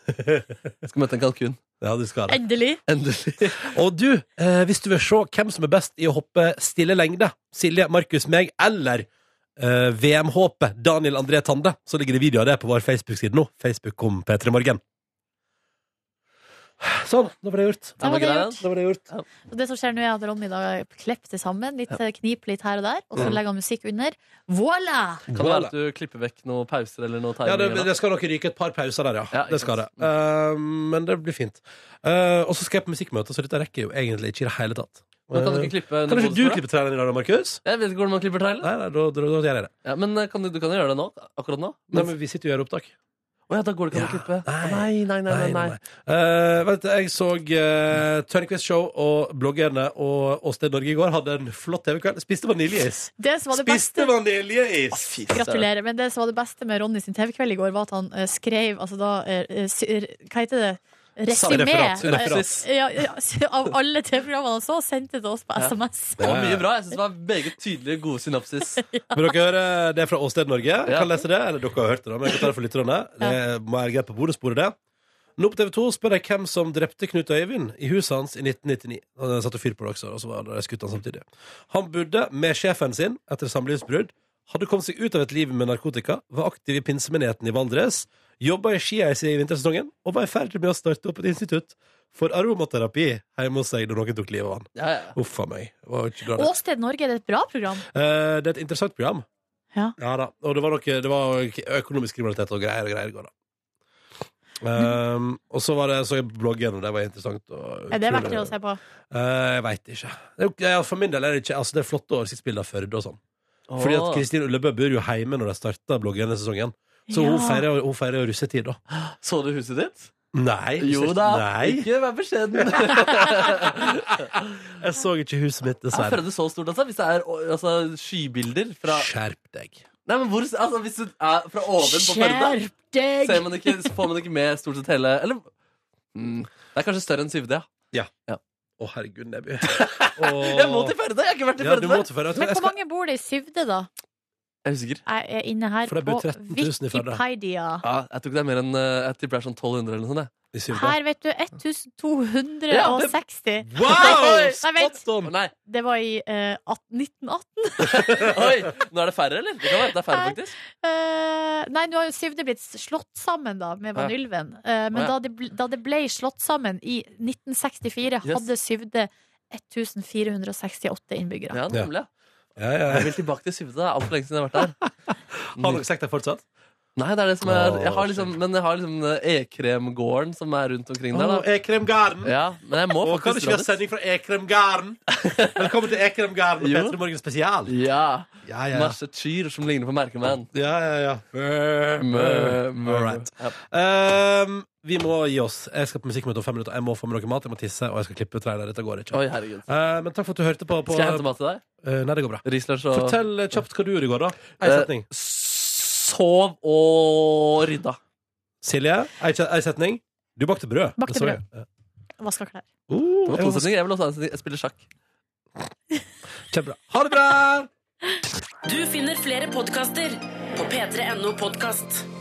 Speaker 4: Jeg skal møte en kalkun.
Speaker 2: Ja, du skal det.
Speaker 3: Endelig.
Speaker 4: Endelig.
Speaker 2: Og du, eh, hvis du vil se hvem som er best i å hoppe stille lengde, Silje, Markus, meg eller eh, VM-håpet Daniel André Tande, så ligger det video av det på vår Facebook-side nå. Facebook kom P3 Morgen. Sånn, da var det gjort.
Speaker 3: Da var det
Speaker 4: grei,
Speaker 3: gjort.
Speaker 4: den.
Speaker 2: Da var det gjort.
Speaker 3: Og det som skjer nå er at Ronny da klipper det sammen, litt, eh, kniper litt her og der,
Speaker 2: Mm.
Speaker 3: og så legger han musikk under. Voilà!
Speaker 4: Kan det være at du klipper vekk noen pauser eller noe
Speaker 2: Ja, det,
Speaker 4: timing? eller noe?
Speaker 2: det skal nok ryke et par pauser der, ja.
Speaker 4: Ja, ikke
Speaker 2: det skal det.
Speaker 4: sant.
Speaker 2: Eh, men det blir fint. Eh, og så skal jeg på musikkmøte, så dette rekker jeg jo egentlig ikke i det hele tatt.
Speaker 4: Men kan du ikke
Speaker 2: Eh,
Speaker 4: klippe under
Speaker 2: kan ikke du
Speaker 4: bonussporet?
Speaker 2: klippe traileren i dag, da, Markus?
Speaker 4: Jeg vet ikke hvordan man klipper trailer.
Speaker 2: Nei, nei, da, da, da gjør jeg det.
Speaker 4: Ja, men eh, kan du, du kan jo gjøre det nå. Akkurat nå.
Speaker 2: Nei, men vi sitter jo og gjør opptak.
Speaker 4: Å ja, da går det ikke an å
Speaker 2: Ja.
Speaker 4: klippe.
Speaker 2: Nei.
Speaker 4: Å, Nei, nei, nei, nei, nei.
Speaker 2: Eh, vet, du, jeg så uh, Tørnquist Show og bloggerne og Åsted Norge i går. Hadde en flott TV-kveld. Spiste vaniljeis.
Speaker 3: Det som var det beste
Speaker 2: Spiste vaniljeis!
Speaker 4: Fy søren.
Speaker 3: Gratulerer. Men det som var det beste med Ronny sin TV-kveld i går, var at han eh, skrev altså da, eh, s- r- Hva heter det? Resymé
Speaker 2: Referat,
Speaker 3: eh,
Speaker 2: referat.
Speaker 3: ja, ja, s- av alle TV-programmene han så, sendte det til oss på SMS.
Speaker 4: Det var mye bra. Jeg synes det var Meget tydelige, gode synapsis.
Speaker 2: Men dere hører det fra Åsted Norge. Kan lese det, eller dere har hørt det, da, men jeg kan ta det for lytterne. Det må være greit på bonussporet, det. Nå på TV 2 spør jeg hvem som drepte Knut Øyvind i huset hans i 1999. Han hadde satt og fyr på det også, og så var det skutt han samtidig. Han bodde med sjefen sin etter samlivsbrudd, hadde kommet seg ut av et liv med narkotika, var aktiv i pinsemenigheten i Valdres, jobba i skiheis i vintersesongen, og var i ferd med å starte opp et institutt for aromaterapi hjemme hos seg da noen tok livet av han.
Speaker 4: Ja, ja.
Speaker 2: Uff a meg. Det var jo ikke bra, det.
Speaker 3: Åsted Norge det er et bra program.
Speaker 2: Eh, det er et interessant program.
Speaker 3: Ja.
Speaker 2: da. Og det var, noe, det var økonomisk kriminalitet og greier og greier. i går, da. Ehm, og så var det, så jeg bloggen, og det var interessant. Og
Speaker 3: Er det verdt
Speaker 2: utrolig-
Speaker 3: det å se på?
Speaker 2: Eh, jeg veit ikke. Det er jo- ja, for min del er det ikke altså, Det er flotte oversiktsbilder av Førde og sånn. Fordi at Kristin Ullebø bor jo hjemme når de starta bloggen-sesongen. Så hun
Speaker 3: Ja.
Speaker 2: feirer jo- hun feirer jo russetid, da.
Speaker 4: Så du huset ditt?
Speaker 2: Nei.
Speaker 4: Jo da.
Speaker 2: Nei.
Speaker 4: Ikke vær beskjeden.
Speaker 2: Jeg så ikke huset mitt,
Speaker 4: Jeg
Speaker 2: dessverre.
Speaker 4: føler det så stort, altså. Hvis det er altså, skybilder fra
Speaker 2: Skjerp deg.
Speaker 4: Nei, men hvor Altså, hvis det er fra oven på Førde,
Speaker 3: Skjerp deg!
Speaker 4: ser man ikke, så får man ikke med stort sett hele Eller mm, Det er kanskje større enn Syvde, ja.
Speaker 2: Å, herregud, Neby.
Speaker 4: Jeg må til Førde! Jeg har ikke vært i
Speaker 2: Ja, du
Speaker 4: Førde!
Speaker 2: må til Førde. Jeg tror
Speaker 3: Men
Speaker 2: jeg
Speaker 3: hvor
Speaker 2: skal-
Speaker 3: mange bor det i Syvde, da?
Speaker 4: Jeg er usikker.
Speaker 3: Jeg er inne her
Speaker 2: For det
Speaker 3: på
Speaker 2: bor 13 000 i Førde.
Speaker 3: Wikipedia.
Speaker 4: Ja, jeg tror ikke det er mer enn eh, Jeg tipper det er sånn 1200 eller noe sånt. jeg.
Speaker 2: I Syvda.
Speaker 3: Her, vet du. 1260.
Speaker 4: Ja, det-
Speaker 2: Wow!
Speaker 3: Nei, vent.
Speaker 2: Spot on!
Speaker 4: Å, Nei.
Speaker 3: Det var i eh, at- 1918.
Speaker 4: Oi! Nå er det færre, eller? Det kan være, det er færre,
Speaker 3: Nei.
Speaker 4: faktisk.
Speaker 3: Eh, nei, nå har jo Syvde blitt slått sammen da med
Speaker 4: Ja.
Speaker 3: Vanylven. Eh, men
Speaker 4: Å, ja.
Speaker 3: da, det ble, da det ble slått sammen i 1964,
Speaker 4: Yes.
Speaker 3: hadde Syvde 1468 innbyggere.
Speaker 4: Ja, nemlig. ja.
Speaker 2: Ja, ja.
Speaker 4: Jeg vil tilbake til Syvde. Det er altfor lenge siden jeg har vært der.
Speaker 2: Har dere sett det fortsatt?
Speaker 4: Nei, det er det som er
Speaker 2: Åh,
Speaker 4: jeg har liksom, Men jeg har liksom eh, E-kremgården som er rundt omkring der.
Speaker 2: Å,
Speaker 4: da
Speaker 2: Ekremgarden!
Speaker 4: Ja, Men jeg må
Speaker 2: Og kan du
Speaker 4: faktisk
Speaker 2: ikke vi ha
Speaker 4: dra dit.
Speaker 2: sending fra Ekremgarden? Velkommen til Ekremgarden og
Speaker 4: Jo.
Speaker 2: Petter Morgen spesial.
Speaker 4: Ja.
Speaker 2: Ja, ja, ja.
Speaker 4: Masse kyr som ligner på merkemenn.
Speaker 2: ja, ja, ja.
Speaker 4: Mø, mø.
Speaker 2: All right.
Speaker 4: Ja.
Speaker 2: Ehm, vi må gi oss. Jeg skal på musikkmøte om fem minutter. Jeg må få med noe mat, jeg må tisse, og jeg skal klippe trær der. Dette går ikke.
Speaker 4: Oi, herregud.
Speaker 2: Eh, men takk for at du hørte på. på
Speaker 4: Skal jeg hente mat til deg?
Speaker 2: Eh, nei, det går bra.
Speaker 4: Rislunsj og
Speaker 2: Fortell eh, kjapt hva du gjorde i går, da. Ei
Speaker 4: Eh,
Speaker 2: setning.
Speaker 4: Sov og rydda.
Speaker 2: Silje, ei, kje- ei setning. Du bakte brød.
Speaker 3: Bakte
Speaker 2: Det så jeg. Eh,
Speaker 3: Vaska klær.
Speaker 4: Det
Speaker 2: Uh, jeg
Speaker 4: var to
Speaker 2: var-
Speaker 4: setninger. Jeg vil også ha en setning. Jeg spiller sjakk.
Speaker 2: Kjempebra. Ha det bra!
Speaker 1: Du finner flere podkaster på p3.no podkast.